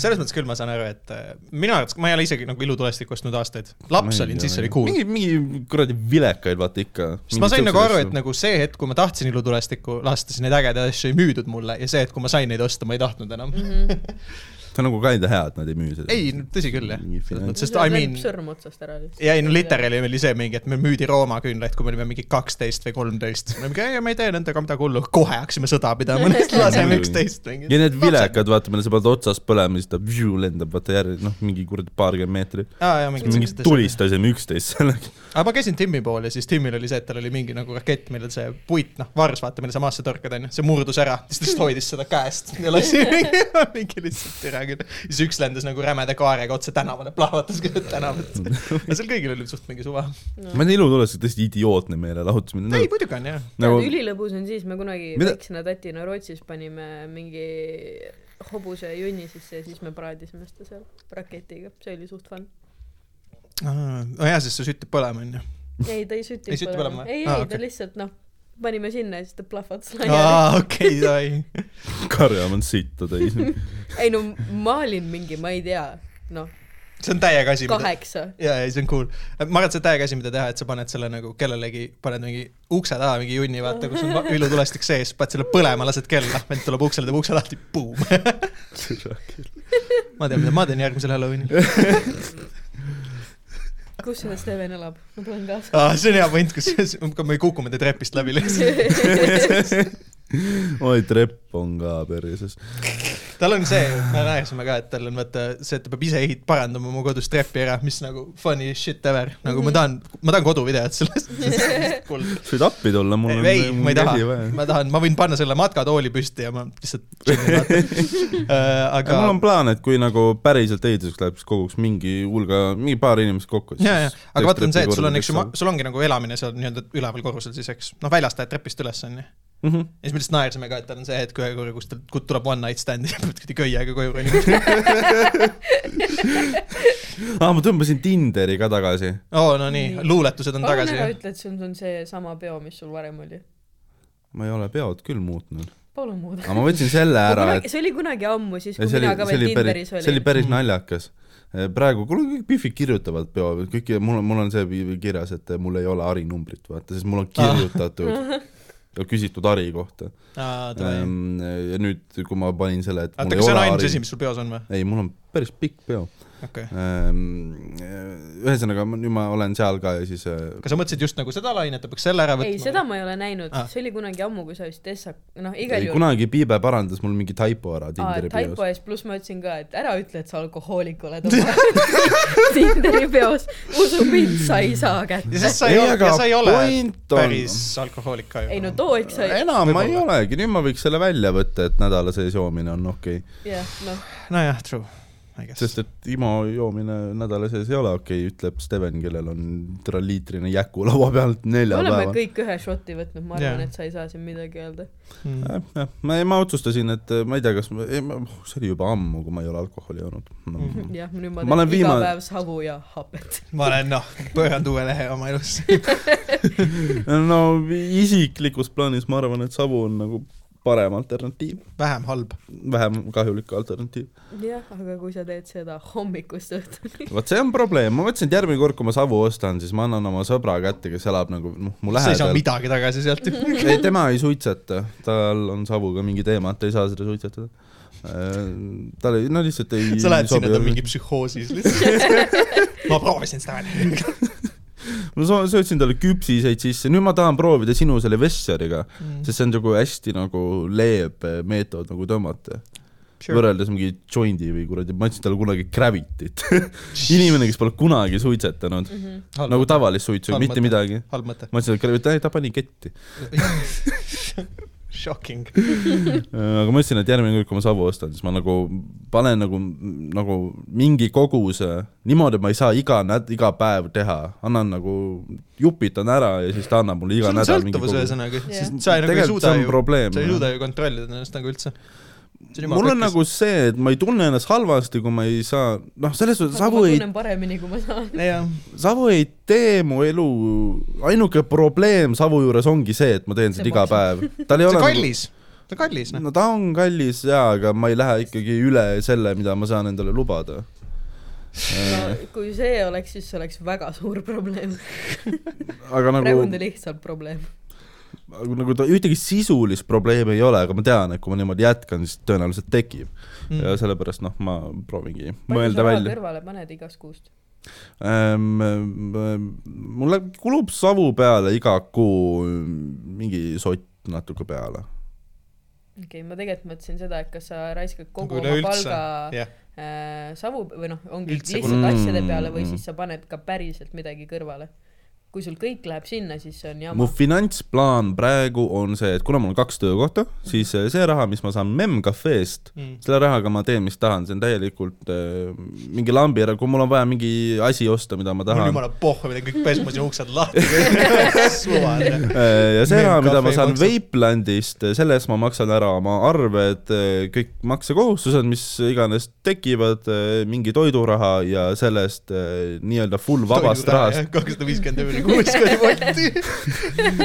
[SPEAKER 1] selles mõttes küll ma saan aru , et äh, minu arvates , ma ei ole isegi nagu ilutulestikku ostnud aastaid . laps olin , siis oli cool .
[SPEAKER 2] mingi , mingi kuradi vilekaid vaata ikka .
[SPEAKER 1] sest ma sain nagu aru , et nagu see hetk , kui ma tahtsin ilutulestikku lasta , siis neid ägedaid asju ei müüdud mulle ja see hetk , kui ma sain neid osta , ma ei tahtnud enam mm .
[SPEAKER 3] Mm-hmm.
[SPEAKER 1] -hmm.
[SPEAKER 2] see on nagu ka enda hea , et nad ei müü seda .
[SPEAKER 1] ei , tõsi küll jah ,
[SPEAKER 2] Mingi
[SPEAKER 1] selles
[SPEAKER 2] finants-
[SPEAKER 1] mõttes , sest I mean ,
[SPEAKER 3] sõrm otsast ära lihtsalt .
[SPEAKER 1] ja ei no literaali oli see mingi , et meil müüdi Rooma küünlaid , kui me olime mingi kaksteist või kolmteist , siis me olime , ei , me ei tee nendega midagi hullu , kohe hakkasime sõda pidama , laseme üksteist mingi .
[SPEAKER 2] ja need vilekad , vaata , mille sa paned otsast põlema , siis ta vžuu lendab vaata järgi , noh , mingi kuradi paarkümmend meetrit .
[SPEAKER 1] aa jaa , mingid
[SPEAKER 2] mingi
[SPEAKER 1] siuksed asjad .
[SPEAKER 2] tulistasime üksteist sellega .
[SPEAKER 1] aga ma käisin Timmi pool ja siis Timmil oli see , et tal oli mingi nagu rakett , millel see puit , noh , vars , vaata , mille sa maasse torkad , onju , see murdus ära , siis ta lihtsalt hoidis seda käest ja lasi mingi, mingi lihtsalt türa küll . siis üks lendas nagu rämeda kaarega otse tänavale , plahvatas keset tänavat . aga seal kõigil oli suht mingi suva .
[SPEAKER 2] ma ei tea , ilutulestus on tõesti idiootne meelelahutusmine
[SPEAKER 1] ei ,
[SPEAKER 2] nagu, .
[SPEAKER 1] muidugi on jah .
[SPEAKER 2] nagu
[SPEAKER 3] nagu... ülilõbus on siis , me kunagi
[SPEAKER 2] Mida-
[SPEAKER 3] Mida? väiksena tatina Rootsis panime mingi hobuse junni sisse ja siis me praadisime seda seal raketiga , see oli suht fun .
[SPEAKER 1] nojah , sest see süttib põlema , onju .
[SPEAKER 3] ei , ta ei süttinud
[SPEAKER 1] Ei süttinud põlema või?
[SPEAKER 3] ei ,
[SPEAKER 1] Aa,
[SPEAKER 3] ei ah, ,
[SPEAKER 1] okei.
[SPEAKER 3] okay. ta lihtsalt noh , panime sinna ja siis ta plahvatas laiali .
[SPEAKER 1] aa , okei , sai .
[SPEAKER 2] karjam on sitta täis .
[SPEAKER 3] ei no ma olin mingi , ma ei tea , noh ,
[SPEAKER 1] see on täiega asi , mida
[SPEAKER 3] kaheksa .
[SPEAKER 1] ja , ja see on cool . ma arvan , et see on täiega asi , mida teha , et sa paned selle nagu kellelegi , paned mingi ukse taha mingi junni , vaata , kus on va- ilutulestik sees , paned selle põlema , lased kella , vend tuleb uksele , teeb ukse lahti , buum . ma tean , mida ma teen järgmisel Halloweenil .
[SPEAKER 3] kus see Steven elab ? ma tulen kaasa .
[SPEAKER 1] aa , see on hea point , kus kui me kukume te trepist läbi lihtsalt .
[SPEAKER 2] oi , trepp on ka perses .
[SPEAKER 1] tal on see , me rääkisime ka , et tal on vaata see , et ta peab ise ehit- , parandama oma kodus trepi ära , mis nagu funny shit ever , nagu ma tahan , ma tahan koduvideot sellest . kuld .
[SPEAKER 2] sa võid appi tulla , mul
[SPEAKER 1] ei ,
[SPEAKER 2] on .
[SPEAKER 1] ei , ma ei taha , ma tahan , ma võin panna selle matkatooli püsti ja ma lihtsalt chillin vaata .
[SPEAKER 2] aga
[SPEAKER 1] aga
[SPEAKER 2] mul on plaan , et kui nagu päriselt ehituseks läheb , siis koguks mingi hulga , mingi paar inimest kokku .
[SPEAKER 1] ja , ja , aga vaata , on see , et sul on , eks ju , sul ongi nagu elamine seal nii-öelda üleval korrusel siis , eks . noh , väljas lähed trepist üles , onju . ja
[SPEAKER 2] mm . -hmm.
[SPEAKER 1] siis me lihtsalt naersime ka , et tal on see hetk ühe korra , kus tal kus tuleb one night stand ja pead kuidagi köiega koju ronima .
[SPEAKER 2] ah, ma tõmbasin Tinderi ka tagasi .
[SPEAKER 1] oo , no nii , luuletused on
[SPEAKER 3] palun
[SPEAKER 1] tagasi
[SPEAKER 3] ära . ütle , et sul on seesama peo , mis sul varem oli .
[SPEAKER 2] ma ei ole peod küll muutnud ,
[SPEAKER 3] palun muuda .
[SPEAKER 2] aga ma võtsin selle ära , et .
[SPEAKER 3] see oli kunagi ammu , siis kui
[SPEAKER 2] see
[SPEAKER 3] mina ka
[SPEAKER 2] oli , see
[SPEAKER 3] veel
[SPEAKER 2] oli päris ,
[SPEAKER 3] Tinderis
[SPEAKER 2] see oli
[SPEAKER 3] olin . Mhm.
[SPEAKER 2] päris naljakas . praegu , kuule kõik Bifid kirjutavad peo , kõik , mul on , mul on see pi- kirjas , et eh, mul ei ole harinumbrit , vaata , sest mul
[SPEAKER 3] Ah.
[SPEAKER 2] on kirjutatud ja küsitud hari kohta .
[SPEAKER 1] aa , davai .
[SPEAKER 2] ja nüüd , kui ma panin selle , et
[SPEAKER 1] oota ,
[SPEAKER 2] mul ei
[SPEAKER 1] kas see on
[SPEAKER 2] ole
[SPEAKER 1] ainult
[SPEAKER 2] hari
[SPEAKER 1] asi ,, mis sul peos on või ?
[SPEAKER 2] ei , mul on päris pikk peo
[SPEAKER 1] okei .
[SPEAKER 2] Ähm, ühesõnaga , nüüd ma olen seal ka ja siis äh,
[SPEAKER 1] kas sa mõtlesid just nagu seda lainet , et peaks selle ära võtma ?
[SPEAKER 3] ei , seda ma ei ole näinud
[SPEAKER 1] Ah.
[SPEAKER 3] ah. , see oli kunagi ammu , kui sa vist Essa , noh , igal
[SPEAKER 2] ei,
[SPEAKER 3] juhul .
[SPEAKER 2] kunagi Piibe parandas mul mingi taipo ära
[SPEAKER 3] aa ,
[SPEAKER 2] Tinderi
[SPEAKER 3] taipo
[SPEAKER 2] peos .
[SPEAKER 3] ees , pluss ma ütlesin ka , et ära ütle , et sa alkohoolik oled oma Tinderi peos . usu mind , sa ei saa
[SPEAKER 1] ja
[SPEAKER 3] kätte .
[SPEAKER 1] sest sa ei
[SPEAKER 2] Ei,
[SPEAKER 1] ole ,
[SPEAKER 2] aga
[SPEAKER 1] ja sa ei ole
[SPEAKER 2] point on-
[SPEAKER 1] päris alkohoolik ka ju .
[SPEAKER 3] ei no too eks sa ,
[SPEAKER 2] enam ma ei
[SPEAKER 1] Võib-olla.
[SPEAKER 2] olegi , nüüd ma võiks selle välja võtta , et nädala sees joomine on okei okay. .
[SPEAKER 3] jah , noh ,
[SPEAKER 1] nojah , true . I guess
[SPEAKER 2] sest . et Imo joomine nädala sees ei ole okei okay, , ütleb Steven , kellel on tralliitrine jäku laua peal
[SPEAKER 3] me
[SPEAKER 2] nelja
[SPEAKER 3] oleme
[SPEAKER 2] päeva .
[SPEAKER 3] kõik ühe šoti võtnud , ma arvan
[SPEAKER 1] Jaa.
[SPEAKER 3] yeah. , et sa ei saa siin midagi öelda .
[SPEAKER 1] Mm.
[SPEAKER 2] jah , ma , ma otsustasin , et eh, ma ei tea , kas , see oli juba ammu , kui ma ei ole alkoholi joonud no, .
[SPEAKER 1] Mhm.
[SPEAKER 3] jah , nüüd ma
[SPEAKER 2] Ma olen
[SPEAKER 3] teen iga
[SPEAKER 2] viimane-
[SPEAKER 3] päev savu ja hapet .
[SPEAKER 1] ma olen noh , pööranud uue lehe oma elus .
[SPEAKER 2] no isiklikus plaanis ma arvan , et savu on nagu parem alternatiiv ,
[SPEAKER 1] vähem halb .
[SPEAKER 2] vähem kahjulik alternatiiv .
[SPEAKER 3] jah , aga kui sa teed seda hommikust õhtuni .
[SPEAKER 2] vot see on probleem , ma mõtlesin , et järgmine kord , kui ma savu ostan , siis ma annan oma sõbra kätte , kes elab nagu noh , mu
[SPEAKER 1] sa ei saa
[SPEAKER 2] lähedal .
[SPEAKER 1] midagi tagasi sealt
[SPEAKER 3] Mhm.
[SPEAKER 1] ju .
[SPEAKER 2] ei , tema ei suitseta , tal on savuga mingi teema , et ta ei saa seda suitsetada . tal ei , no lihtsalt ei .
[SPEAKER 1] sa lähed sinna , ta on mingi . psühhoosis lihtsalt . ma proovisin seda välja .
[SPEAKER 2] ma so- söötsin talle küpsiseid sisse , nüüd ma tahan proovida sinu selle Vesseriga , sest see on nagu hästi nagu leebe meetod nagu tõmmata sure. . võrreldes mingi jondi või kuradi , ma andsin talle kunagi Gravityt . inimene , kes pole kunagi suitsetanud mm , -hmm. nagu tavalist suitsu ,
[SPEAKER 1] Mhm. Halb
[SPEAKER 2] mitte
[SPEAKER 1] mõte.
[SPEAKER 2] midagi .
[SPEAKER 1] halb mõte .
[SPEAKER 2] ma ütlesin , et Gravity , ei ta pani ketti .
[SPEAKER 1] Shocking .
[SPEAKER 2] Äh, aga ma ütlesin , et järgmine kord , kui ma savu ostan , siis ma nagu panen nagu , nagu mingi koguse , niimoodi ma ei saa iga näd- , iga päev teha , annan nagu , jupitan ära ja siis ta annab mulle iga
[SPEAKER 1] sul on
[SPEAKER 2] nädal mingi
[SPEAKER 1] sõltuvus
[SPEAKER 2] koguse .
[SPEAKER 1] ühesõnaga ,
[SPEAKER 3] Jah.
[SPEAKER 1] sest sa ei nagu ei suuda
[SPEAKER 2] see on
[SPEAKER 1] ju ,
[SPEAKER 2] probleem
[SPEAKER 1] sa ei . suuda ju kontrollida ennast nagu üldse .
[SPEAKER 2] mul on . nagu see , et ma ei tunne ennast halvasti , kui ma ei saa , noh , selles suhtes
[SPEAKER 3] ma
[SPEAKER 2] savu ei ,
[SPEAKER 3] tunnen paremini , kui ma saan .
[SPEAKER 1] jah ,
[SPEAKER 2] savu ei tee mu elu , ainuke probleem savu juures ongi see , et ma teen
[SPEAKER 3] See
[SPEAKER 2] seda iga päev . tal
[SPEAKER 1] see
[SPEAKER 2] ei ole
[SPEAKER 1] on
[SPEAKER 2] nagu
[SPEAKER 1] kallis , ta on kallis noh .
[SPEAKER 2] no ta on kallis jaa , aga ma ei lähe ikkagi üle selle , mida ma saan endale lubada . Äh,
[SPEAKER 3] no kui see oleks , siis see oleks väga suur probleem nagu... .
[SPEAKER 2] aga
[SPEAKER 3] praegu on ta
[SPEAKER 2] nagu ,
[SPEAKER 3] lihtsalt probleem .
[SPEAKER 2] nagu ta ühtegi sisulist probleemi ei ole , aga ma tean , et kui ma niimoodi jätkan , siis tõenäoliselt tekib mm. . ja sellepärast noh , ma proovingi mõelda välja .
[SPEAKER 3] kõrvale paned igast kuust .
[SPEAKER 2] Ähm, ähm, mulle kulub savu peale iga kuu mingi sott natuke peale .
[SPEAKER 3] okei okay, , ma tegelikult mõtlesin seda , et kas sa raiskad
[SPEAKER 1] Nagu
[SPEAKER 3] kogu nagu oma
[SPEAKER 1] üleüldse.
[SPEAKER 3] palga
[SPEAKER 1] jah ,
[SPEAKER 3] äh, savu või noh , ongi
[SPEAKER 1] Üldse
[SPEAKER 3] Üldse
[SPEAKER 2] kulu-
[SPEAKER 3] lihtsalt asjade peale või
[SPEAKER 2] Mm.
[SPEAKER 3] siis sa paned ka päriselt midagi kõrvale . kui sul kõik läheb sinna , siis see on jama
[SPEAKER 2] mu . finantsplaan praegu on see , et kuna mul on kaks töökohta , siis äh, see raha , mis ma saan Mem Cafe'st , selle rahaga ma teen , mis tahan , see on täielikult äh, mingi lambi ära , kui mul on vaja mingi asi osta , mida ma
[SPEAKER 1] mul on
[SPEAKER 2] tahan .
[SPEAKER 1] jumala pohhu , mida kõik pesmasin uksed lahti . suvaline .
[SPEAKER 2] äh, ja see
[SPEAKER 1] Meil
[SPEAKER 2] raha , mida ma
[SPEAKER 1] kahve ei
[SPEAKER 2] saan
[SPEAKER 1] maksa.
[SPEAKER 2] Vapelandist , selle eest ma maksan ära oma arved , kõik maksekohustused , mis iganes tekivad , mingi toiduraha ja sellest äh, nii-öelda full vabast rahast ,
[SPEAKER 1] kakssada viiskümmend euri kuus , kui oli Bolti .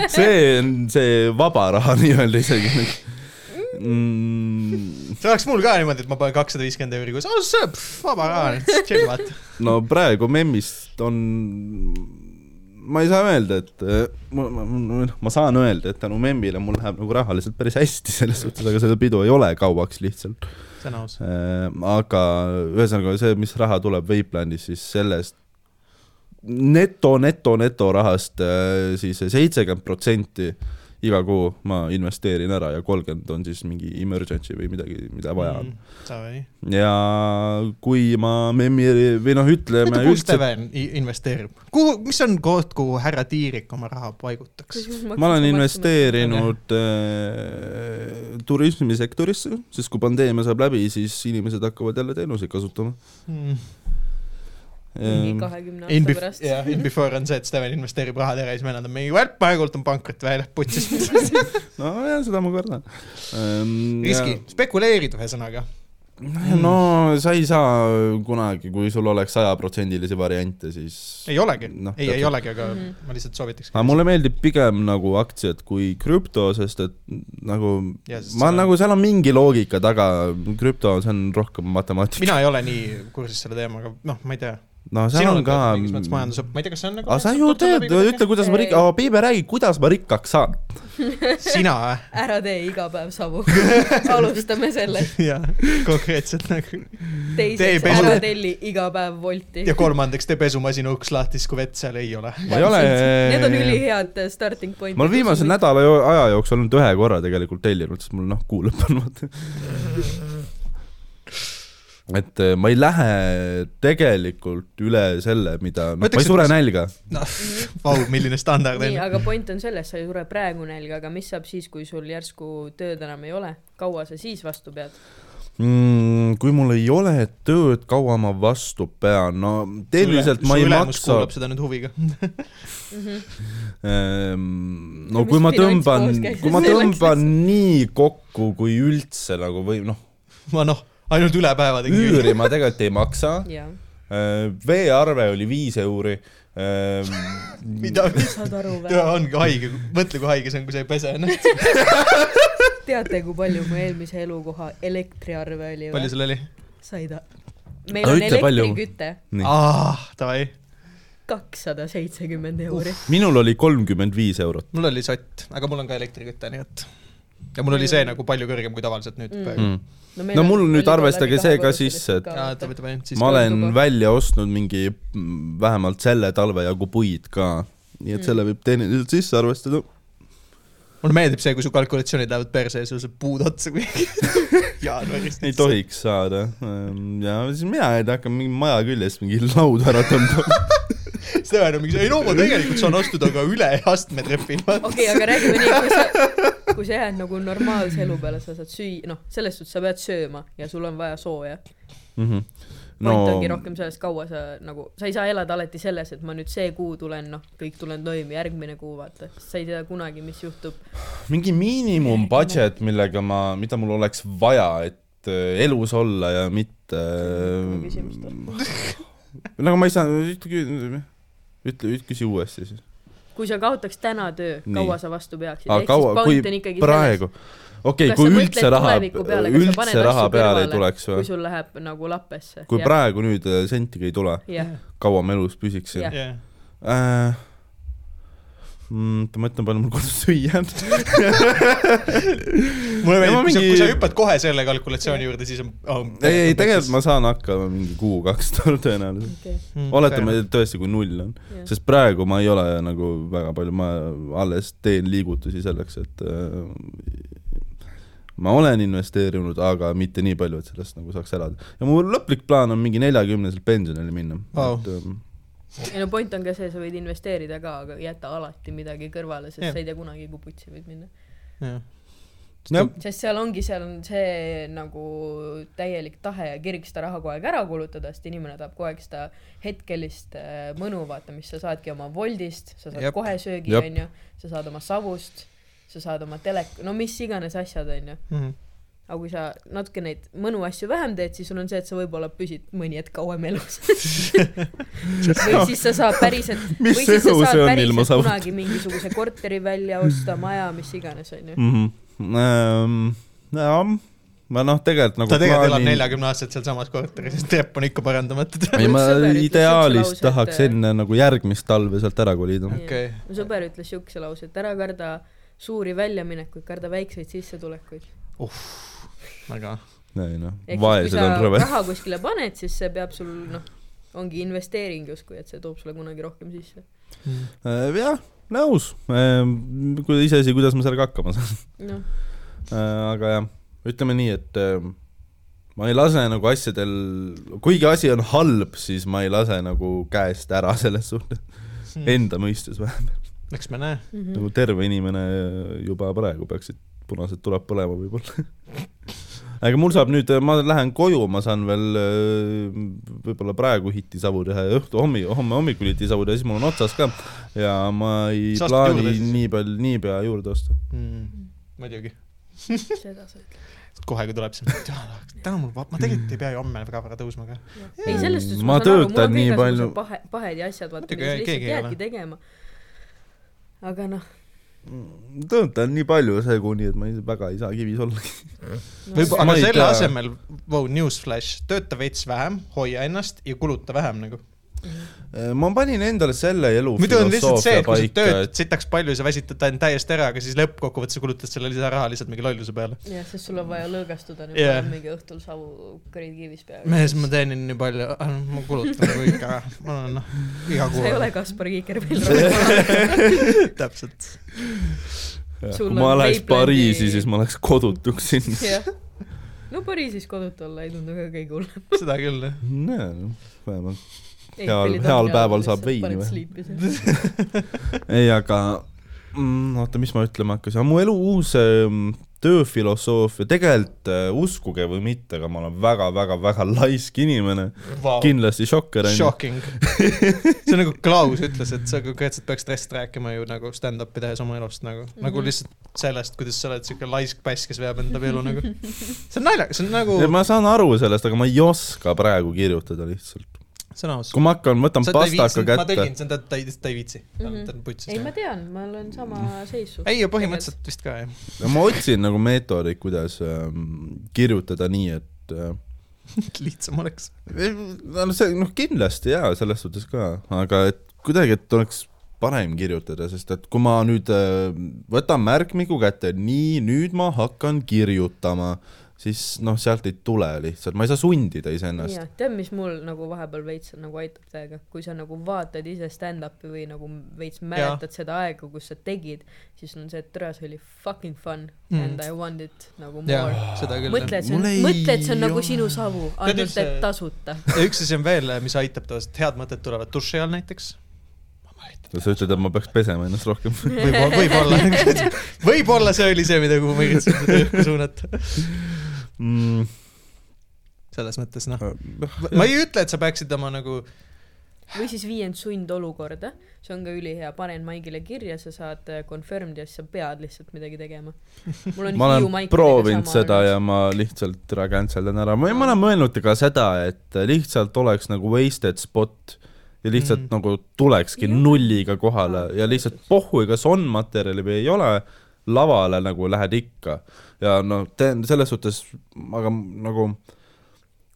[SPEAKER 2] see on see vaba raha nii-öelda isegi mm, .
[SPEAKER 1] see oleks mul ka niimoodi , et ma panen kakssada viiskümmend euri kuus , oh see , vaba raha , chill vaata .
[SPEAKER 2] no praegu memmist on , ma ei saa öelda , et äh, ma, ma- ma , ma saan öelda , et tänu memmile mul läheb nagu rahaliselt päris hästi selles suhtes , aga seda pidu ei ole kauaks lihtsalt .
[SPEAKER 1] see on aus .
[SPEAKER 2] aga ühesõnaga see , mis raha tuleb Vapelandis , siis sellest neto , neto , neto rahast äh, siis seitsekümmend protsenti iga kuu ma investeerin ära ja kolmkümmend on siis mingi emergency või midagi , mida vaja
[SPEAKER 1] Mm.
[SPEAKER 2] on .
[SPEAKER 1] Davai .
[SPEAKER 2] ja kui ma memmi või noh , ütleme
[SPEAKER 1] ütle , kus
[SPEAKER 2] üldse
[SPEAKER 1] Steven i- investeerib , kuhu , mis on koht , kuhu härra Tiirik oma raha paigutaks ?
[SPEAKER 2] ma olen . investeerinud äh, turismisektorisse , sest kui pandeemia saab läbi , siis inimesed hakkavad jälle teenuseid kasutama .
[SPEAKER 1] Mm.
[SPEAKER 2] Ehm,
[SPEAKER 3] mingi
[SPEAKER 2] ähm,
[SPEAKER 3] kahekümne
[SPEAKER 1] In
[SPEAKER 3] aasta
[SPEAKER 1] bef- ,
[SPEAKER 3] pärast .
[SPEAKER 1] jah , in before on see , et Steven investeerib rahad ära ja siis me anname mingi , praegult on pankrot välja , putsis .
[SPEAKER 2] nojah , seda ma kardan ähm, .
[SPEAKER 1] riski , spekuleerid ühesõnaga .
[SPEAKER 2] no sa ei saa kunagi , kui sul oleks sajaprotsendilisi variante , siis .
[SPEAKER 1] ei olegi
[SPEAKER 2] Noh, ,
[SPEAKER 1] ei , ei
[SPEAKER 2] täpselt.
[SPEAKER 1] olegi , aga
[SPEAKER 3] Mhm.
[SPEAKER 1] ma lihtsalt soovitaks .
[SPEAKER 2] aga mulle meeldib pigem nagu aktsiad kui krüpto , sest et nagu
[SPEAKER 1] Jaa, sest seal
[SPEAKER 2] ma
[SPEAKER 1] on-
[SPEAKER 2] nagu , seal on mingi loogika taga , krüpto , see on rohkem matemaatika .
[SPEAKER 1] mina ei ole nii kursis selle teemaga , noh , ma ei tea .
[SPEAKER 2] no seal on ka .
[SPEAKER 1] mingis mõttes majanduse , ma ei tea , kas see on nagu .
[SPEAKER 2] aga sa ju tead , ütle , kuidas ma rik- , aga Piibe räägi , kuidas ma rikkaks saan .
[SPEAKER 1] sina äh? või ?
[SPEAKER 3] ära tee iga päev savu . alustame sellest .
[SPEAKER 1] jah , konkreetselt nagu . Tee
[SPEAKER 3] teiseks ,
[SPEAKER 1] pesu-
[SPEAKER 3] ära telli iga päev Wolti .
[SPEAKER 1] ja kolmandaks , tee pesumasina uks lahti , siis kui vett seal ei ole .
[SPEAKER 2] ma ei ole .
[SPEAKER 3] Need on ülihead starting point'id .
[SPEAKER 2] ma olen viimase . nädala jo- aja jooksul olnud ühe korra tegelikult tellinud , sest mul noh , kuu lõpp on vaata . et eh, ma ei lähe tegelikult üle selle , mida ,
[SPEAKER 1] Ma
[SPEAKER 2] ma
[SPEAKER 1] ütleks,
[SPEAKER 2] ei sure
[SPEAKER 1] et-
[SPEAKER 2] nälga .
[SPEAKER 1] noh , vau , milline standard on
[SPEAKER 3] Mhm. nii ,
[SPEAKER 1] ju .
[SPEAKER 3] aga point on selles , sa ei sure praegu nälga , aga mis saab siis , kui sul järsku tööd enam ei ole , kaua sa siis vastu pead ?
[SPEAKER 2] mm, . kui mul ei ole tööd , kaua ma vastu pean , no tehniliselt ma ei maksa .
[SPEAKER 1] kuulab seda nüüd huviga .
[SPEAKER 2] no
[SPEAKER 3] Ja
[SPEAKER 2] kui
[SPEAKER 3] mis
[SPEAKER 2] ma
[SPEAKER 3] finants
[SPEAKER 2] tõmban
[SPEAKER 3] koos käis? ,
[SPEAKER 2] kui ma
[SPEAKER 3] Selleks
[SPEAKER 2] tõmban nii kokku kui üldse nagu või noh ,
[SPEAKER 1] ma noh , ainult üle päeva tegin .
[SPEAKER 2] üüri ma tegelikult ei maksa .
[SPEAKER 3] jaa .
[SPEAKER 2] Äh, veearve oli viis euri . Ähm,
[SPEAKER 1] mida ,
[SPEAKER 3] saad aru või ?
[SPEAKER 1] ongi haige , mõtle , kui haige see on , kui sa ei pese noh. ennast .
[SPEAKER 3] teate , kui palju mu eelmise elukoha elektriarve oli
[SPEAKER 1] palju
[SPEAKER 3] või ?
[SPEAKER 1] sul oli ?
[SPEAKER 3] sai ta . meil
[SPEAKER 2] Aga
[SPEAKER 3] on
[SPEAKER 2] ütle, palju-
[SPEAKER 3] elektriküte
[SPEAKER 1] ah , davai ,
[SPEAKER 3] kakssada seitsekümmend euri .
[SPEAKER 2] minul oli kolmkümmend viis eurot .
[SPEAKER 1] mul oli sott , aga mul on ka elektriküte , nii et . ja mul oli see nagu palju kõrgem kui tavaliselt nüüd
[SPEAKER 3] Mm.
[SPEAKER 1] praegu .
[SPEAKER 2] ma No mul nüüd arvestage see ka sisse, et-
[SPEAKER 1] aa , davai , davai , siis .
[SPEAKER 2] olen
[SPEAKER 3] tuba.
[SPEAKER 2] välja ostnud mingi mm, vähemalt selle talve jagu puid ka , nii et selle võib tehniliselt sisse arvestada .
[SPEAKER 1] mulle meeldib see , kui su kalkulatsioonid lähevad perse ja sul saab puud otsa kuidagi jaanuarist .
[SPEAKER 2] ei . tohiks saada . ja siis mina ei hakka mingi maja küljest mingi lauda ära tõmbama .
[SPEAKER 1] Steven on mingi , ei no ma tegelikult saan astuda ka üle astmetrepil .
[SPEAKER 3] okei , aga räägime nii , kui sa , kui sa jääd nagu normaalse elu peale , sa saad süüa , noh , selles suhtes sa pead sööma ja sul on vaja sooja .
[SPEAKER 2] Mhm.
[SPEAKER 3] no point ongi rohkem selles , kaua sa nagu , sa ei saa elada alati selles , et ma nüüd see kuu tulen , noh , kõik tulen toime , järgmine kuu vaata , sa ei tea kunagi , mis juhtub .
[SPEAKER 2] mingi miinimum budget , millega ma , mida mul oleks vaja , et äh, elus olla ja mitte . no aga ma ei saa , ütle , ütle , küsi uuesti siis .
[SPEAKER 3] kui sa kaotaks täna töö ,
[SPEAKER 2] Nii.
[SPEAKER 3] kaua sa vastu peaksid ?
[SPEAKER 2] aga kaua , kui praegu ? okei ,
[SPEAKER 3] Kas sa
[SPEAKER 2] kui
[SPEAKER 3] mõtled
[SPEAKER 2] üldse raha ,
[SPEAKER 3] tuleviku peale, kas sa paned
[SPEAKER 2] üldse
[SPEAKER 3] asju
[SPEAKER 2] raha peale ei
[SPEAKER 3] kõrvale,
[SPEAKER 2] tuleks
[SPEAKER 3] kui
[SPEAKER 2] või ?
[SPEAKER 3] sul läheb nagu lappesse .
[SPEAKER 2] kui . praegu nüüd äh, sentigi ei tule ,
[SPEAKER 3] jah ,
[SPEAKER 2] kaua ma elus püsiksin
[SPEAKER 3] Jah. ?
[SPEAKER 1] see
[SPEAKER 2] äh, mm, ma mõtlen , palju mul kodus süüa on .
[SPEAKER 1] mulle
[SPEAKER 2] Ja ma
[SPEAKER 1] meeldib , kui sa ,
[SPEAKER 2] mingi-
[SPEAKER 1] kui sa hüppad kohe selle kalkulatsiooni juurde , siis on oh,
[SPEAKER 2] ei , ei tegelikult ma saan hakkama mingi kuu-kaks tõenäoliselt .
[SPEAKER 3] okei ,
[SPEAKER 1] Mm,
[SPEAKER 2] oletame et tõesti , kui null on ,
[SPEAKER 3] Mm, jah .
[SPEAKER 2] sest praegu ma ei ole nagu väga palju , ma alles teen liigutusi selleks , et äh, ma olen investeerinud , aga mitte nii palju , et sellest nagu saaks elada . ja mu lõplik plaan on mingi neljakümneselt pensionile minna
[SPEAKER 1] Vau.
[SPEAKER 2] et, ähm,
[SPEAKER 3] ei no point on ka see , sa võid investeerida ka , aga jäta alati midagi kõrvale , sest
[SPEAKER 1] Jah.
[SPEAKER 3] sa ei tea kunagi , kuhu putsi võid minna .
[SPEAKER 2] jah ,
[SPEAKER 3] sest seal ongi , seal on see nagu täielik tahe ja kirg seda raha kogu aeg ära kulutada , sest inimene tahab kogu aeg seda hetkelist äh, mõnu , vaata , mis sa saadki oma Woldist , sa saad
[SPEAKER 1] Jep.
[SPEAKER 3] Jep. kohe söögi ,
[SPEAKER 2] Jep.
[SPEAKER 3] onju , sa saad oma savust , sa saad oma telek- , no mis iganes asjad , onju .
[SPEAKER 1] Mhm.
[SPEAKER 3] aga kui sa natuke neid mõnu asju vähem teed , siis sul on see , et sa võib-olla püsid mõni hetk kauem elus . või siis sa saad päriselt , või
[SPEAKER 2] Mis
[SPEAKER 3] siis sa
[SPEAKER 2] elu see
[SPEAKER 3] saad
[SPEAKER 2] on ilma
[SPEAKER 3] päriselt
[SPEAKER 2] savuta?
[SPEAKER 3] kunagi mingisuguse korteri välja osta , maja , mis iganes ,
[SPEAKER 2] Mm.
[SPEAKER 3] onju .
[SPEAKER 2] mhm . jah , ma noh , tegelikult nagu
[SPEAKER 1] ta tegelikult elab
[SPEAKER 2] plaanin-
[SPEAKER 1] neljakümne aastaselt sealsamas korteris , trepp on ikka parandamata .
[SPEAKER 2] ei , ma
[SPEAKER 3] Mul sõber ütles
[SPEAKER 2] ideaalis
[SPEAKER 3] üks lause, et-
[SPEAKER 2] tahaks enne nagu järgmist talve sealt ära kolida .
[SPEAKER 1] okei ,
[SPEAKER 3] mu sõber ütles siukse lause , et ära karda suuri väljaminekuid , karda väikseid sissetulekuid .
[SPEAKER 1] väga .
[SPEAKER 2] ei noh ,
[SPEAKER 3] ehk siis , kui
[SPEAKER 2] vaesed on
[SPEAKER 3] sa
[SPEAKER 2] rõvedad .
[SPEAKER 3] raha kuskile paned , siis see peab sul noh , ongi investeering justkui , et see toob sulle kunagi rohkem sisse .
[SPEAKER 1] Mm.
[SPEAKER 2] Äh, jah , nõus . kui iseasi , kuidas ma sellega hakkama saan .
[SPEAKER 3] noh ,
[SPEAKER 2] aga jah , ütleme nii , et äh, ma ei lase nagu asjadel , kuigi asi on halb , siis ma ei lase nagu käest ära selles suhtes .
[SPEAKER 1] Mm.
[SPEAKER 2] Enda mõistes vähemalt .
[SPEAKER 1] eks me näe .
[SPEAKER 3] Mhm.
[SPEAKER 2] nagu terve inimene juba praegu peaksid punased tuled põlema võib-olla . aga mul saab nüüd , ma lähen koju , ma saan veel äh, võib-olla praegu hitisavu teha ja õhtu , hommi , homme hommikul hitisavu teha , siis mul on otsas ka . ja ma ei
[SPEAKER 1] Sa ostad juurde
[SPEAKER 2] plaani
[SPEAKER 1] siis?
[SPEAKER 2] nii palju , niipea juurde osta .
[SPEAKER 1] Mm. muidugi ,
[SPEAKER 3] seda sa ütled .
[SPEAKER 1] kohe kui tuleb see , täna mul , ma tegelikult ei pea ju homme väga vara tõusma ka .
[SPEAKER 3] ei , selles suhtes
[SPEAKER 2] Ma
[SPEAKER 3] saan aru, mul
[SPEAKER 2] töötan
[SPEAKER 3] on ka
[SPEAKER 2] nii
[SPEAKER 3] igasugused
[SPEAKER 2] palju-
[SPEAKER 3] pahe , pahed ja asjad , vaata ,
[SPEAKER 1] Muidugi,
[SPEAKER 3] mida sa
[SPEAKER 1] ei,
[SPEAKER 3] lihtsalt
[SPEAKER 1] keegi ei
[SPEAKER 3] jäädki tegema . aga noh ,
[SPEAKER 2] tõotan nii palju segu , nii et ma ei- väga ei saa kivis olla .
[SPEAKER 1] võib ,
[SPEAKER 2] Ma
[SPEAKER 1] aga
[SPEAKER 2] ei
[SPEAKER 1] selle
[SPEAKER 2] tea.
[SPEAKER 1] asemel , vau , newsflash , tööta veits vähem , hoia ennast ja kuluta vähem nagu .
[SPEAKER 2] Äh, ma panin endale selle elu
[SPEAKER 1] muidu on lihtsalt see , et kui sa
[SPEAKER 2] paika ,
[SPEAKER 1] töötad sitaks palju , sa väsitad end täiesti ära , aga siis lõppkokkuvõttes sa kulutad selle lisaraha lihtsalt mingi lolluse peale .
[SPEAKER 3] jah , sest sul on vaja lõõgastuda nüüd
[SPEAKER 1] Jah.
[SPEAKER 3] yeah. mingi õhtul savu kuradi kivis peal .
[SPEAKER 1] mees , ma teenin nii palju , ma kulutan nagu ikka ära , ma olen noh , iga
[SPEAKER 3] sa ei
[SPEAKER 1] kuu .
[SPEAKER 3] ole Kaspar Kiiker veel rohkem .
[SPEAKER 1] täpselt .
[SPEAKER 2] et
[SPEAKER 3] sul
[SPEAKER 2] kui ma
[SPEAKER 3] on
[SPEAKER 2] läheks
[SPEAKER 3] Vaplandi-
[SPEAKER 2] Pariisi , siis ma läheks kodutuks sinna .
[SPEAKER 3] jah . no Pariisis kodutu olla ei tundu ka kõige hullem .
[SPEAKER 1] seda küll , jah .
[SPEAKER 2] noh, vähemalt Heal- heal päeval saab veini või?
[SPEAKER 3] või ?
[SPEAKER 2] ei , aga mm, oota , mis ma ütlema hakkasin , mu elu uus ähm, tööfilosoofia , tegelikult äh, uskuge või mitte , aga ma olen väga-väga-väga laisk inimene ,
[SPEAKER 1] wow. .
[SPEAKER 2] kindlasti šokker on ju .
[SPEAKER 1] Shocking . see on nagu Klaus ütles , et sa konkreetselt peaksid hästi rääkima ju nagu stand-up'i tehes oma elust nagu mm , -hmm.
[SPEAKER 3] Mhm.
[SPEAKER 1] nagu lihtsalt sellest , kuidas sa oled siuke laisk päss , kes veab enda elu nagu . see on naljakas , see on nagu
[SPEAKER 2] ma saan aru sellest , aga ma ei oska praegu kirjutada lihtsalt .
[SPEAKER 1] sõnaus .
[SPEAKER 2] kui ma hakkan , võtan pastaka
[SPEAKER 1] ma
[SPEAKER 2] kätte
[SPEAKER 1] tõlgin , see on ta , ta ei , ta ei viitsi . ta on , ta on putsis
[SPEAKER 3] Mhm. ei , ma . tean , ma olen
[SPEAKER 2] Mm.
[SPEAKER 3] sama seis suht- .
[SPEAKER 1] ei , põhimõtteliselt vist ka jah .
[SPEAKER 2] ja ma otsin nagu meetodeid , kuidas ähm, kirjutada nii , et äh,
[SPEAKER 1] lihtsam oleks .
[SPEAKER 2] no see noh , kindlasti jaa , selles suhtes ka , aga et kuidagi , et oleks parem kirjutada , sest et kui ma nüüd äh, võtan märkmiku kätte , nii , nüüd ma hakkan kirjutama , siis noh , sealt ei tule lihtsalt , ma ei saa sundida iseennast .
[SPEAKER 3] jaa , tead , mis mul nagu vahepeal veits nagu aitab täiega , kui sa nagu vaatad ise stand-up'i või nagu veits mäletad seda aega , kus sa tegid , siis on see , et tere , see oli fucking fun
[SPEAKER 1] Mm.
[SPEAKER 3] mm. and I want it nagu
[SPEAKER 1] jaa
[SPEAKER 3] more .,
[SPEAKER 1] seda küll .
[SPEAKER 3] mõtle , et see on
[SPEAKER 2] Mul ei ,
[SPEAKER 3] mõtle , et see on nagu
[SPEAKER 2] ole.
[SPEAKER 3] sinu savu ,
[SPEAKER 1] Tead,
[SPEAKER 3] ainult
[SPEAKER 1] üldse-
[SPEAKER 3] et tasuta .
[SPEAKER 1] ja üks asi on veel , mis aitab tavaliselt , head mõtted tulevad duši all näiteks .
[SPEAKER 2] sa ütled , et ma peaks pesema ennast rohkem .
[SPEAKER 1] võib-olla , võib-olla , võib-olla see oli see , mida , kuhu ma üritasin seda õhku suunata .
[SPEAKER 2] Mm,
[SPEAKER 1] selles mõttes noh ,
[SPEAKER 2] noh,
[SPEAKER 1] ma ei ütle , et sa peaksid oma nagu ,
[SPEAKER 3] või siis viiend sundolukorda , see on ka ülihea , panen Maigile kirja , sa saad äh, confirmed ja siis sa pead lihtsalt midagi tegema .
[SPEAKER 2] ma olen proovinud seda ja ma lihtsalt ära cancel dan ära , ma ma olen mõelnud ka seda , et lihtsalt oleks nagu wasted spot ja lihtsalt
[SPEAKER 1] Mm.
[SPEAKER 2] mm. nagu tulekski
[SPEAKER 3] Jah.
[SPEAKER 2] nulliga kohale ja lihtsalt pohhu , kas on materjali või ei ole , lavale nagu lähed ikka ja noh , teen selles suhtes , aga nagu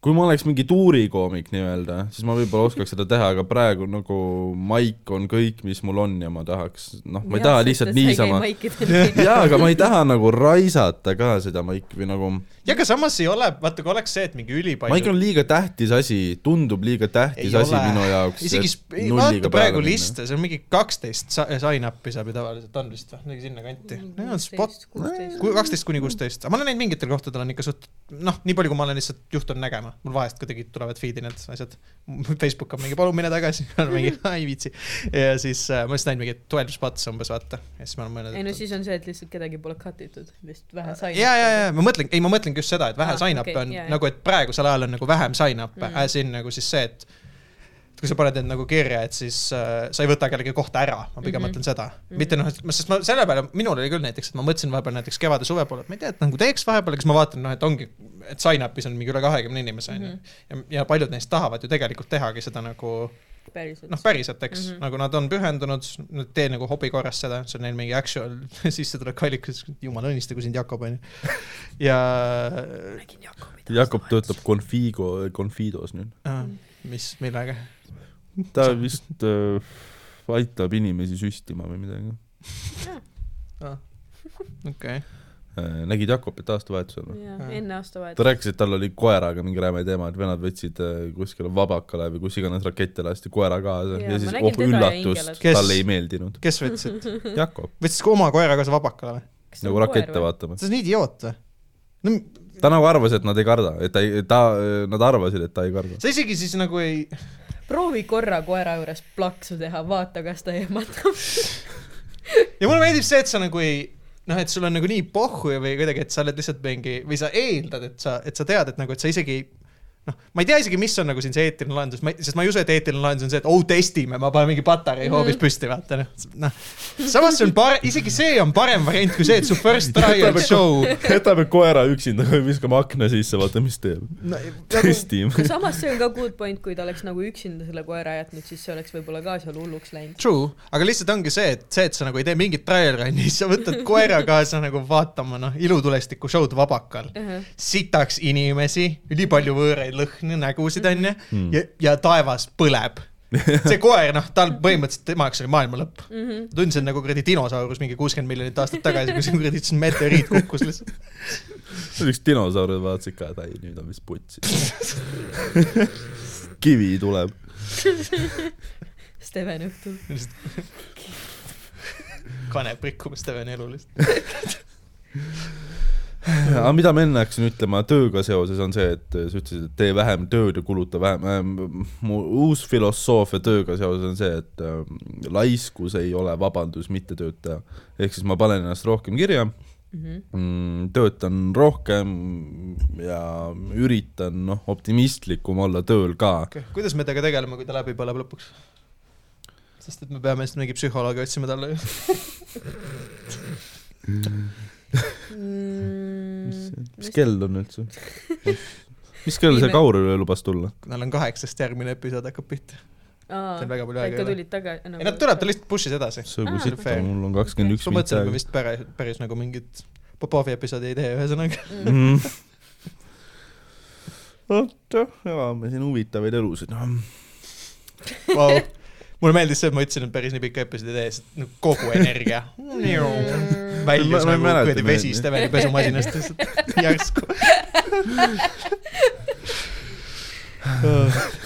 [SPEAKER 2] kui ma oleks mingi tuurikoomik nii-öelda , siis ma võib-olla oskaks seda teha , aga praegu nagu maik on kõik , mis mul on ja ma tahaks , noh , ma ei taha lihtsalt niisama jaa , aga ma ei taha nagu raisata ka seda maiki või nagu ,
[SPEAKER 1] ja aga samas ei ole , vaata kui oleks see , et mingi
[SPEAKER 2] maik
[SPEAKER 1] ülipalju
[SPEAKER 2] on liiga tähtis asi , tundub liiga
[SPEAKER 1] Ei
[SPEAKER 2] tähtis asi
[SPEAKER 1] ole.
[SPEAKER 2] minu jaoks .
[SPEAKER 1] isegi sp- ei, vaata praegu . liste , see on mingi kaksteist sign-up'i saab ju tavaliselt on vist või midagi sinnakanti .
[SPEAKER 3] Mm,
[SPEAKER 1] Need on spot , kaksteist kuni kuusteist , aga ma olen neid mingitel kohtadel on ikka suht , noh , nii palju , kui ma olen lihtsalt juhtunud nägema , mul vahest kuidagi tulevad feed'i need asjad . Facebook on mingi palun mine tagasi , mingi ai viitsi ja siis äh, ma lihtsalt näin mingit twelve spots umbes vaata ja siis ma olen mõelnud .
[SPEAKER 3] ei no siis on see , et lihtsalt kedagi pole cut itud , lihtsalt vähe Mhm. sai .
[SPEAKER 1] ja , ja , ja ma mõtlen , ei , ma mõtlengi just seda , et vähe
[SPEAKER 3] Ah,
[SPEAKER 1] sign-up'e
[SPEAKER 3] okei,
[SPEAKER 1] on
[SPEAKER 3] jaa, jaa.
[SPEAKER 1] nagu , et praegusel ajal on nagu vähem sign-up'e mm.
[SPEAKER 3] Mm. ,
[SPEAKER 1] as in nagu siis see , et et kui sa paned end nagu kirja , et siis äh, sa ei võta kellegi kohta ära , ma pigem mm -hmm.
[SPEAKER 3] Mhm.
[SPEAKER 1] mõtlen seda mm . -hmm. mitte noh , et ma- sest ma selle peale , minul oli küll näiteks , et ma mõtlesin vahepeal näiteks kevade-suve poole , et ma ei tea , et nagu teeks vahepeal , kas ma vaatan , noh , et ongi , et sign-up'is on mingi üle kahekümne inimese on ju .
[SPEAKER 3] Mhm.
[SPEAKER 1] ja , ja paljud neist tahavad ju tegelikult tehagi seda nagu
[SPEAKER 3] päriselt
[SPEAKER 1] noh , päriselt , eks mm ,
[SPEAKER 3] Mhm.
[SPEAKER 1] -hmm. nagu nad on pühendunud , nad tee nagu hobi korras seda , see on neil mingi actual sissetulek allikas , jumal õnnistagu sind , Jakob onju . ja
[SPEAKER 3] nägin Jakobit .
[SPEAKER 2] Jakob töötab Configo , Confidos nüüd .
[SPEAKER 1] äh, mis , millega ?
[SPEAKER 2] ta vist äh, aitab inimesi süstima või midagi
[SPEAKER 1] okei okay. ,
[SPEAKER 2] äh, . nägid Jakobit aastavahetusel või ?
[SPEAKER 3] jah
[SPEAKER 1] Aa. ,
[SPEAKER 3] enne
[SPEAKER 2] ta
[SPEAKER 3] aastavahetust .
[SPEAKER 2] rääkis , et tal oli koeraga mingi räme teema , et venad võtsid äh, kuskile vabakale või kus iganes rakette lasti koera kaasa ja,
[SPEAKER 3] Jaa,
[SPEAKER 2] ja
[SPEAKER 3] ma
[SPEAKER 2] siis
[SPEAKER 3] nägin
[SPEAKER 2] oh
[SPEAKER 3] teda ja
[SPEAKER 2] üllatust ,
[SPEAKER 3] hingelat.
[SPEAKER 1] Kes-
[SPEAKER 2] talle ei meeldinud .
[SPEAKER 1] kes võtsid ,
[SPEAKER 2] Jakob ,
[SPEAKER 1] võtsid oma koera kaasa vabakale või ?
[SPEAKER 2] nagu rakette . vaatama .
[SPEAKER 1] sa oled nii idioot või ? no m-
[SPEAKER 2] ta nagu arvas , et nad ei karda , et ta ei , ta , nad arvasid , et ta ei karda .
[SPEAKER 1] sa isegi siis nagu ei ,
[SPEAKER 3] proovi korra koera juures plaksu teha , vaata , kas ta ehmatab .
[SPEAKER 1] ja mulle meeldib see , et sa nagu ei noh , et sul on nagu nii pohhu ja või kuidagi , et sa oled lihtsalt mingi või sa eeldad , et sa , et sa tead , et nagu , et sa isegi ei- noh , ma ei tea isegi , mis on nagu siin see eetiline lahendus , ma , sest ma ei usu , et eetiline lahendus on see , et oh testime , ma panen mingi patarei hoopis püsti , vaata noh , noh . samas see on parem , isegi see on parem variant kui see , et su first try on show .
[SPEAKER 2] jätame koera üksinda , viskame akna sisse , vaata , mis teeb .
[SPEAKER 1] Nagu
[SPEAKER 2] testime .
[SPEAKER 3] samas see on ka good point , kui ta oleks nagu üksinda selle koera jätnud , siis see oleks võib-olla ka seal hulluks läinud .
[SPEAKER 1] True , aga lihtsalt ongi see , et see , et sa nagu ei tee mingit trial run'i , sa võtad koera kaasa nagu vaatama noh , ilutulestiku show'd vabakal . sitaks inimesi , ülipalju võõraid lõhne , nägusid onju
[SPEAKER 2] Mm.
[SPEAKER 1] ja , ja taevas põleb . see koer , noh , tal põhimõtteliselt tema jaoks oli maailma lõpp . tundsin nagu kuradi dinosaurus mingi kuuskümmend miljonit aastat tagasi , kui see kuradi lihtsalt meteoriit kukkus lihtsalt .
[SPEAKER 2] see oli üks dinosaur , vaatasid ka , et ai , nüüd on vist putsi . kivi tuleb .
[SPEAKER 3] Steven õhtul .
[SPEAKER 1] kanep rikkus Steveni elu lihtsalt .
[SPEAKER 2] aga mida ma enne hakkasin ütlema tööga seoses , on see , et sa ütlesid , et tee vähem tööd ja kuluta vähem ähm, . mu uus filosoofia tööga seoses on see , et ehm, ähm, laiskus ei ole vabandus mitte tööd teha . ehk siis ma panen ennast rohkem kirja
[SPEAKER 1] Mhm.
[SPEAKER 2] mm, töötan rohkem ja üritan noh , oktimistlikum olla tööl ka .
[SPEAKER 1] okay. . kuidas me temaga tegeleme , kui ta läbi põleb lõpuks ? sest et me peame vist mingi psühholoogi otsima talle ju .
[SPEAKER 3] Mm.
[SPEAKER 2] mis kell on üldse ? mis kell see Kaur üle lubas tulla ?
[SPEAKER 1] tal on kaheksast järgmine episood hakkab pihta .
[SPEAKER 3] aa
[SPEAKER 1] see on , väga palju
[SPEAKER 3] ikka
[SPEAKER 1] aega .
[SPEAKER 3] tulid nagu- tagasi
[SPEAKER 1] ei no tuleb , ta lihtsalt push'is edasi .
[SPEAKER 2] see
[SPEAKER 3] Aa,
[SPEAKER 2] kui sitt
[SPEAKER 1] fair.
[SPEAKER 2] on , mul on kakskümmend üks
[SPEAKER 1] ma
[SPEAKER 2] mind
[SPEAKER 1] mõtlesin , et me vist päris , päris nagu mingit Popovi episoodi ei tee , ühesõnaga .
[SPEAKER 3] lihtsalt
[SPEAKER 2] aega . vot jah , elame siin huvitavaid elusid . noh.
[SPEAKER 1] Vau. mulle meeldis see , et ma ütlesin , et päris nii pikka episoodi ei tee , sest nagu kogu energia
[SPEAKER 2] Ma- ma
[SPEAKER 1] väljus
[SPEAKER 2] ei
[SPEAKER 1] nagu
[SPEAKER 2] mäleta,
[SPEAKER 1] kuradi
[SPEAKER 2] ma-
[SPEAKER 1] vesi Steveni pesumasinast lihtsalt järsku .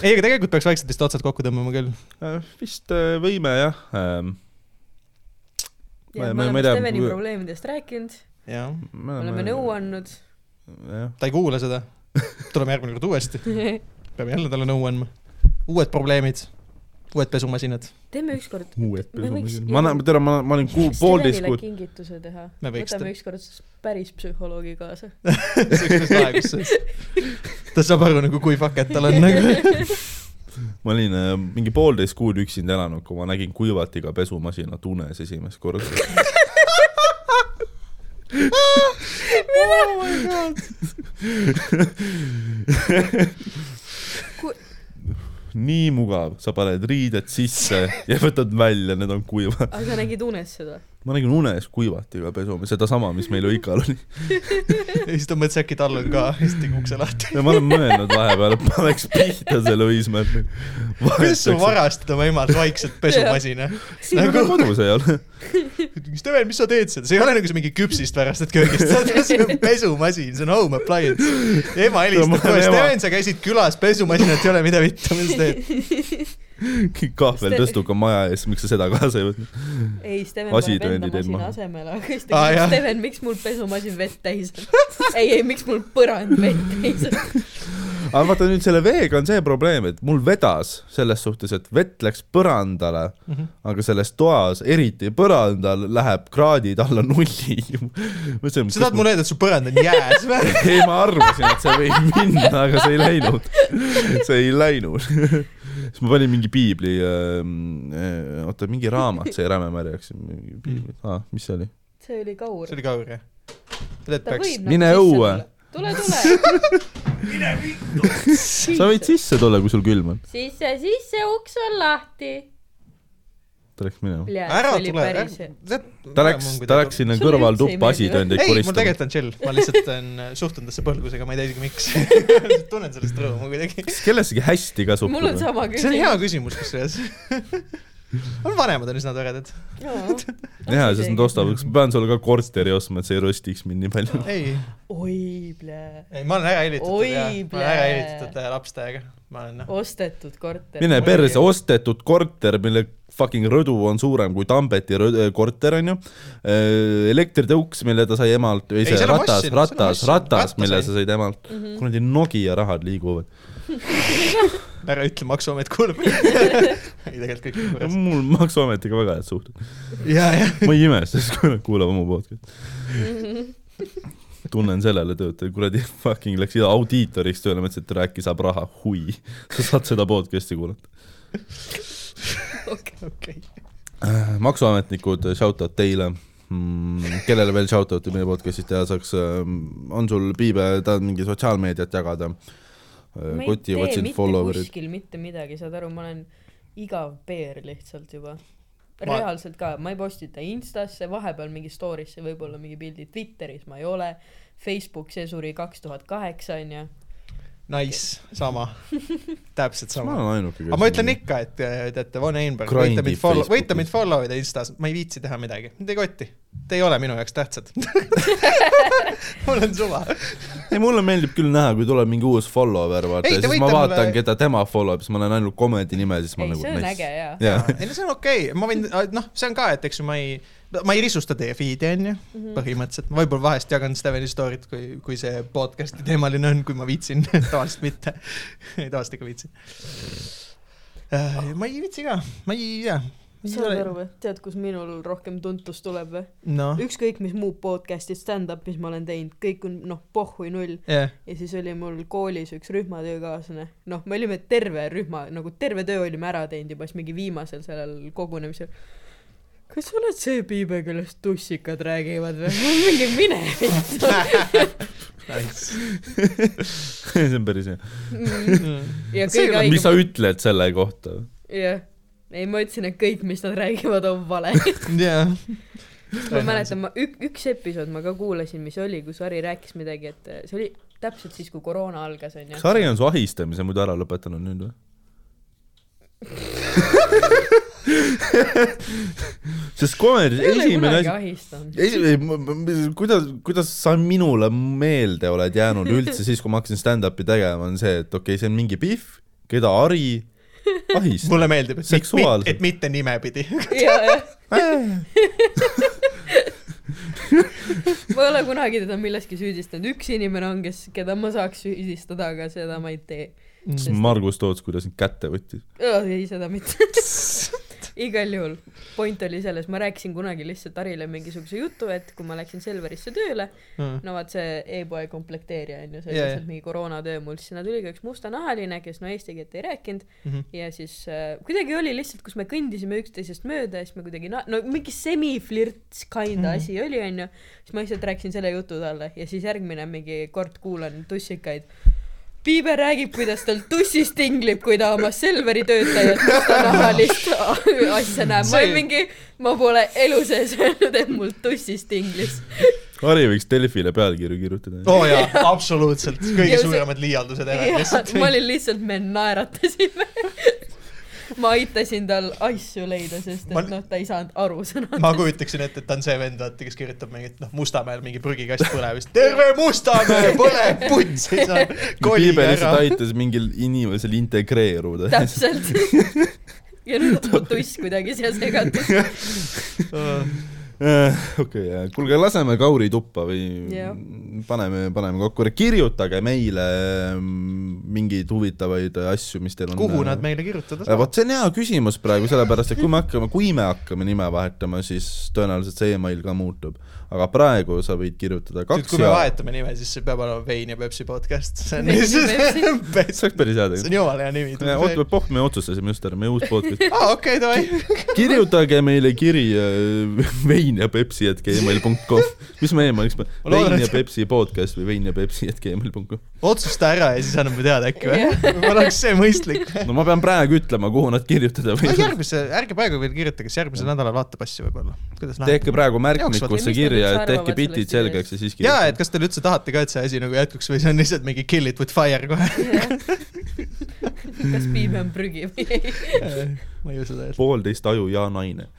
[SPEAKER 1] ei , aga tegelikult peaks vaikselt vist otsad kokku tõmbama küll .
[SPEAKER 2] vist äh, võime jah . Äh, Ma-
[SPEAKER 3] ja
[SPEAKER 2] ma-
[SPEAKER 3] me
[SPEAKER 2] ma ei
[SPEAKER 3] oleme
[SPEAKER 2] tea,
[SPEAKER 3] Steveni
[SPEAKER 2] kui-
[SPEAKER 3] probleemidest rääkinud ,
[SPEAKER 1] jah ,
[SPEAKER 2] Ah,
[SPEAKER 3] oleme nõu . andnud .
[SPEAKER 2] jah ,
[SPEAKER 1] ta ei kuula seda . tuleme järgmine kord uuesti , peame jälle talle nõu andma . uued probleemid , uued pesumasinad ,
[SPEAKER 3] teeme ükskord ,
[SPEAKER 2] uued
[SPEAKER 3] Me võiks-
[SPEAKER 2] pesumasinad . ma näen , tere , ma , ma olin kuu , poolteist
[SPEAKER 3] Stevenile
[SPEAKER 2] kuud .
[SPEAKER 3] kingituse teha .
[SPEAKER 1] me võiks
[SPEAKER 3] võtame ükskord s- päris psühholoogi kaasa .
[SPEAKER 1] ta saab aru nagu kui fuck et tal on nagu .
[SPEAKER 2] ma olin äh, mingi poolteist kuud üksinda elanud , kui ma nägin kuivatiga pesumasinat unes esimest korda . Oh
[SPEAKER 3] Ku-
[SPEAKER 2] nii mugav , sa paned riided sisse ja võtad välja , need on kuivad .
[SPEAKER 3] aga sa nägid unes seda ?
[SPEAKER 2] ma nägin unes kuivatiga pesu , sedasama , mis meil Oikal oli .
[SPEAKER 1] ja siis ta mõtles , äkki tal on ka , siis tegi ukse lahti .
[SPEAKER 2] ja ma olen mõelnud vahepeal , et paneks pihta selle Õismäe .
[SPEAKER 1] kuidas sul ? varastada oma emalt vaikselt pesumasina ?
[SPEAKER 2] siin nagu kodus ei ole .
[SPEAKER 1] Steven , mis sa teed seda , see ei ole nagu see mingi küpsist värastad köögist , see on pesumasin , see on home appliance . ema
[SPEAKER 2] Ma
[SPEAKER 1] helistab
[SPEAKER 2] olen
[SPEAKER 1] kohe ,
[SPEAKER 2] ema.
[SPEAKER 1] Steven , sa käisid külas , pesumasinat ei ole , mida vittu , mis sa teed ?
[SPEAKER 2] kahvel tõstuka maja ees , miks sa seda kaasa ei võtnud ?
[SPEAKER 3] ei , Steven paneb enda
[SPEAKER 2] Asitõendi teed
[SPEAKER 3] masina
[SPEAKER 2] maha.
[SPEAKER 3] asemele , aga siis
[SPEAKER 1] Aa,
[SPEAKER 2] Ah,
[SPEAKER 3] ta
[SPEAKER 1] jah.
[SPEAKER 3] küsib , Steven , miks mul pesumasin vett täis on ? ei , ei , miks mul põrand vett täis on ?
[SPEAKER 2] aga vaata nüüd selle veega on see probleem , et mul vedas selles suhtes , et vett läks põrandale mm ,
[SPEAKER 3] Mhm.
[SPEAKER 2] -hmm. aga selles toas , eriti põrandal , läheb kraadid alla nulli .
[SPEAKER 1] sa tahad mulle öelda , et su põrand on jääs või ?
[SPEAKER 2] ei , ma arvasin , et see võib minna , aga see ei läinud . see ei läinud . siis ma panin mingi piibli äh, , oota , mingi raamat sai räme märjaks , mingi piibli ,
[SPEAKER 3] Mhm.
[SPEAKER 2] aa , mis see oli ?
[SPEAKER 3] see oli kaur
[SPEAKER 1] see . oli Kaur jah ? ta teeb
[SPEAKER 3] ta
[SPEAKER 1] peaks
[SPEAKER 3] võib .
[SPEAKER 2] Mine
[SPEAKER 3] sisse
[SPEAKER 2] õue.
[SPEAKER 3] tulla. tule , tule .
[SPEAKER 2] sa võid sisse tulla , kui sul külm on .
[SPEAKER 3] sisse , sisse , uks on lahti .
[SPEAKER 2] ta läks minema .
[SPEAKER 1] ära tule , ära .
[SPEAKER 2] ta läks , ta läks . sinna
[SPEAKER 3] Sulle üldse ei
[SPEAKER 2] kõrvaltuppa
[SPEAKER 3] meeldi või?
[SPEAKER 2] asitõendeid
[SPEAKER 1] ei , mul
[SPEAKER 2] koristama .
[SPEAKER 1] tegelikult on äh, chill , ma lihtsalt olen- suhtun tesse põlgusega , ma ei tea isegi miks . tunnen sellest rõõmu kuidagi .
[SPEAKER 2] kas kellessegi hästi ka suhtub ?
[SPEAKER 3] mul on sama
[SPEAKER 1] see on hea
[SPEAKER 3] küsimus .
[SPEAKER 1] küsimus kusjuures . on vanemad on üsna toredad .
[SPEAKER 2] jaa , sest nad ostavad , kas ma pean sulle ka korteri ostma , et see ei röstiks mind nii palju ?
[SPEAKER 1] ei ,
[SPEAKER 3] oi , plee .
[SPEAKER 1] ei ma olen ära hellitatud
[SPEAKER 3] Oi,
[SPEAKER 1] ja ma olen
[SPEAKER 3] plee.
[SPEAKER 1] ära hellitatud äh, lapsega , ma olen noh .
[SPEAKER 3] ostetud korter .
[SPEAKER 2] mine
[SPEAKER 1] Muidugi.
[SPEAKER 2] perse , ostetud korter , mille fucking rõdu on suurem kui Tambeti rõdu, korter onju . elektritõuks , mille ta sai emalt , või
[SPEAKER 1] Ei,
[SPEAKER 2] see
[SPEAKER 1] selle ma
[SPEAKER 2] ratas ,
[SPEAKER 1] ostsin, selle ma
[SPEAKER 2] ratas ,
[SPEAKER 1] ostsin.
[SPEAKER 2] ratas
[SPEAKER 1] Ratta ,
[SPEAKER 2] mille
[SPEAKER 1] sain.
[SPEAKER 2] sa said emalt mm -hmm. . kuradi Nokia rahad liiguvad .
[SPEAKER 1] ära ütle , maksuamet kuuleb . ei , tegelikult kõik on korras .
[SPEAKER 2] mul Maksuametiga väga head suhted .
[SPEAKER 1] ja , ja .
[SPEAKER 2] ma ei imesta , sest kui nad kuulavad mu podcast'i . tunnen sellele töötaja , kuradi fucking läks audiitoriks tööle , mõtlesin , et rääkis , saab raha , hui . sa saad seda podcast'i kuulata .
[SPEAKER 1] okei .
[SPEAKER 2] Äh, maksuametnikud , shout out teile mm, . kellele veel shout out'i meie podcast'is teha saaks , on sul piibe , tahad mingi sotsiaalmeediat jagada ? Äh,
[SPEAKER 3] ma ei tee
[SPEAKER 2] kotivad sind
[SPEAKER 3] mitte
[SPEAKER 2] follower'id .
[SPEAKER 3] kuskil mitte midagi , saad aru , ma olen igav peer lihtsalt juba .
[SPEAKER 1] Ma-
[SPEAKER 3] reaalselt ka , ma ei postita Instasse , vahepeal mingi story'sse võib-olla mingi pildi , Twitteris ma ei ole , Facebook , see suri kaks tuhat kaheksa onju .
[SPEAKER 1] Nice , sama . täpselt
[SPEAKER 2] ma
[SPEAKER 1] sama .
[SPEAKER 2] olen ainuke .
[SPEAKER 1] aga ma ütlen . ikka , et äh, teate , Von Einberg ,
[SPEAKER 2] Grindib
[SPEAKER 1] võite mind follow ,
[SPEAKER 2] Facebookis.
[SPEAKER 1] võite mind follow ida Instas , ma ei viitsi teha midagi , mind ei kotti . Te ei ole minu jaoks tähtsad . mul on suva .
[SPEAKER 2] ei , mulle meeldib küll näha , kui tuleb mingi uus follower , vaata ,
[SPEAKER 1] Ei, te
[SPEAKER 2] siis ma
[SPEAKER 1] võite
[SPEAKER 2] vaatan
[SPEAKER 1] mulle-
[SPEAKER 2] mulle... , keda tema follow ib , siis ma näen ainult komedi nime , siis ma
[SPEAKER 3] ei ,
[SPEAKER 2] nagu .
[SPEAKER 3] see on äge jaa .
[SPEAKER 2] jaa ,
[SPEAKER 1] ei no see on okei okay. , ma võin , noh , see on ka , et eks ju ma ei , ma ei risusta teie feed'i onju mm
[SPEAKER 3] Mhm.
[SPEAKER 1] -hmm. , põhimõtteliselt , ma võib-olla vahest jagan Steveni story't , kui , kui see podcast'i teemaline on , kui ma viitsin , tavaliselt mitte , tavaliselt ikka viitsin . ma ei viitsi ka , ma ei tea ,
[SPEAKER 3] saad aru või ? tead , kus minul rohkem tuntust tuleb või ?
[SPEAKER 2] Ah.
[SPEAKER 1] noh ,
[SPEAKER 3] ükskõik , mis muud podcast'id , stand-up , mis ma olen teinud , kõik on noh , pohhui null .
[SPEAKER 1] jah .
[SPEAKER 3] ja siis oli mul koolis üks rühmatöökaaslane , noh , me olime terve rühma , nagu terve töö olime ära teinud juba , siis mingi viimasel sellel kogunemisel . kas sa oled see piibe , kellest tussikad räägivad või ? mingi mine vittu .
[SPEAKER 2] see on päris hea .
[SPEAKER 3] ja kõige
[SPEAKER 2] mis
[SPEAKER 3] haigem ,
[SPEAKER 2] sa ütled selle kohta ?
[SPEAKER 3] jah . ei , ma ütlesin , et kõik , mis nad räägivad , on vale .
[SPEAKER 1] jah .
[SPEAKER 3] ma mäletan , ma ük- , üks episood ma ka kuulasin , mis oli , kus Harri rääkis midagi , et eh, see oli täpselt siis , kui koroona algas , onju
[SPEAKER 2] kas . Harri on su ahistamise muidu ära lõpetanud nüüd või ? sest komedi
[SPEAKER 3] ei ole
[SPEAKER 2] esimene
[SPEAKER 3] kunagi
[SPEAKER 2] asi ,
[SPEAKER 3] ahistanud .
[SPEAKER 2] esimene , kuidas , kuidas sa minule meelde oled jäänud üldse siis , kui ma hakkasin stand-up'i tegema , on see , et okei okay, , see on mingi pihv , keda Ari ahistab .
[SPEAKER 1] mulle meeldib , et
[SPEAKER 2] Seksuaalselt.
[SPEAKER 1] mit, , et mitte nimepidi .
[SPEAKER 3] jaa , jah . ma ei ole kunagi teda milleski süüdistanud , üks inimene on , kes , keda ma saaks süüdistada , aga seda ma ei tee .
[SPEAKER 2] Margus Toots , kuidas sind kätte võttis .
[SPEAKER 3] ei , seda mitte . igal juhul , point oli selles , ma rääkisin kunagi lihtsalt Harile mingisuguse jutu , et kui ma läksin Selverisse tööle , no vaat see e-poe komplekteerija on ju , see
[SPEAKER 1] Jaa,
[SPEAKER 3] oli
[SPEAKER 1] jaa.
[SPEAKER 3] lihtsalt mingi koroonatöö mul , siis sinna tuli ka üks mustanahaline , kes no eesti keelt ei rääkinud ,
[SPEAKER 1] Mhm.
[SPEAKER 3] ja siis äh, kuidagi oli lihtsalt , kus me kõndisime üksteisest mööda ja siis me kuidagi na- , no mingi semiflirts
[SPEAKER 1] Mhm.
[SPEAKER 3] kinda mm. asi oli , onju . siis ma lihtsalt rääkisin selle jutu talle ja siis järgmine mingi kord kuulan tussikaid . Piiber räägib , kuidas tal tussis tinglib , kui ta oma Selveri töötajat mustanahalist asja näeb . ma olin
[SPEAKER 1] See-
[SPEAKER 3] mingi , ma pole elu sees öelnud , et mul tussis tinglis .
[SPEAKER 2] Harri võiks Delfile pealkirju kirjutada .
[SPEAKER 1] oo Oh jaa , absoluutselt ,
[SPEAKER 3] Ja
[SPEAKER 1] kõige
[SPEAKER 3] see-
[SPEAKER 1] suuremad liialdused ära lihtsalt .
[SPEAKER 3] ma olin lihtsalt , me naeratasime . ma aitasin tal asju leida , sest
[SPEAKER 1] Ma-
[SPEAKER 3] et noh , ta ei saanud aru sõnadest .
[SPEAKER 1] ma kujutaksin ette , et ta on see vend , vaata , kes kirjutab mingit , noh , Mustamäel mingi prügikast põleb , siis terve Mustamäe põleb , punts , siis on kolige
[SPEAKER 2] Piiber
[SPEAKER 1] ära
[SPEAKER 2] lihtsalt . aitas mingil inimesel integreeruda .
[SPEAKER 3] täpselt . ja nüüd on mu tuss kuidagi siia segatud .
[SPEAKER 2] Eh, okei okay, , kuulge , laseme Kauri tuppa või
[SPEAKER 3] Jah.
[SPEAKER 2] paneme , paneme kokku , kirjutage meile mm, mingeid huvitavaid asju , mis teil on .
[SPEAKER 1] kuhu nad meile kirjutada
[SPEAKER 2] Eh,
[SPEAKER 1] saavad ?
[SPEAKER 2] vot see on hea küsimus praegu , sellepärast et kui me hakkame , kui me hakkame nime vahetama , siis tõenäoliselt see email ka muutub . aga praegu sa võid kirjutada
[SPEAKER 1] nüüd ,
[SPEAKER 2] kaks
[SPEAKER 1] kui me vahetame nime , siis see peab olema Vein ja Pepsi podcast . see on lihtsalt ,
[SPEAKER 2] see oleks päris
[SPEAKER 1] see
[SPEAKER 2] hea tegelikult .
[SPEAKER 1] on jumala hea nimi .
[SPEAKER 2] Äh, oot , pohh , me otsustasime just ära , meie uus podcast .
[SPEAKER 1] aa , okei , davai .
[SPEAKER 2] kirjutage meile kiri äh, vein ja pepsi at gmail punkt com . mis me emailiks paneme ,
[SPEAKER 1] Ma loodan,
[SPEAKER 2] vein ja
[SPEAKER 1] et-
[SPEAKER 2] pepsi podcast või vein ja pepsi at gmail punkt com .
[SPEAKER 1] otsusta ära ja siis anname teada äkki või ? võib-olla oleks see mõistlik .
[SPEAKER 2] no ma pean praegu ütlema , kuhu nad kirjutada
[SPEAKER 1] no
[SPEAKER 2] võivad .
[SPEAKER 1] järgmise , ärge praegu veel kirjutage , siis järgmisel nädalal vaatab asju võib-olla . kuidas läheb ?
[SPEAKER 2] tehke praegu
[SPEAKER 3] Jooksvalt. Ja
[SPEAKER 2] märkmikusse
[SPEAKER 3] mis nad
[SPEAKER 2] kirja
[SPEAKER 3] üldse ,
[SPEAKER 2] et tehke
[SPEAKER 3] arvavad
[SPEAKER 2] bitid
[SPEAKER 3] sellest ideest?
[SPEAKER 2] selgeks ja siis
[SPEAKER 1] jaa ,
[SPEAKER 2] kirjutage
[SPEAKER 1] et . kas te üldse tahate ka , et see asi nagu jätkuks või see on lihtsalt mingi kill it with fire kohe ?
[SPEAKER 3] kas piim on prügi või ei ?
[SPEAKER 1] ma ei usu täiesti .
[SPEAKER 2] poolteist aju ja naine .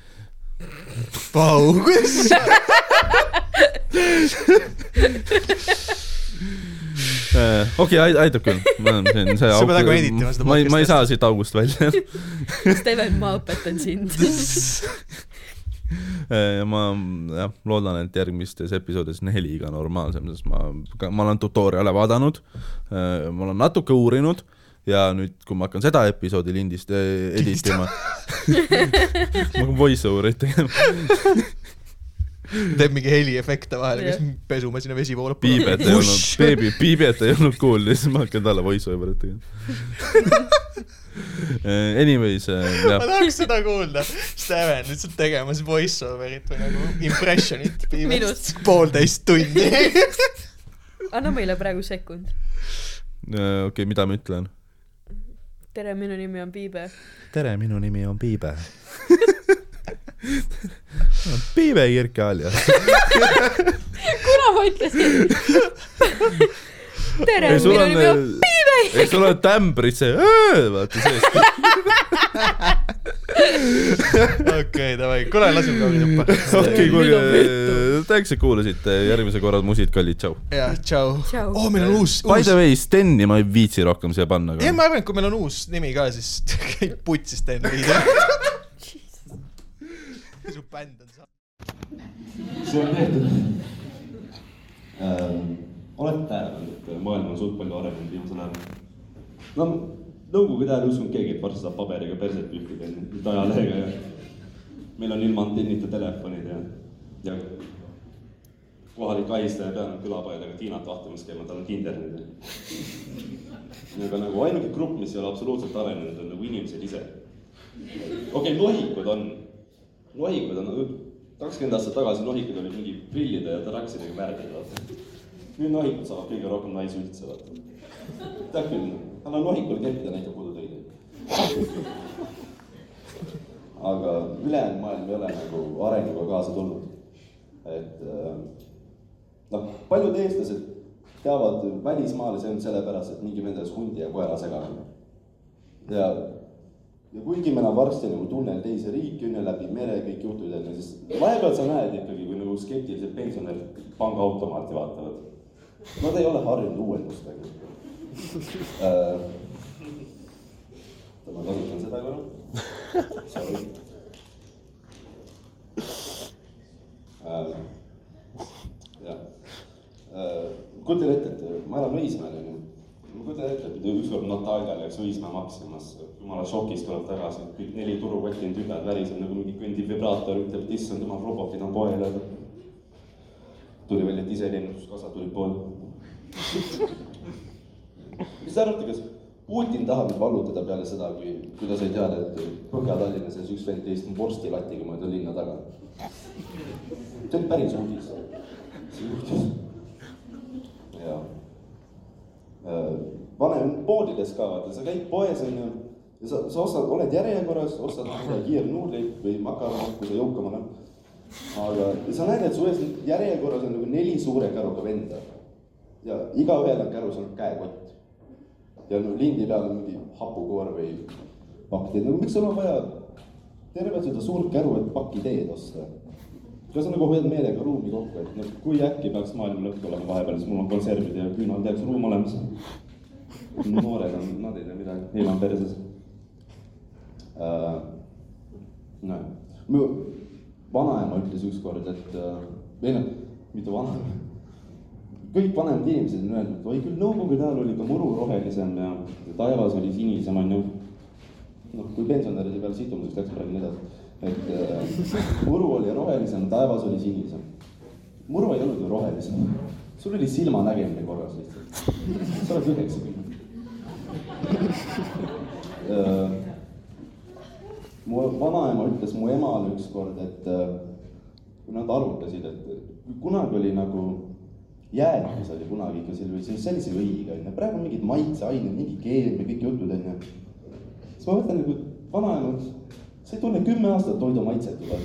[SPEAKER 1] Vau , kuidas sa
[SPEAKER 2] Äh, okei , aitab küll . see on see
[SPEAKER 1] Sa
[SPEAKER 2] auk-
[SPEAKER 1] pead hakkama editima seda
[SPEAKER 2] ma ei , ma ei
[SPEAKER 1] podcast'i.
[SPEAKER 2] saa siit august välja .
[SPEAKER 3] Steven , ma õpetan sind .
[SPEAKER 2] Äh, ma jah , loodan , et järgmistes episoodides neli ka normaalsem , sest ma , ma olen tutorial'e vaadanud , ma olen natuke uurinud ja nüüd , kui ma hakkan seda episoodi lindist eh, editima , ma hakkan voice over'it tegema ,
[SPEAKER 1] teed mingi heliefekte vahele ,
[SPEAKER 3] Jah.
[SPEAKER 1] kas pesumasina vesi voolab ?
[SPEAKER 2] piibet ei olnud , beebi , piibet ei olnud kuulda , siis ma hakkan talle voice over'it tegema Eh, Anyways ,
[SPEAKER 1] ma
[SPEAKER 2] jah ,
[SPEAKER 1] tahaks seda kuulda . Steven lihtsalt tegemas voice over'it või nagu impressionit piibest
[SPEAKER 3] Minut.
[SPEAKER 1] poolteist tundi .
[SPEAKER 3] anna meile praegu sekund .
[SPEAKER 2] Äh, okei , mida ma ütlen ?
[SPEAKER 3] tere , minu nimi on Piibe .
[SPEAKER 2] tere , minu nimi on Piibe . Piibe Kirke Aljas .
[SPEAKER 3] kuna ma ütlesin ? tere ,
[SPEAKER 2] ei , sul
[SPEAKER 3] minu
[SPEAKER 2] on
[SPEAKER 3] nimi on ,,
[SPEAKER 2] ei sul on tämbrid see , vaata sees .
[SPEAKER 1] okei , davai , kuule , laseme kaugele tuppa .
[SPEAKER 2] okei ,
[SPEAKER 3] Nüüd
[SPEAKER 2] kuulge äh,
[SPEAKER 3] on , pettumus.
[SPEAKER 2] tänks , et kuulasite , järgmise korra musid kallid , tšau .
[SPEAKER 1] jaa , tšau .
[SPEAKER 3] Tšau.
[SPEAKER 1] oo , meil on uus ,
[SPEAKER 2] By
[SPEAKER 1] uus
[SPEAKER 2] the . way , Steni ma ei viitsi rohkem siia panna .
[SPEAKER 1] ei , ma arvan , et kui meil on uus nimi ka , siis käib putsis teine video . su bänd on sa- .
[SPEAKER 4] see on tehtud . oled tähelepanu , et maailm on suht palju arenenud viimasel ajal ? no nõukogude ajal ei uskunud keegi , et varsti saab paberiga perset pühkida , nüüd ajalehega ja
[SPEAKER 2] meil on ilma antennita telefonid ja , ja kohalik ahistaja peab nad külapaljadega Tiinat vahtamas käima , tal on kindel nüüd . aga nagu ainuke grupp , mis ei ole absoluutselt arenenud , on nagu inimesed ise . okei okay, , nohikud on , nohikud on , kakskümmend aastat tagasi nohikud olid mingi prillide ja taraksidega värvid , vaata . nüüd nohikud saavad kõige rohkem naisi üldse , vaata . tead küll , anna nohikule kerkida , näitab kodutöid aga ülejäänud maailm ei ole nagu arenguga kaasa tulnud . et äh, noh , paljud eestlased teavad välismaale , see on sellepärast , et mingi vendas hundi ja koera segamine . ja , ja kuigi me enam varsti nagu tunnen teisi riike , on ju läbi mere kõik jutud jälle , siis vahepeal sa näed ikkagi , kui nagu skeptilised pensionärid pangaautomaati vaatavad . Nad ei ole harjunud uuendustega Äh, oota, ma kasutan seda korra . Sorry äh, . jah äh, , kujutan ette , et äh, ma elan Õismäel onju . ma kujutan ette , et ükskord Natalja läks Õismäe maksimas , jumala šokis tuleb tagasi , kõik neli turukotti on tüdad väriseb nagu mingi kõndib vibraator , ütleb , et issand jumal , robotid on poel . tuli välja , et ise lennunduskasa tuli poole mis te arvate , kas Putin tahab nüüd vallutada peale seda , kui , kui ta sai teada , et Põhja-Tallinnas on üks vend istub vorstilatiga mööda linna taga ? see on päris uudis . see juhtus . jaa . vanem poodides ka , vaata , sa käid poes , onju , ja sa , sa ostad , oled järjekorras , ostad mingi kiirnuudleid või makarone , kui sa jõukam oled . aga ja sa näed , et su ees järjekorras on nagu neli suure käruga venda . ja igaühel on kärus on käekott ja no lindi peal on mingi hapukoor või pakkteed , no miks sul on vaja tervet seda suurt käru , et pakiteed osta ? kas sa nagu hoiad meelega ruumi kokku , et noh , kui äkki peaks maailma lõpp tulema vahepeal , siis mul on konservid ja küünal tehakse ruum olemas . noored on , nad ei tea midagi , neil on perses äh, . nojah , mu vanaema ütles ükskord , et äh, või noh , mitte vanaema kõik vanemad inimesed on öelnud , et oi küll nõukogude ajal oli ka muru rohelisem ja taevas oli sinisem , onju . noh , kui pensionäride peale situmiseks läks praegu nii edasi , et äh, muru oli rohelisem , taevas oli sinisem . muru ei olnud ju rohelisem , sul oli silmanägemine korras lihtsalt , sa oled üheksakümmend . Äh, mu vanaema ütles mu emale ükskord , et äh, kui nad arvutasid , et kunagi oli nagu jäätis oli kunagi ikka seal või sellise õiga onju , praegu on mingid maitseained , mingi keemia , kõik jutud onju . siis ma mõtlen nagu vanaema , sa ei tunne kümme aastat toidu maitset juba .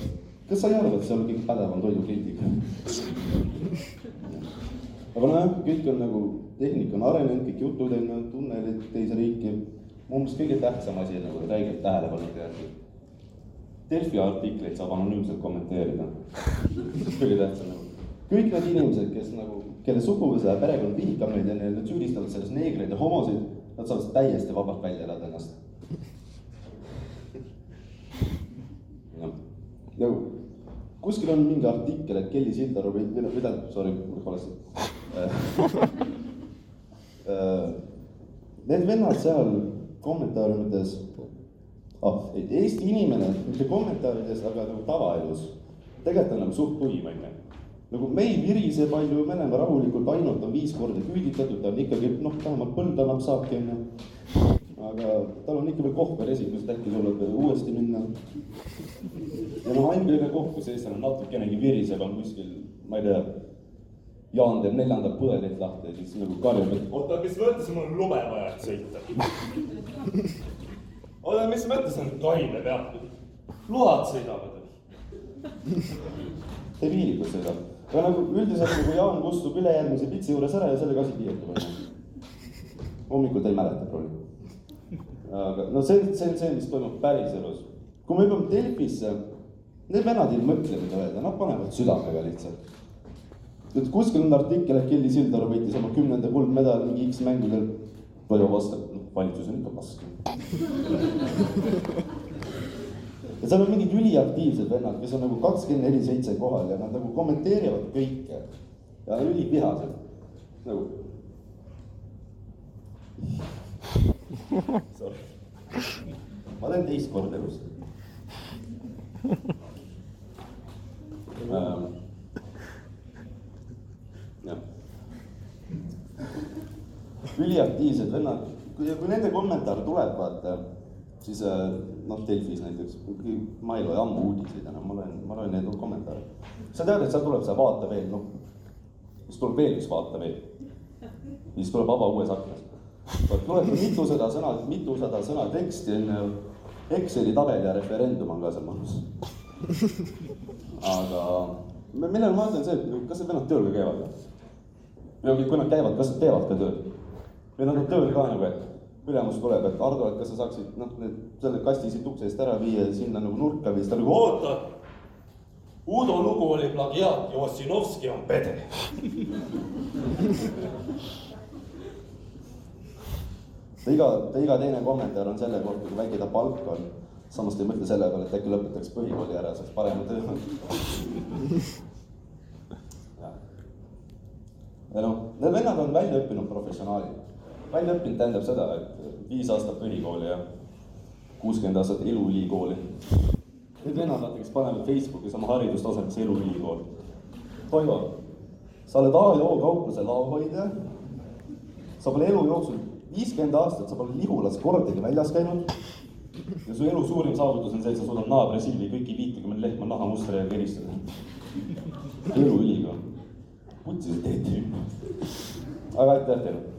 [SPEAKER 2] kas sa ei arva , et sa oled kõige pädevam toidukriitik ? aga nojah , kõik on nagu , tehnika on arenenud , kõik jutud onju , tunnelid teise riiki . mu meelest kõige tähtsam asi on nagu räigelt tähelepanu teadmine . Delfi artikleid saab anonüümselt kommenteerida kõige tähtsam nagu . kõik need inimesed , kes nagu , kelle suguvõsa ja perekond vihkab neid ja neil nüüd süüdistavad selles neegreid ja homosid , nad saavad täiesti vabalt välja elada ennast . jah , nagu kuskil on mingi artikkel , et Kelly Sildaru või , või tähendab , sorry , mul valesti . äh, Need vennad seal kommentaariumites , ah , et Eesti inimene , mitte kommentaarides , aga nagu tavaelus , tegelikult on nagu suht tuim , onju nagu me ei virise palju , me oleme rahulikult , ainult on viis korda küüditatud , ta on ikkagi noh , vähemalt põld annab saaki onju . aga tal on ikka veel kohver esikus , et äkki tuleb uuesti minna . ja noh , ainuke koht , kus eestlane natukenegi viriseb , on kuskil , ma ei tea , Jaan teeb neljanda põdelit lahti ja siis nagu karjub , et
[SPEAKER 5] oota , mis mõttes mul on lube vaja et sõita ? oota , mis mõttes on kaine peab ? load sõidavad .
[SPEAKER 2] tee viilikus seda . aga nagu üldiselt nagu Jaan kustub ülejärgmise pitsi juures ära ja sellega asi piirdub onju . hommikul ta ei mäleta probleemi . aga no see , see on see , mis toimub päriselus . kui me hüppame Delfisse , need vennad ei mõtle , mida öelda , nad panevad südamega lihtsalt . et kuskil on artikkel , et Kelly Sildaru võitis oma kümnenda kuldmedali mingi X mängudel . palju vastab , noh valitsus on ikka pask ja seal on mingid üliaktiivsed vennad , kes on nagu kakskümmend neli seitse kohal ja nad nagu kommenteerivad kõike ja ülivihased nagu . ma teen teist korda elus . Ähm, üliaktiivsed vennad , kui , kui nende kommentaar tuleb , vaata , siis äh, noh , Delfis näiteks , ma ei loe ammu uudiseid enam , ma loen , ma loen neid kommentaare . sa tead , et sealt tuleb see vaata veel , noh , siis tuleb veel üks vaata veel . siis tuleb ava uues aknas . vot loed mitusada sõna , mitusada sõna teksti on ju , Exceli tabel ja referendum on ka seal mahus . aga me- millal ma mõtlen see , et kas need vennad tööl ka käivad või ? või kui nad käivad , kas nad teevad ka tööd ? või nad on tööl ka nagu , et ülemus tuleb , et Ardo , et kas sa saaksid noh , need selle kasti siit ukse eest ära viia ja sinna nagu nurka või siis ta nagu oota ,
[SPEAKER 5] oota , Udo lugu oli plagiaat ja Ossinovski on pede .
[SPEAKER 2] ta iga , ta iga teine kommentaar on selle kohta , kui väike ta palk on . samas ta ei mõtle selle peale , et äkki lõpetaks põhikooli ära , saaks parema töö . ja noh , need vennad on väljaõppinud professionaalid . väljaõppinud tähendab seda , et viis aastat põhikooli ja kuuskümmend aastat eluülikooli . Need vennad , vaata , kes panevad Facebookis oma haridustasemeks eluülikool . Toivo , sa oled A ja O kaupluse laohoidja sa pole elu jooksul viiskümmend aastat , sa pole Lihulas kordagi väljas käinud . ja su elu suurim saavutus on see , et sa suudad naabrisilmi kõiki viitekümmet lehma nahamustri järgi eristada . eluülikool , putsi see teed . aga aitäh teile